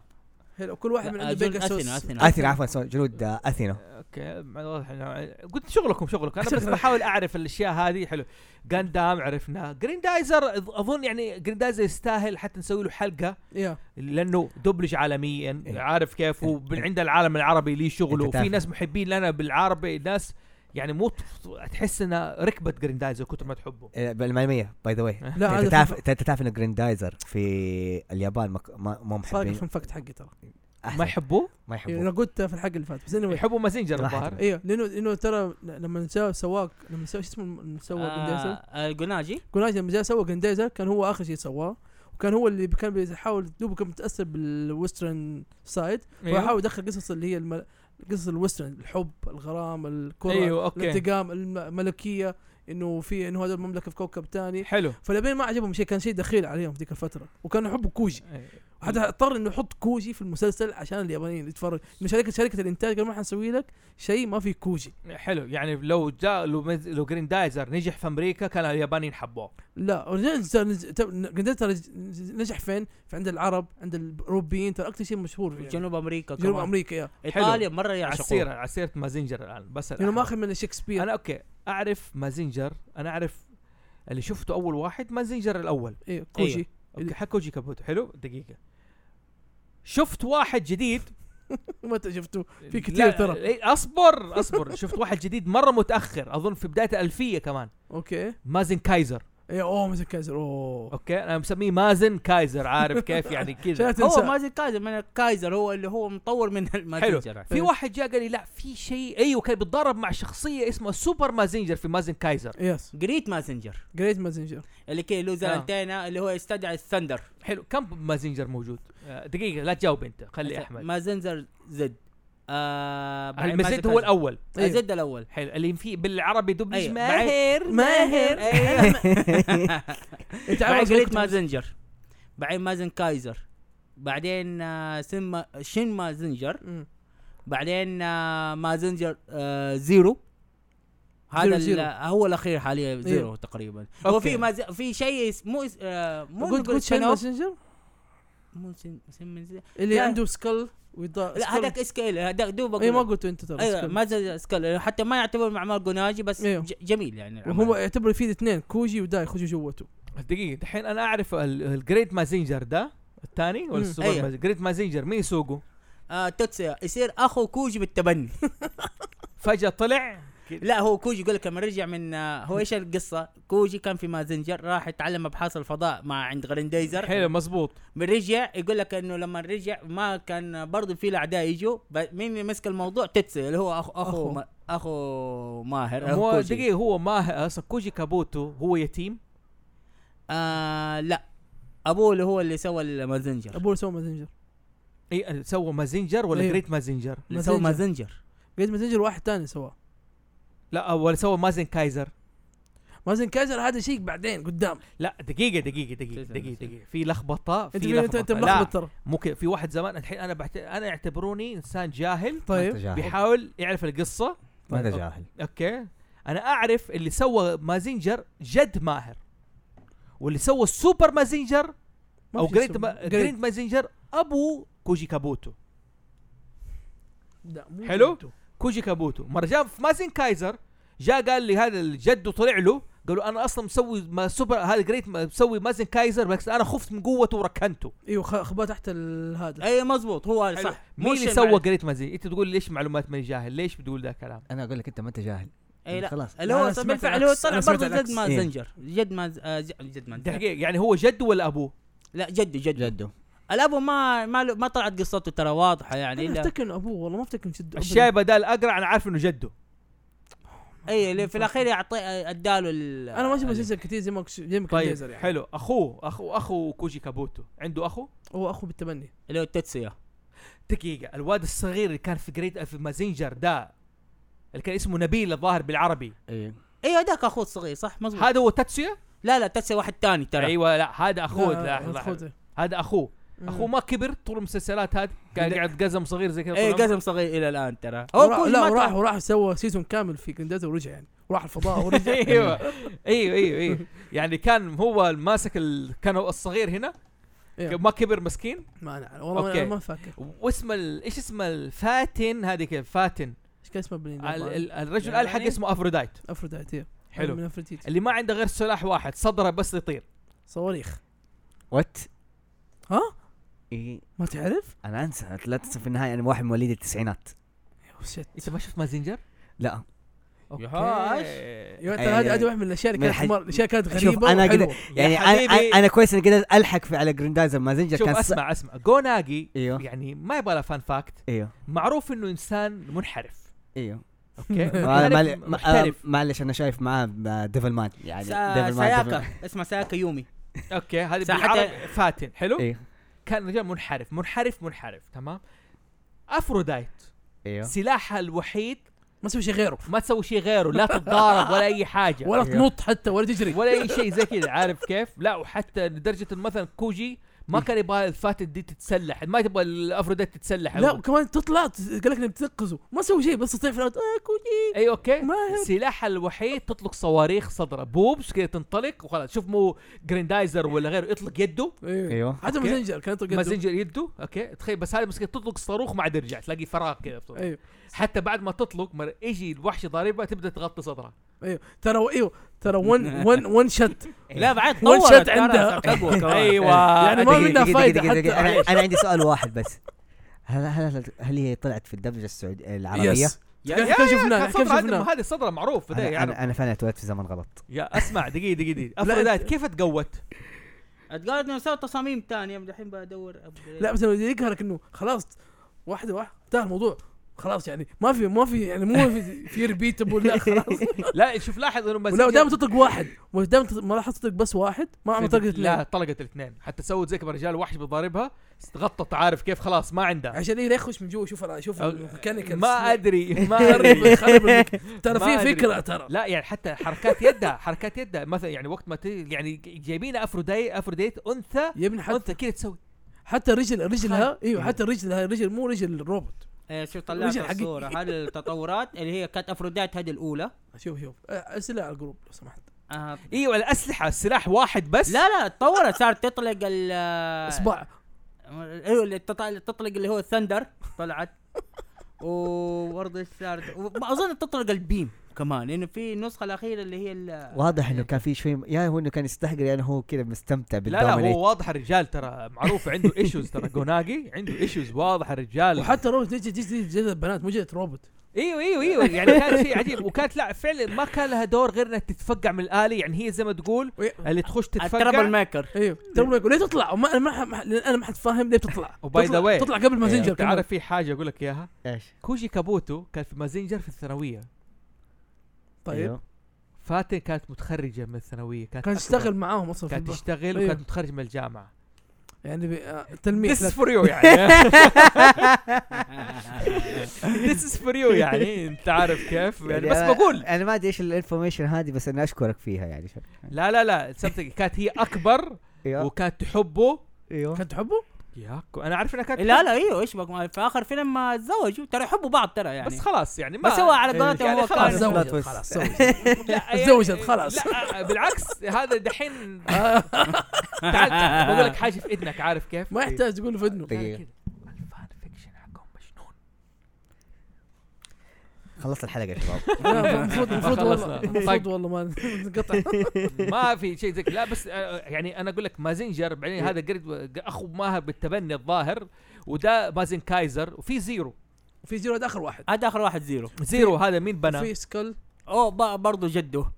حلو كل واحد من لا، عنده أظن بيجاسوس أثينا- أثينا. اثينا عفوا سوري، جنود آه اثينا اوكي مع- واضح انه قلت شغلكم شغلكم انا بس بحاول اعرف الاشياء هذه حلو جاندام عرفنا جريندايزر أظ- اظن يعني جريندايزر يستاهل حتى نسوي له حلقه يا لانه دبلج عالميا إيه. عارف كيف إيه. ومن عند العالم العربي ليه شغله أنت وفي تعرف. ناس محبين لنا بالعربي ناس يعني مو ت- تحس انها ركبت جريندايزر كتر ما تحبه آه، بالمعلوميه باي ذا واي لا انت هذا تعرف تعرف انت تعرف انه جريندايزر في اليابان مك... ما مو صار محبين الفن فاكت حقي ترى أحسن. ما يحبوه ما إيه، انا يحبوه قلتها في الحلقه اللي فاتت بس anyway. يحبوا مازنجر ما الظاهر حد- ايوه لانه لانه ترى لما سوى سواق لما سوى شو اسمه لما سوى جندايزر آه الجناجي جونايز لما جاء سوى جندايزر كان هو اخر شيء سواه وكان هو اللي كان بيحاول دوبه كان متاثر بالويسترن سايد ايوه ويحاول يدخل قصص اللي هي المل... قصص الويسترن الحب الغرام الكره ايوه اوكي الانتقام الملكيه انه في انه هذا المملكه في كوكب ثاني حلو فاليابان ما عجبهم شيء كان شيء دخيل عليهم في ذيك الفتره وكانوا يحبوا كوجي أيوه. حتى اضطر انه يحط كوجي في المسلسل عشان اليابانيين يتفرج انه شركه شركه الانتاج قالوا ما حنسوي لك شيء ما فيه كوجي حلو يعني لو جاء لو, مز- لو جريندايزر نجح في امريكا كان اليابانيين حبوه لا جنديتر نجح فين؟ في عند العرب عند الاوروبيين ترى اكثر شيء مشهور فيه يعني. جنوب امريكا جنوب كمان. امريكا يا ايطاليا مره عسيرة يعشقوه عسيرة مازنجر الان بس لانه الأحمر. ماخذ من شكسبير انا اوكي اعرف مازنجر انا اعرف اللي شفته اول واحد مازنجر الاول ايه كوجي أيوه. اوكي حكوجي كابوتو حلو دقيقه شفت واحد جديد متى شفتوه في لا، كتير ترى. إيه، اصبر اصبر شفت واحد جديد مره متاخر اظن في بدايه الالفيه كمان اوكي مازن كايزر ايه اوه مثل كايزر اوه اوكي انا مسميه مازن كايزر عارف كيف يعني كذا لا هو تنسى مازن كايزر من الكايزر هو اللي هو مطور من المازنجر في واحد جاء قال لي لا في شيء ايوه كان بيتضارب مع شخصيه اسمها سوبر مازنجر في مازن كايزر يس جريت مازنجر جريت مازنجر اللي كي له زي آه. الانتينا اللي هو يستدعي الثندر حلو كم مازنجر موجود آه، دقيقه لا تجاوب انت خلي احمد مازنجر زد آه بعد المزيد مازن هو كايزر. الاول آه، زد الاول حلو اللي في بالعربي دبلج أيوة. ماهر ماهر. إيه، أيوة. انت بعدين عارف جريت مازنجر بعدين مازن كايزر بعدين آه، سم شين مازنجر مم. بعدين آه، مازنجر آه، زيرو هذا زيرو، ال- زيرو. إيه. هو الاخير حاليا زيرو تقريبا هو أوكي. في ماز... في شيء اس- مو اس- آه، مو قلت نقول قلت شين spin-off. مازنجر مو سن... سن... اللي لا. عنده سكال ويضا- لا هذاك سكيل هذاك دوبك اي إيه، ما قلت انت ترى ايوه سكيل. ما زي سكيل حتى ما يعتبر مع مارجو ناجي بس أيوة. ج- جميل يعني العمل. وهو يعتبر يفيد اثنين كوجي وداي خوجي جوته دقيقة الحين أنا أعرف ال- الجريد مازينجر ده الثاني ولا مم. السوبر أيوه. أيوه. جريد مازينجر مين يسوقه؟ آه توتسيا يصير اخو كوجي بالتبني فجأة طلع لا هو كوجي يقول لك لما رجع من آه، هو ايش القصه؟ كوجي كان في مازنجر راح يتعلم ابحاث الفضاء مع عند غرينديزر حلو مزبوط من رجع يقول لك انه لما رجع ما كان برضه في الاعداء يجوا ب- مين اللي مسك الموضوع تتسي اللي هو اخو اخو أخو. ما- اخو ماهر أخو هو كوجي. دقيقة هو ما أصلا كوجي كابوتو هو يتيم آه لا ابوه اللي هو اللي سوى المازنجر ابوه سوى مازنجر اي سوى مازينجر ولا أيوه. أيوه. جريد مازينجر؟ اللي سوى مازنجر. مازنجر قد مازنجر واحد ثاني سواه لا ولا سوى مازن كايزر مازن كايزر هذا شيء بعدين قدام لا دقيقة دقيقة دقيقة تسلم، دقيقة تسلم. دقيقة في لخبطة في طيب. انت لخبطة انت انت لا ملخبط ترى ممكن في واحد زمان الحين أنا بعت... أنا اعتبروني إنسان جاهل طيب تجاهل. بيحاول يعرف القصة آه. ما طيب. أنا جاهل اوكي انا اعرف اللي سوى مازينجر جد ماهر واللي سوى السوبر مازينجر ما او في جريد سوى. ما جريد. جريد مازينجر ابو كوجي كابوتو لا، مو حلو؟ جدته. كوجي كابوتو مره جاء في مازين كايزر جاء قال لي هذا الجد وطلع له قالوا انا اصلا مسوي ما سوبر هذا جريت ما- مسوي مازن كايزر بس انا خفت من قوته وركنته ايوه خ- خباه تحت ال- هذا اي مزبوط هو حلو. صح مين مش اللي سوى المعلم. جريت مازين انت تقول ليش معلومات ماني جاهل ليش بتقول ذا الكلام انا اقول لك انت ما انت جاهل اي إيه، لا خلاص اللي لا، هو أنا صار سمعت بالفعل هو العكس. طلع أنا سمعت برضه العكس. جد مازنجر جد ماز آه، ج- جد مازنجر دقيقه يعني هو جده ولا ابوه لا جده جده جده الابو ما ما له- ما طلعت قصته ترى واضحه يعني انا الا افتكر انه ابوه والله ما افتكر إنه جده الشاي بدال اقرع انا عارف انه جده اي إيه، اللي في الاخير يعطي اداله ال- انا ما اشوف ال- مسلسل كثير زي ما كش- زي ما كان طيب ليزر يعني حلو اخوه اخو اخو كوجي كابوتو عنده اخو هو اخوه بالتبني اللي هو التتسيا دقيقة الواد الصغير اللي كان في جريد في مازينجر ده اللي كان اسمه نبيل الظاهر بالعربي إيه. ايه ايوه هذاك اخوه الصغير صح مزبوط هذا هو تاتسويا لا لا تتسيا واحد تاني ترى ايوه لا هذا اخوه لا، لا، لا، أخوه ده. هذا اخوه اخوه مم. ما كبر طول المسلسلات هذه كان لا. قاعد قزم صغير زي كذا إيه، اي طول عمره. قزم إيه، صغير الى الان ترى هو وراح كوجي لا ما وراح ترى- وراح سوى سيزون كامل في جندات ورجع يعني وراح الفضاء ورجع ايوه ايوه ايوه ايوه يعني كان هو ماسك ال... كان هو الصغير هنا إيه. ما كبر مسكين ما انا والله أنا أوكي. ما فاكر واسم ال... ايش اسم الفاتن هذه كيف فاتن ايش كان اسمه بالإنجليزي؟ ال... ال... الرجل الحق يعني؟ اسمه افروديت افروديت إيه. حلو من افروديت اللي ما عنده غير سلاح واحد صدره بس يطير صواريخ وات ها ايه ما تعرف؟ انا انسى لا تنسى في النهايه انا واحد من مواليد التسعينات يا شت انت ما شفت مازنجر؟ لا اوكي يهاش. يا ترى أي- هذه أي- هذه واحده من الاشياء اللي من كانت الحد- مر... الاشياء كانت شوف، غريبه أنا وحلوة. يعني انا حبيبي. أنا- انا كويس اني قدرت الحق في على جريندايزر مازنجر شوف كان س- اسمع اسمع جوناجي ايوه. يعني ما يبغى له فان فاكت ايوه معروف انه انسان منحرف ايوه اوكي أنا معل- منحرف ما- محترف آه، معلش انا شايف معاه آه، ديفل مان يعني سا- ديفل مان ديفل- ساياكا اسمه ساياكا يومي اوكي هذه ساعات- بالعربي فاتن حلو ايوه كان رجال منحرف منحرف منحرف تمام افرودايت ايوه سلاحها الوحيد ما سوى شيء غيره ما تسوي شيء غيره لا تتضارب ولا اي حاجه ولا أيوه. تنط حتى ولا تجري يعني ولا اي شيء زي كذا عارف كيف؟ لا وحتى لدرجه إن مثلا كوجي ما كان يبغى الفاتن دي تتسلح ما تبغى الافروديت تتسلح لا وكمان تطلع ت- قال لك انك تنقذه ما سوى شيء بس تطيح في الارض آه كوجي اي اوكي ماهر. سلاحها الوحيد تطلق صواريخ صدره بوبس كذا تنطلق وخلاص شوف مو جريندايزر ولا غيره يطلق يده أيوه. إيه. حتى أيوة. أوكي. مازنجر كان يطلق يده. مازنجر يده اوكي تخيل بس هذه مسكين تطلق الصاروخ ما عاد يرجع تلاقي فراغ كذا بصراحة. ايوه حتى بعد ما تطلق مر... يجي الوحش ضاربها تبدا تغطي صدرها ايوه ترى ايوه ترى ون ون ون شت لا بعد وان طورت شوت ترى، إيه. عندها. صارت اقوى كمان ايوه يعني ما دقيقة- منها دقيقة- فايدة دقيقة- دقيقة. حتى. أنا- انا عندي سؤال واحد بس هل هل هل- هل هي طلعت في الدبلجه السعوديه العربيه؟ يس كيف شفناه كيف شفناه هذه صدرها معروف ده انا يعني انا, أنا فعلا اتولدت في زمن غلط يا اسمع دقيقه دقيقه دقيقه لا، افرودايت أنت- كيف تقوت؟ اتقالت انه سوى تصاميم ثانيه الحين بدور upgrade. لا بس لما يقهرك انه خلاص واحده واحده انتهى الموضوع خلاص يعني ما في ما في يعني مو في, في ريبيتبل لا خلاص لا شوف لاحظ انه ولا دائما مازنجر تطلق واحد ودائما ما راح تطلق بس واحد ما عم طلقت لا اثنين طلقت الاثنين حتى سوت زي كما رجال وحش بيضاربها غطت عارف كيف خلاص ما عندها عشان ايه لا يخش من جوا شوف انا شوف الميكانيكال ما ادري ما خرب ادري خرب الميك- ترى ما في أدري. فكره ترى لا يعني حتى حركات يدها حركات يدها مثلا يعني وقت ما تي يعني جايبين افروديت افروديت انثى يا ابني حتى انثى كذا تسوي حتى رجل رجلها ايوه حتى رجلها رجل مو رجل الروبوت ايه شوف طلعت وجه الحقيقي. الصوره هذه التطورات اللي هي كانت افروديت هذه الاولى شوف شوف آه، اسئله على الجروب لو سمحت آه، إيوه، ايوه الاسلحه السلاح واحد بس آه. لا لا تطورت صارت تطلق ال اصبع ايوه اللي تطلع اللي تطلق اللي هو الثندر طلعت وبرضه ايش صار اظن تطلق البيم كمان لانه في النسخه الاخيره اللي هي آه. ال- واضح انه كان في شوي يا هو انه كان يستهجر يا يعني هو كذا مستمتع لا لا بالدومينيت هو واضح الرجال ترى معروف عنده ايشوز ترى جوناجي عنده ايشوز واضح الرجال وحتى روح جيت جيت جيت جيت البنات مو جيت روبوت ايوه ايوه ايوه يعني كان شيء عجيب وكانت لا فعلا ما كان لها دور غير انها تتفقع من الالي يعني هي زي ما تقول اللي تخش الترابل تتفقع ميكر ايوه ترى ما يقول ليه تطلع وما انا ما ح- ما ح- لأن انا ما حد فاهم ليه تطلع وباي ذا واي تطلع قبل مازنجر انت كمان. عارف في حاجه اقول لك اياها ايش كوجي كابوتو كان في مازنجر في الثانويه إيه. أيوه. طيب فاتن كانت متخرجه من الثانويه كانت كان أكبر. يشتغل معاهم اصلا في كانت البحر. تشتغل أيوه. وكانت متخرجه من الجامعه يعني بي- آه، تلميح This is لك. for you يعني This is for you يعني انت عارف كيف يعني بس بقول انا ما ادري ايش الانفورميشن هذه بس انا اشكرك فيها يعني لا لا لا something. كانت هي اكبر أيوه، ايوه وكانت تحبه ايوه كان تحبه؟ ياك انا عارف انها كانت لا لا ايوه ايش بك ما- في اخر فيلم ما تزوجوا ترى يحبوا بعض ترى يعني بس خلاص يعني ما بس هو على قولته يعني هو خلاص. كان تزوجت، تويست. خلاص تزوجت. لا، تزوجت يعني- خلاص. لا دحين هذا دحين تعال تعال، بقول لك حاجه في اذنك عارف كيف؟ ما يحتاج تقول في اذنه دقيقة الفان فيكشن حقهم مجنون خلصت الحلقة يا شباب لا، المفروض المفروض والله خلصنا. المفروض والله ما نقطع ما في شيء زي كده. لا بس آه، يعني انا اقول لك مازنجر بعدين هذا قرد اخو ماهر بالتبني الظاهر وده مازن كايزر وفي زيرو في زيرو هذا اخر واحد هذا اخر واحد زيرو زيرو هذا مين بنى؟ في سكال اوه ب- برضه جده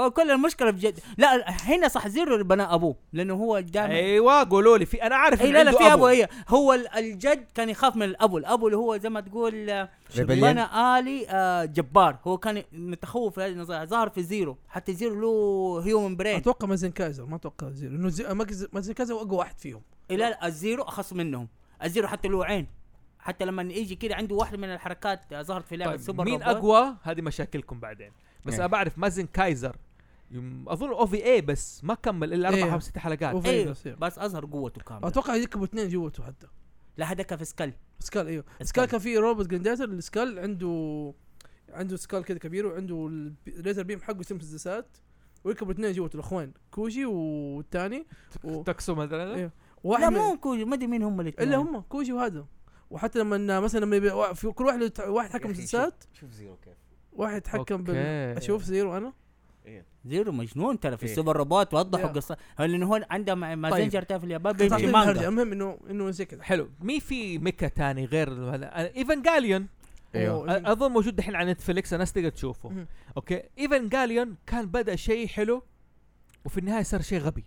هو كل المشكله في جد لا هنا صح زيرو بناء ابوه لانه هو دائما ايوه قولوا لي في انا عارف اي إن إيه، لا لا عنده في ابو هي هو ال- الجد كان يخاف من الابو الابو اللي هو زي ما تقول آه، بنا الي آه، جبار هو كان متخوف في هذه النظرية. ظهر في زيرو حتى زيرو له هيومن برين اتوقع مازن كايزر ما اتوقع زيرو لانه زي... ماز- مازن كايزر هو اقوى واحد فيهم إيه لا لا الزيرو اخص منهم الزيرو حتى له عين حتى لما يجي كده عنده واحده من الحركات آه، ظهرت في لعبه طيب سوبر مين روبوت. اقوى هذه مشاكلكم بعدين بس إيه. انا بعرف مازن كايزر يم- اظن او في اي بس ما كمل الا إيه. اربع او ست حلقات وفي- ايوه بس- بس اظهر قوته كامله اتوقع يركبوا اثنين جوته حتى لا هذاك في سكال سكال ايوه سكال كان في روبوت جرينديتر السكال عنده عنده سكال كذا كبير وعنده الليزر بيم حقه يسم مسدسات ويركبوا اثنين جوته الاخوين كوجي والثاني و- تكسو مثلا إيه. وواحد لا من- مو كوجي ما ادري مين هم الاثنين الا هم كوجي وهذا وحتى لما إن- مثلا لما يبي- وا- في كل واحد له تع- واحد حكم يا أخي، مسدسات شوف زيرو كيف واحد حكم بال أوكي. اشوف زيرو انا زيرو مجنون ترى في إيه. السوبر روبوت وضحوا يا. طيب. قصه لانه هو عنده ما- مازنجر ترى في اليابان بيمشي تعطيني مانجا الهرجه المهم انه انه زي كذا حلو مين في ميكا تاني غير ايفانجاليون ايوه أيوه. اظن موجود دحين على نتفليكس الناس تقدر تشوفه مم. اوكي ايفانجاليون كان بدا شيء حلو وفي النهايه صار شيء غبي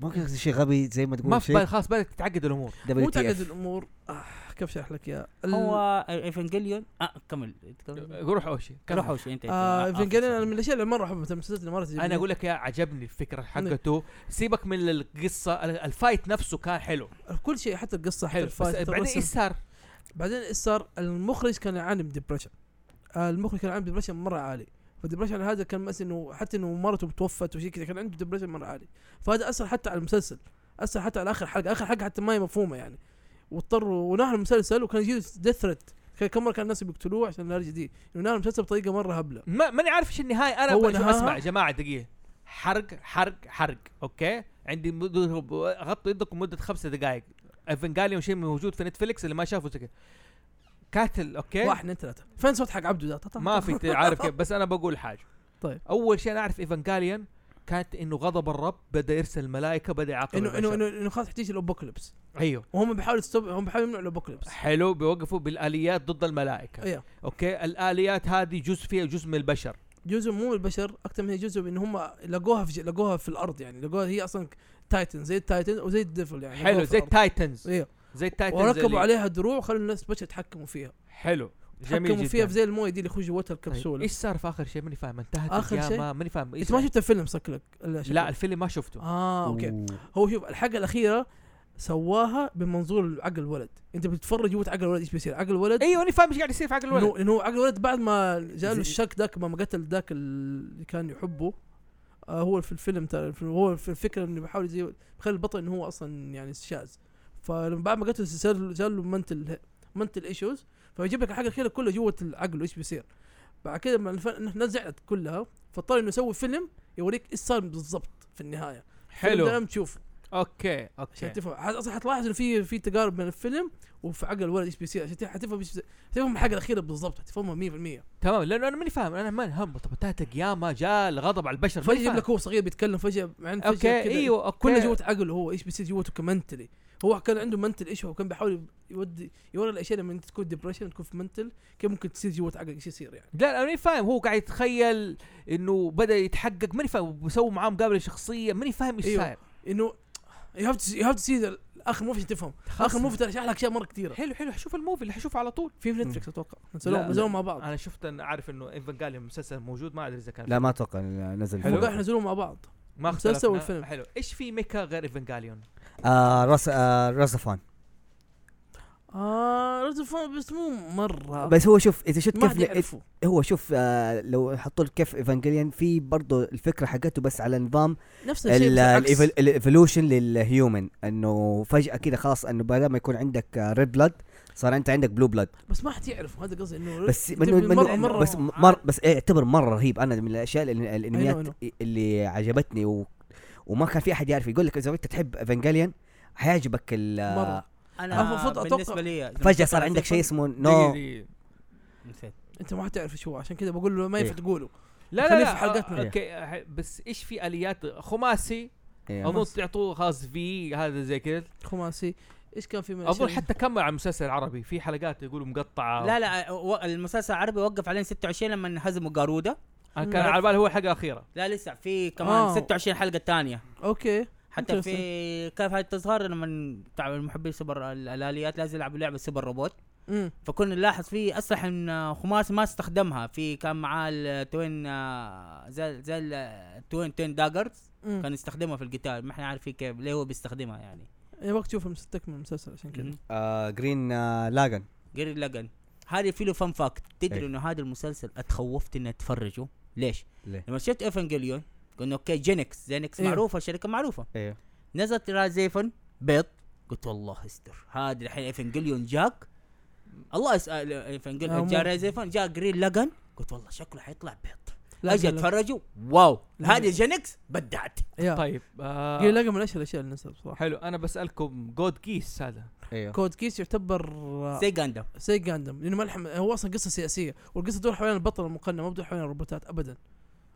ممكن شيء غبي زي ما ما تقول في بالي شيء خلاص بدات تتعقد الامور دبليو مو تي تعقد اف الامور آه كيف اشرح لك يا ال- آه، هو ايفانجليون اه كمل آه، تكمل. روح اوشي كمل. روح وش انت آه ايفنجليون انا من الاشياء اللي مره احبها المسلسلات اللي مره تجيبني. انا اقول لك يا عجبني الفكره نعم. حقته سيبك من القصه ال- الفايت نفسه كان حلو كل شيء حتى القصه حتى حلو بس الفايت حتى بعدين الرسم ايش صار؟ بعدين ايش صار؟ المخرج كان يعاني من ديبرشن المخرج كان يعاني من ديبرشن مره عالي فالديبرشن هذا كان مثلا انه حتى انه مرته توفت وشي كذا كان عنده ديبرشن مره عالي فهذا اثر حتى على المسلسل اثر حتى على اخر حلقه اخر حلقه حتى ما هي مفهومه يعني واضطروا ونهى المسلسل وكان يجي ديث ثريت كم مره كان الناس بيقتلوه عشان الهرجه دي انه نهى المسلسل بطريقه مره هبله ما ماني عارف ايش النهايه انا هو بشوف- نهاها؟ اسمع يا جماعه دقيقه حرق حرق حرق اوكي عندي مده غطوا يدكم مده خمسة دقائق ايفنجاليون شيء موجود في نتفليكس اللي ما شافه زي كده. كاتل اوكي واحد اثنين ثلاثه فين صوت حق عبده ده طا- طا- طا- إيه؟ ما في ت- عارف كيف بس انا بقول حاجه طيب. اول شيء انا اعرف ايفنجاليون كانت انه غضب الرب بدا يرسل الملائكه بدا يعاقب انه انه البشر. انه انه خلاص حتيجي الابوكليبس ايوه وهم بيحاولوا يستوب هم بيحاولوا يمنعوا الابوكليبس حلو بيوقفوا بالاليات ضد الملائكه ايوه اوكي الاليات هذه جزء فيها جزء من البشر جزء مو من البشر اكثر من هي جزء من هم لقوها في لقوها في الارض يعني لقوها هي اصلا تايتن زي التايتن وزي الديفل يعني حلو زي التايتن التايتنز ايوه زي التايتنز وركبوا اللي- عليها دروع وخلوا الناس بشر يتحكموا فيها حلو جميل يتحكموا جدا فيها في زي المويه دي اللي يخش جواتها طيب الكبسوله ايش صار في اخر شيء ماني فاهم انتهت آخر القيامة؟ شيء؟ ماني فاهم ايش انت ما شفت الفيلم شكلك لا شكلك. يعني؟ لا الفيلم ما شفته اه اوكي هو شوف الحلقه الاخيره سواها بمنظور عقل الولد انت بتتفرج جوة عقل الولد ايش بيصير عقل الولد ايوه ماني فاهم ايش قاعد يصير في عقل الولد لانه لأنه عقل الولد بعد ما جاله زي- الشك ذاك ما قتل ذاك اللي كان يحبه آه هو في الفيلم ترى في- هو في الفكره انه بيحاول زي بيخلي البطل انه هو اصلا يعني شاذ فلما بعد ما قتل صار له- صار له منتل منتل ايشوز فيجيب لك الحاجه الأخيرة كلها جوه العقل ايش بيصير بعد كده لما الف- الناس زعلت كلها فاضطر انه يسوي فيلم يوريك ايش صار بالضبط في النهايه الفيلم ده حلو لم تشوفه اوكي عشان اوكي تفهم ح- اصلا حتلاحظ انه في في تقارب بين الفيلم وفي عقل ولد ايش بي سي عشان تف- حتفهم إيش بي- حتفهم الحلقه الاخيره بالضبط حتفهمها 100% تمام لانه انا ماني فاهم انا ما هم طب يا ما جاء الغضب على البشر فجاه ماني يجيب فاهم. لك هو صغير بيتكلم فجاه مع إنه فجأة اوكي كده إيوه، ايوه اوكي كله جوة عقله هو ايش بيصير جوته كمنتلي هو كان عنده منتل ايش هو كان بيحاول يودي يوري الاشياء لما انت تكون ديبرشن تكون في منتل كيف ممكن تصير جوة عقلك ايش يصير يعني لا انا ماني فاهم هو قاعد يتخيل انه بدا يتحقق ماني فاهم وسووا معاه مقابله شخصيه ماني فاهم ايش أيوة. صاير انه يو هاف تو يو هاف تو سي اخر موفي تفهم اخر موفي ترى شرح لك اشياء مره كثيره حلو حلو حشوف الموفي اللي حشوفه على طول في في نتفلكس اتوقع لا، نزلوهم نزلوهم مع بعض انا شفت أنا عارف انه ايفنجاليوم مسلسل موجود ما ادري اذا كان لا ما اتوقع إنه نزل هم حلو. قاعد نزلوهم مع بعض ما المسلسل اختلفنا. والفيلم. حلو ايش في ميكا غير ايفنجاليون آه رس آه رسفان اه رزفون بس مو مره بس هو شوف اذا شفت آه. ما حد كيف يعرفه هو شوف آه لو حطوا لك كيف ايفانجليان في برضه الفكره حقته بس على نظام نفس الشيء بس طيب، العكس. الايفولوشن للهيومن انه فجاه كده خلاص انه بدل ما يكون عندك ريد بلاد صار انت عندك بلو بلاد بس ما حد يعرفه هذا قصدي انه بس تبي منو منو طيب، مرة- مرة- بس مر بس يعتبر مره رهيب انا من الاشياء اللي الانميات أيوة، اللي عجبتني و وما كان في احد يعرف يقول لك اذا انت تحب ايفانجليان حيعجبك ال- مرة. انا أفضل- أتوقع- بالنسبه لي فجاه صار عندك شيء اسمه دقيقة، نو دقيقة. نسيت. انت ما حتعرف شو هو، عشان كذا بقول له ما ينفع إيه. تقوله لا لا خليه لا في حلقتنا. آه، اوكي آه، بس ايش في اليات خماسي اظن إيه. تعطوه خاص في هذا زي كذا خماسي ايش كان في من اظن الأشياء؟ حتى كمل على المسلسل العربي في حلقات يقولوا آه، مقطعه لا لا و- المسلسل العربي وقف علينا 26 لما هزموا قاروده انا آه، كان على بالي هو الحلقه الاخيره لا لسه في كمان آه. 26 حلقه ثانيه اوكي حتى في كيف هاي تظهر لما تعب محبي سوبر ال- الاليات لازم يلعبوا لعبه سوبر روبوت امم فكنا نلاحظ في اسلحه من خماس ما استخدمها في كان معاه التوين آه، زي زي التوين توين داجرز كان يستخدمها في القتال ما احنا عارفين كيف ليه هو بيستخدمها يعني اي وقت تشوف المسلسل من المسلسل عشان كذا آه، جرين آه، لاجن جري لجن هذه في له فان فاكت تدري إيه. انه هذا المسلسل اتخوفت اني اتفرجه ليش؟ ليه؟ لما شفت ايفنجليون قلنا اوكي جينكس جينكس إيه. معروفه شركه معروفه ايوه نزلت رازيفن بيض قلت والله استر هذا الحين ايفنجليون جاك الله يسال آه، ايفنجليون مو- جاء رازيفن جاء جرين لجن قلت والله شكله حيطلع بيض لا اجي جرين لاجن. اتفرجه واو لا، جرين. هذه جينكس بدعت يا. طيب آه، جرين لاجن من اشهر الاشياء اللي نزلت بصراحه حلو انا بسالكم جود كيس هذا ايوه كود كيس يعتبر زي جاندم سي جاندم لانه ملحم هو اصلا قصه سياسيه والقصه تدور حوالين البطل المقنع ما بدور حوالين الروبوتات ابدا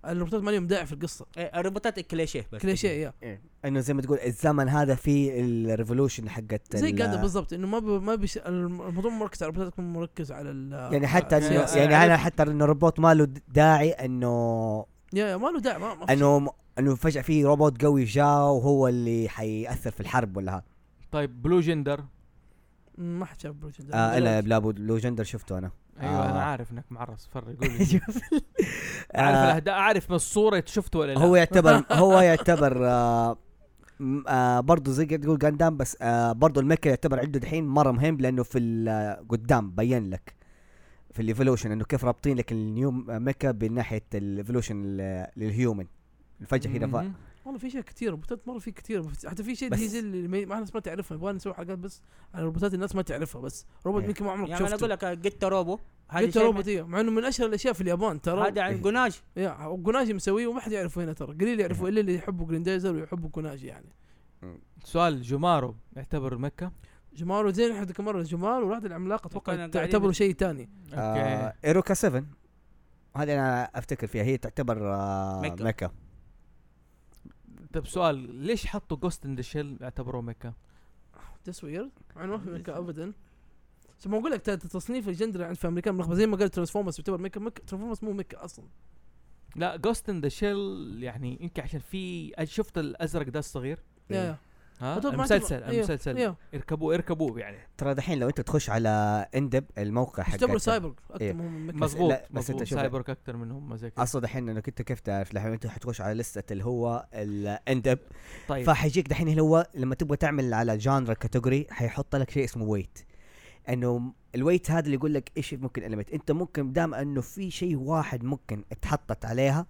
الروبوتات ما لهم داعي في القصه إيه، الروبوتات كليشيه بس كل شيء يا انه إيه. زي ما تقول الزمن هذا فيه الريفولوشن حقت زي ال- جاندم بالضبط انه ما بي ما بيش الموضوع مو مركز على الروبوتات يكون مركز على ال يعني حتى آه، انه سياسة. يعني أنا- انا حتى انه الروبوت ما له داعي انه يا يا ما له داعي ما- ما في شيء. انه انه فجاه في روبوت قوي جاء وهو اللي حياثر في الحرب ولا ها طيب بلو جندر مم، ما حد شاف بروتش آه انا بلابو لو جندر شفته انا ايوه آه. انا عارف انك معرس فرق قول لي. اعرف آه، الأهداء، اعرف من الصوره إنت شفته ولا لا هو يعتبر هو يعتبر آه م- آه برضه زي كده تقول جاندام بس آه برضه الميكا يعتبر عنده دحين مره مهم لانه في ال- آه، قدام بين لك في الايفولوشن انه كيف رابطين لك النيو آه، ميكا بناحيه الايفولوشن للهيومن فجاه كده ف- مهم. والله في اشياء كثير روبوتات مره في كثير حتى في شيء بس- دي زي اللي ما- ما الناس ما تعرفها يبغى نسوي حلقات بس على روبوتات الناس ما تعرفها بس روبوت إيه. يمكن ما عمرك يعني انا اقول شفته لك جيت روبو هذا قلت شيء من- روبوت إيه، مع انه من اشهر الاشياء في اليابان ترى هذا عن جوناج يا وكوناجي مسويه وما حد يعرفه هنا ترى قليل يعرفوا الا اللي يحبوا جرين دايزر ويحبوا كوناجي يعني سؤال جمارو يعتبر مكه جمارو زين احنا كم مره جمارو والواحد العملاق اتوقع كنا قاعدين تعتبره بت- شيء ثاني اوكي آه ايروكا 7 هذه انا افتكر فيها هي تعتبر آه ميكا. ميكا. ميكا طيب سؤال ليش حطوا جوست ان ذا شيل اعتبروه مكه تصوير انا ما في ميكا ابدا بس ما اقول لك ترى تصنيف الجندر عند في امريكا ملخبط زي ما قال ترانسفورمرز يعتبر ميكا ميكا ترانسفورمرز مو ميكا اصلا لا جوست ان ذا شيل يعني يمكن عشان في شفت الازرق ده الصغير يا إيه. يا. ها أتوقع ما المسلسل اعتبر- أيوه، المسلسل يا. اركبوه اركبوه يعني ترى دحين لو انت تخش على اندب الموقع حق يعتبروا سايبر اكثر إيه. ما هم ميكا مضبوط لا، بس مضبوط أنت شوف- سايبورغ اكثر منهم زي كذا اصلا دحين انك انت كيف تعرف دحين انت حتخش على لسته اللي هو الاندب طيب فحيجيك دحين اللي هو لما تبغى تعمل على جانرا كاتيجوري حيحط لك شيء اسمه ويت انه الويت هذا اللي يقول لك ايش ممكن المت انت ممكن دام انه في شيء واحد ممكن اتحطت عليها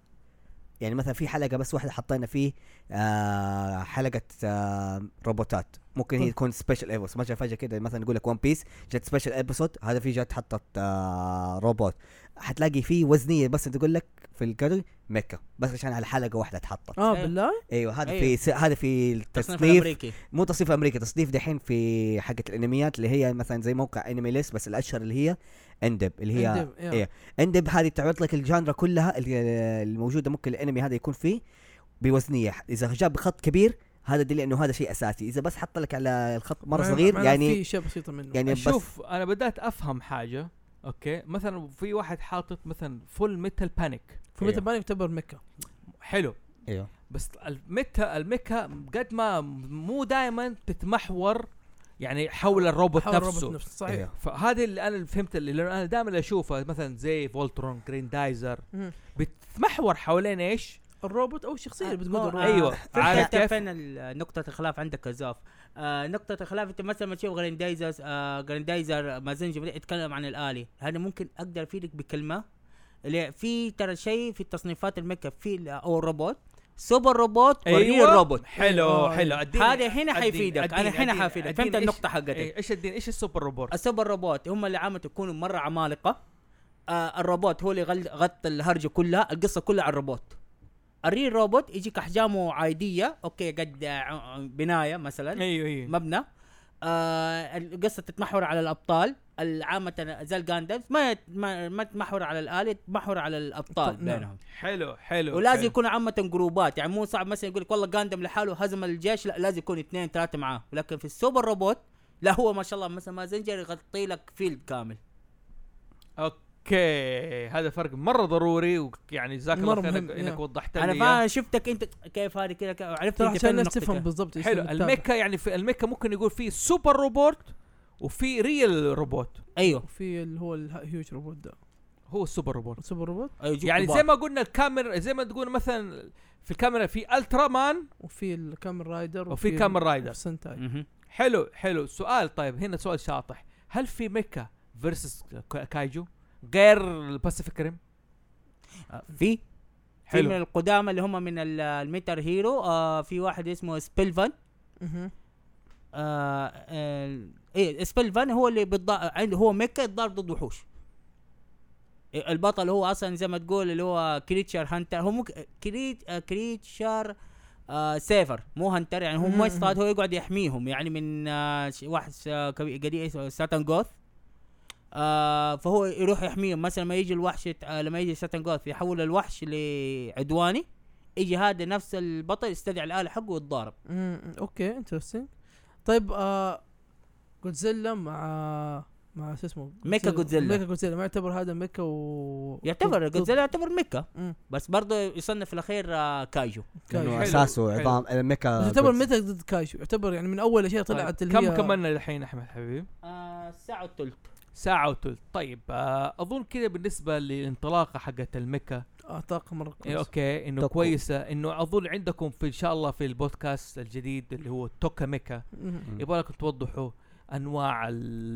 يعني مثلا في حلقه بس واحده حطينا فيه آه حلقه آه روبوتات ممكن هي تكون سبيشال ايبوس مثلا فجاه كده مثلا يقول لك ون بيس جت سبيشال ايبسود هذا في جت حطت آه روبوت حتلاقي فيه وزنيه بس تقول لك في الكاتيجوري ميكا بس عشان على حلقه واحده اتحطت اه إيه. بالله ايوه هذا أيوة. في س- هذا في تصنيف التصنيف الامريكي مو تصنيف امريكا تصنيف دحين في حقه الانميات اللي هي مثلا زي موقع انمي ليست بس الاشهر اللي هي اندب اللي هي عندي- يا. إيه. اندب هذه تعرض لك الجانرا كلها اللي- الموجوده ممكن الانمي هذا يكون فيه بوزنيه اذا جاب بخط كبير هذا دليل انه هذا شيء اساسي اذا بس حط لك على الخط مره معناه- صغير معناه يعني في اشياء بسيطه منه يعني بس شوف انا بدات افهم حاجه اوكي مثلا في واحد حاطط مثلا فول ميتال بانيك في أيوه. متى ما يعتبر مكه حلو ايوه بس الميكا الميكا قد ما مو دائما تتمحور يعني حول الروبوت حول نفسه الروبوت نفسه صحيح ايوه فهذه اللي انا فهمت اللي انا دائما اشوفها مثلا زي فولترون جرين دايزر مم. بتتمحور حوالين ايش؟ الروبوت او الشخصيه اللي بتقود آه، الروبوت ايوه عارف عرفت كيف؟ فين ال- نقطة الخلاف عندك الزاف آه نقطة الخلاف انت مثلا ما تشوف غريندايزر آه غريندايزر مازنجر يتكلم عن الآلي هذا ممكن اقدر افيدك بكلمة اللي في ترى شيء في التصنيفات الميك اب في ال- او الروبوت سوبر روبوت وريل روبوت أيوة. حلو أيوة. حلو اديني هذا هنا أديني- حيفيدك أديني- انا هنا أديني- حفيدك أديني فهمت إيش- النقطة حقتي إيه، ايش الدين ايش السوبر روبوت؟ السوبر روبوت هم اللي عامة يكونوا مرة عمالقة آه الروبوت هو اللي غل- غطى الهرجة كلها القصة كلها على الروبوت الريل روبوت يجيك احجامه عادية اوكي قد آه، ع- بناية مثلا ايوه ايوه مبنى آه القصه تتمحور على الابطال العامة زي الجاندلف ما يت- ما ما تتمحور على الآلة تتمحور على الابطال نعم. بينهم حلو حلو ولازم حلو. يكون عامة جروبات يعني مو صعب مثلا يقول لك والله جاندم لحاله هزم الجيش لا لازم يكون اثنين ثلاثة معاه لكن في السوبر روبوت لا هو ما شاء الله مثلا ما زنجر يغطي لك فيلد كامل اوكي هذا فرق مره ضروري ويعني جزاك الله مرة خير مهم، إنك- انك يا. وضحت لي انا إياه. فا شفتك انت كيف هذه كذا كيف- عرفت ترى انت عشان فين الناس النقطة تفهم كده. بالضبط إيش حلو اللي بتابع. الميكا يعني في الميكا ممكن يقول في سوبر روبوت وفي ريال روبوت ايوه وفي اللي هو الهيوج روبوت ده هو السوبر روبوت سوبر روبوت أيوة، يجيك يعني كبار. زي ما قلنا الكاميرا زي ما تقول مثلا في الكاميرا في الترا مان وفي الكامل رايدر وفي كامن رايدر. سنتاي مهم. حلو حلو سؤال طيب هنا سؤال شاطح هل في ميكا فيرسس كايجو غير الباسيفيك ريم آه، في في من حلو القدامى اللي هم من ال- الميتر هيرو آه في واحد اسمه سبيلفان مهم. آه ال- ايه سبيلفان هو اللي بالض... عنده هو ميكا يتضارب ضد وحوش إيه، البطل هو اصلا زي ما تقول اللي هو كريتشر هانتر هو مك... كريت... آه، كريتشر آه سيفر مو هانتر يعني هو ما مم. يصطاد هو يقعد يحميهم يعني من آه ش- واحد آه كبي- قديم اسمه ساتان جوث آه فهو يروح يحميهم مثلا لما يجي الوحش يت- آه لما يجي ساتان جوث يحول الوحش لعدواني يجي هذا نفس البطل يستدعي الاله حقه ويتضارب مم. اوكي انترستنج طيب آه جودزيلا مع مع شو اسمه ميكا جودزيلا. ميكا جودزيلا ما يعتبر هذا ميكا و يعتبر ضد- ضد جودزيلا يعتبر ميكا مم. بس برضه يصنف الاخير آه، كايجو كايجو. لانه حلو، اساسه حلو. عظام الميكا بس يعتبر goods. ميكا ضد كايشو يعتبر يعني من اول اشياء طلعت طيب. اللي هي كم كملنا الحين احمد حبيبي الساعه والثلث ساعة وثلث طيب آه اظن كذا بالنسبة للانطلاقة حقت الميكا آه طاقه مره إيه، كويسه اوكي انه توكو. كويسة انه اظن عندكم في ان شاء الله في البودكاست الجديد اللي هو توكا ميكا مهم. مم. يبغى لكم توضحوا انواع ال-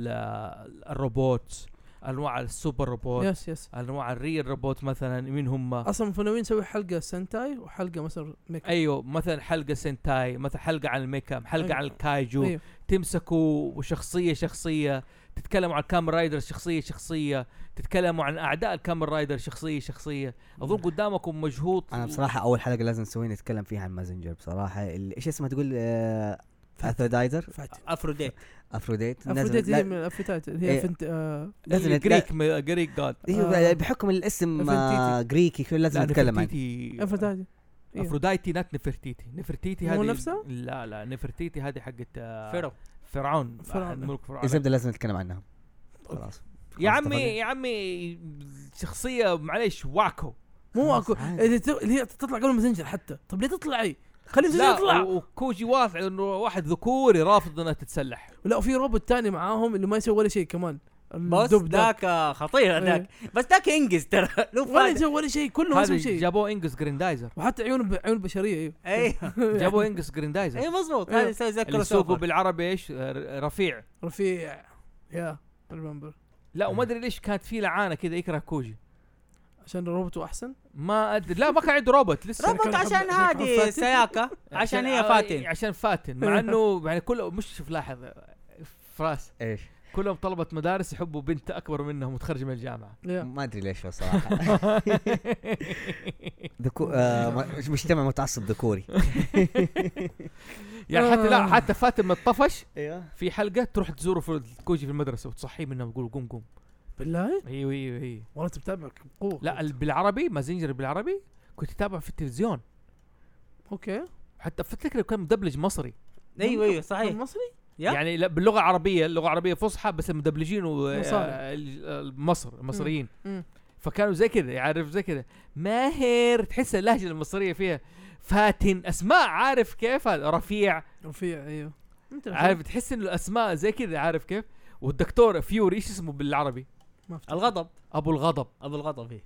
ال- الروبوت انواع السوبر روبوت يس يس انواع الريل روبوت مثلا مين هم اصلا مفنوين نسوي حلقه سنتاي وحلقه مثلا ميكا ايوه مثلا حلقه سنتاي مثلا حلقه عن الميكا حلقه أيوه. أيوة. عن الكايجو أيوة. تمسكوا شخصيه شخصيه تتكلموا عن كامل رايدر شخصيه شخصيه تتكلموا عن اعداء الكامل رايدر شخصيه شخصيه اظن قدامكم مجهود انا بصراحه اول حلقه لازم نسويها نتكلم فيها عن مازنجر بصراحه ال- ايش اسمها تقول آه، اثرودايزر فاتي افروديت افروديت لازم- افروديت هي لا- من الافريتايت اللي إيه. هي فنت آه لازم نت- جريك جريك جاد ايوه آه. بحكم الاسم آه، نفرتيتي. جريكي كل لازم نتكلم عنه عنه افروديت إيه. افرودايتي نات نفرتيتي نفرتيتي مو هذه نفسها؟ لا لا نفرتيتي هذه حقت آه، فيرو فرعون آه، فرعون. ملك فرعون الزبده لازم نتكلم عنها خلاص يا آه، خلاص عمي اتفقنا. يا عمي شخصيه معليش واكو مو اكو عادي. اللي ت- اللي هي تطلع قبل مازنجر حتى طب ليه تطلعي؟ خلي مازنجر لا يطلع و- وكوجي واضح انه واحد ذكوري رافض انها تتسلح لا وفي روبوت تاني معاهم اللي ما يسوي ولا شيء كمان بس الدب ده. ذاك آه، خطير إيه. ذاك بس ذاك ينجز ترى له ولا فايده يسوي ولا شيء كله ما هذا يسوي شيء جابوه انجز جريندايزر وحتى عيون عيون بشريه ايوه ايوه جابوه انجز جريندايزر اي مضبوط إيه. هذا يسوي زي اللي سوقه كروسوفر بالعربي ايش ر- رفيع رفيع يا ريمبر لا وما ادري ليش كانت في لعانه كذا يكره كوجي عشان روبوته احسن ما ادري لا ما كان عنده روبوت لسه آه، روبوت كان عشان حب- كان آه، هذه فاتن. سياكا عشان هي فاتن يعني عشان فاتن مع انه يعني كله مش شوف لاحظ فراس ايش كلهم طلبه مدارس يحبوا بنت اكبر منهم وتخرج من الجامعه يا. ما ادري ليش صراحه ذكو... آه م- مجتمع متعصب ذكوري يعني حتى لا آه. حتى فاتن الطفش ايوه في حلقه تروح تزوره في الكوجي في المدرسه وتصحيه منه تقول قوم قوم بالله ايوه ايوه ايوه والله انت متابع بقوه لا ال- بالعربي مازنجر بالعربي كنت اتابعه في التلفزيون اوكي حتى افتكر كان مدبلج مصري ايوه ايوه صحيح المصري يا. يعني لا باللغه العربيه اللغه العربيه فصحى بس المدبلجين آه، مصاري. ومصر المصريين مم. فكانوا زي كذا يعرف زي كذا ماهر تحس اللهجه المصريه فيها فاتن اسماء عارف كيف رفيع أيوه. رفيع ايوه انت عارف تحس ان الاسماء زي كذا عارف كيف والدكتور فيوري ايش اسمه بالعربي ما أفتكر. الغضب ابو الغضب ابو الغضب إيه.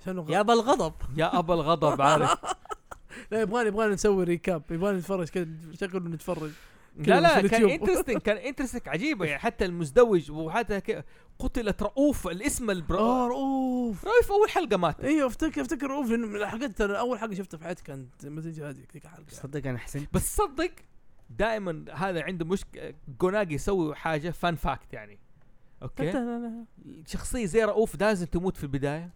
عشان يا غ... ابو الغضب يا ابو الغضب عارف لا يبغالي يبغالي نسوي ريكاب يبغالي نتفرج كذا شغل ونتفرج لا لا في كان اليوتيوب. انترستنج كان انترستنج عجيبه يعني حتى المزدوج وحتى ك- قتلت رؤوف الاسم البر... اه رؤوف رؤوف اول حلقه مات ايوه افتكر افتكر رؤوف لانه من الحلقات ترى اول حلقه شفتها في حياتي كانت مزيج هذه ذيك الحلقه صدق انا حسنت بس صدق دائما هذا عنده مشكله جوناجي يسوي حاجه فان فاكت يعني اوكي شخصيه زي رؤوف لازم تموت في البدايه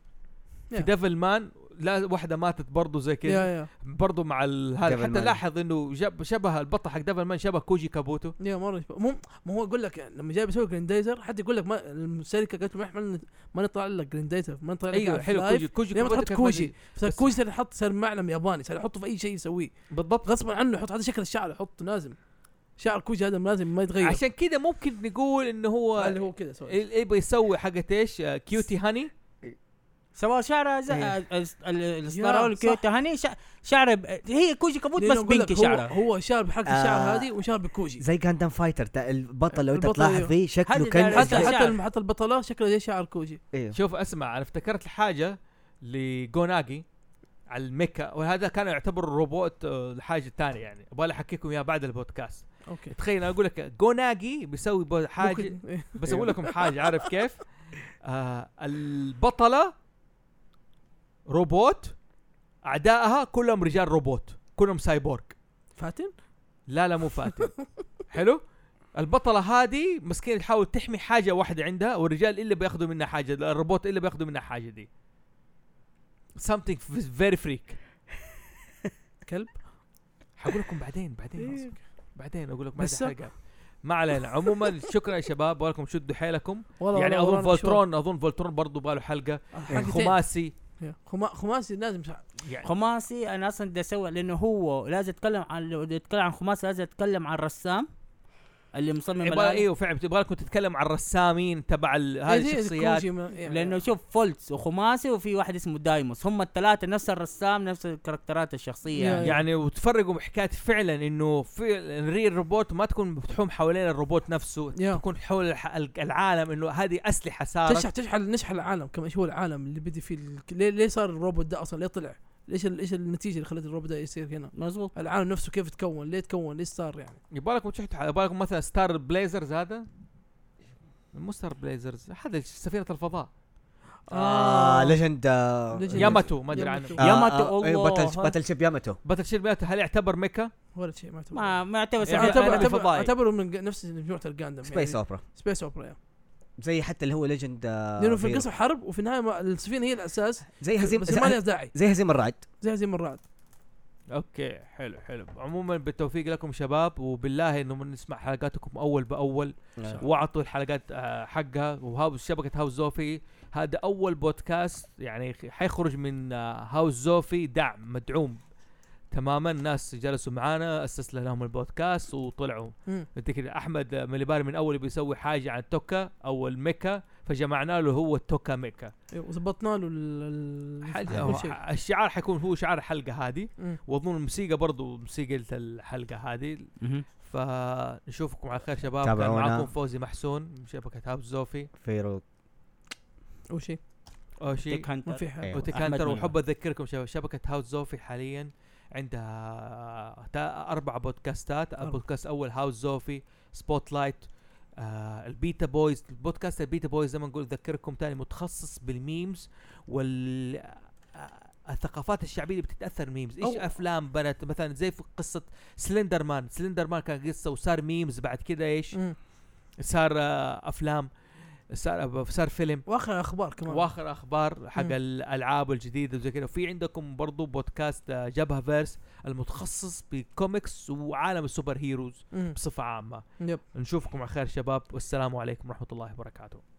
في Yeah. ديفل مان لا واحده ماتت برضه زي يا كذا يا برضه مع ال- هذا Devil حتى Man. لاحظ انه جاب شبه البطل حق ديفل مان شبه كوجي كابوتو يا مره يشبه. مو ما هو يقول لك يعني لما جاي بيسوي جريندايزر حتى يقول لك ما الشركه قالت له ما إحنا- ما نطلع لك جريندايزر ما نطلع لك ايوه حلو كوجي كوجي كوجي ليه ما كابوتو تحط كيف ما كوجي جي- صار بس- كوجي صار يحط صار معلم ياباني صار يحطه في اي شيء يسويه بالضبط غصبا عنه يحط هذا شكل الشعر يحط لازم شعر كوجي هذا لازم ما يتغير عشان كذا ممكن نقول انه هو اللي هو كذا سوى ال- يبغى يسوي حقت ايش آه، كيوتي هاني سواء شعره زي آه، إيه. يا، الاصدار صح. الكيوتو هني شع- شعره ب- هي كوجي كابوت لأنه بس أقول لك بنكي هو- شعره هو شعر بحق الشعر آه. هذه وشعر بكوجي زي جاندام فايتر تا- البطل لو انت البطل، تلاحظ أيوه. فيه هذا شكله ده- كان حتى شعر. حتى الم- حتى البطله شكلها زي شعر كوجي ايوه شوف اسمع انا افتكرت حاجه لجوناجي على الميكا وهذا كان يعتبر الروبوت آه، الحاجه الثانيه يعني ابغى احكيكم اياها بعد البودكاست اوكي تخيل انا اقول لك جوناجي بيسوي بو- حاجه ممكن- إيه. بس اقول لكم حاجه عارف كيف آه البطله روبوت اعدائها كلهم رجال روبوت كلهم سايبورغ فاتن لا لا مو فاتن حلو البطلة هذه مسكينة تحاول تحمي حاجة واحدة عندها والرجال إلا بياخذوا منها حاجة الروبوت إلا بياخذوا منها حاجة دي something f- very freak كلب حقول لكم بعدين بعدين إيه. بعدين أقول لكم بعد بس- الحلقة ما علينا عموما شكرا يا شباب ولكم شدوا حيلكم والله يعني والله إيه. أظن ورانا شو- فولترون أظن فولترون برضو باله حلقة يعني حلقتين. خماسي يا. خما- خماسي لازم شعر. يعني خماسي انا اصلا بدي اسوي لانه هو لازم يتكلم عن لو بدي يتكلم عن خماسي لازم يتكلم عن الرسام اللي مصمم يبغى الآلة. ايوه فعلا تبغى لكم تتكلم عن الرسامين تبع ال- هذه إيه، زي- زي الشخصيات كوجي ما- يعني- لانه شوف فولتس وخماسي وفي واحد اسمه دايموس هم الثلاثه نفس الرسام نفس الكاركترات الشخصيه يا- يعني. يعني وتفرقوا حكايه فعلا انه في الريل روبوت ما تكون بتحوم حوالين الروبوت نفسه يا. تكون حول الح- ال- العالم انه هذه اسلحه صارت تشحن تشحن نشحن العالم كم ايش هو العالم اللي بدي فيه ال- ليه, ليه صار الروبوت ده اصلا ليه طلع؟ ليش ال- ايش النتيجه اللي خلت الروبوت ده يصير هنا؟ مزبوط العالم نفسه كيف تكون؟ ليه تكون؟ ليش صار يعني؟ يبالكم تشحتوا يبالكم مثلا ستار بليزرز هذا مو ستار بليزرز هذا سفينه الفضاء آه، آه. اه ليجند آه، ليجند. ياماتو ما ادري ياماتو. عنه آه، ياماتو، آه، أيوه، الله. باتل باتل شيب ياماتو باتل شيب ياماتو هل يعتبر ميكا؟ ولا شيء ما اعتبره ما ما يعتبر يعني سفينة اعتبر أنا آلة. اعتبر فضائي. اعتبره من ج- نفس مجموعه الجاندم سبيس اوبرا سبيس اوبرا يعني. زي حتى اللي هو ليجند آه، لانه في هيرو. القصه حرب وفي النهايه ما- السفينه هي الاساس زي هزيم بس ما لها زي- داعي زي هزيم الرعد زي هذه المرات اوكي حلو حلو عموما بالتوفيق لكم شباب وبالله انه نسمع حلقاتكم اول باول نعم. واعطوا الحلقات آه، حقها وهاوس شبكه هاوس زوفي هذا اول بودكاست يعني خ- حيخرج من آه، هاوس زوفي دعم مدعوم تماما ناس جلسوا معانا اسس لهم البودكاست وطلعوا مم. انت كده احمد آه، مليباري من اول بيسوي حاجه عن توكا او الميكا فجمعنا له هو التوكا ميكا إيه، وظبطنا له ال- ال- حاجة كل هو شيء. ح- الشعار حيكون هو شعار الحلقه هذه مم. واظن الموسيقى برضو موسيقى الحلقه هذه مهم. فنشوفكم على خير شباب كان تابعونا. معاكم فوزي محسون من شبكه هاوس زوفي فيرو اول شيء اوشي تيك هانتر. ما في حاجه أيوة. وتيك أحمد هانتر مينا. وحب اذكركم شباب شبكه هاوس زوفي حاليا عندها تا- اربع بودكاستات أربع. البودكاست الاول هاوس زوفي سبوت لايت آه البيتا بويز البودكاست البيتا بويز زي ما نقول اذكركم تاني متخصص بالميمز وال آه، الثقافات الشعبيه اللي بتتاثر ميمز ايش أو- افلام بنت مثلا زي في قصه سلندر مان سلندر مان كان قصه وصار ميمز بعد كده ايش مم. صار آه، افلام صار صار فيلم واخر اخبار كمان واخر اخبار حق مم. الالعاب الجديده وزي كذا وفي عندكم برضو بودكاست آه، جبهه فيرس المتخصص بكوميكس وعالم السوبر هيروز مم. بصفه عامه يب نشوفكم على خير شباب والسلام عليكم ورحمه الله وبركاته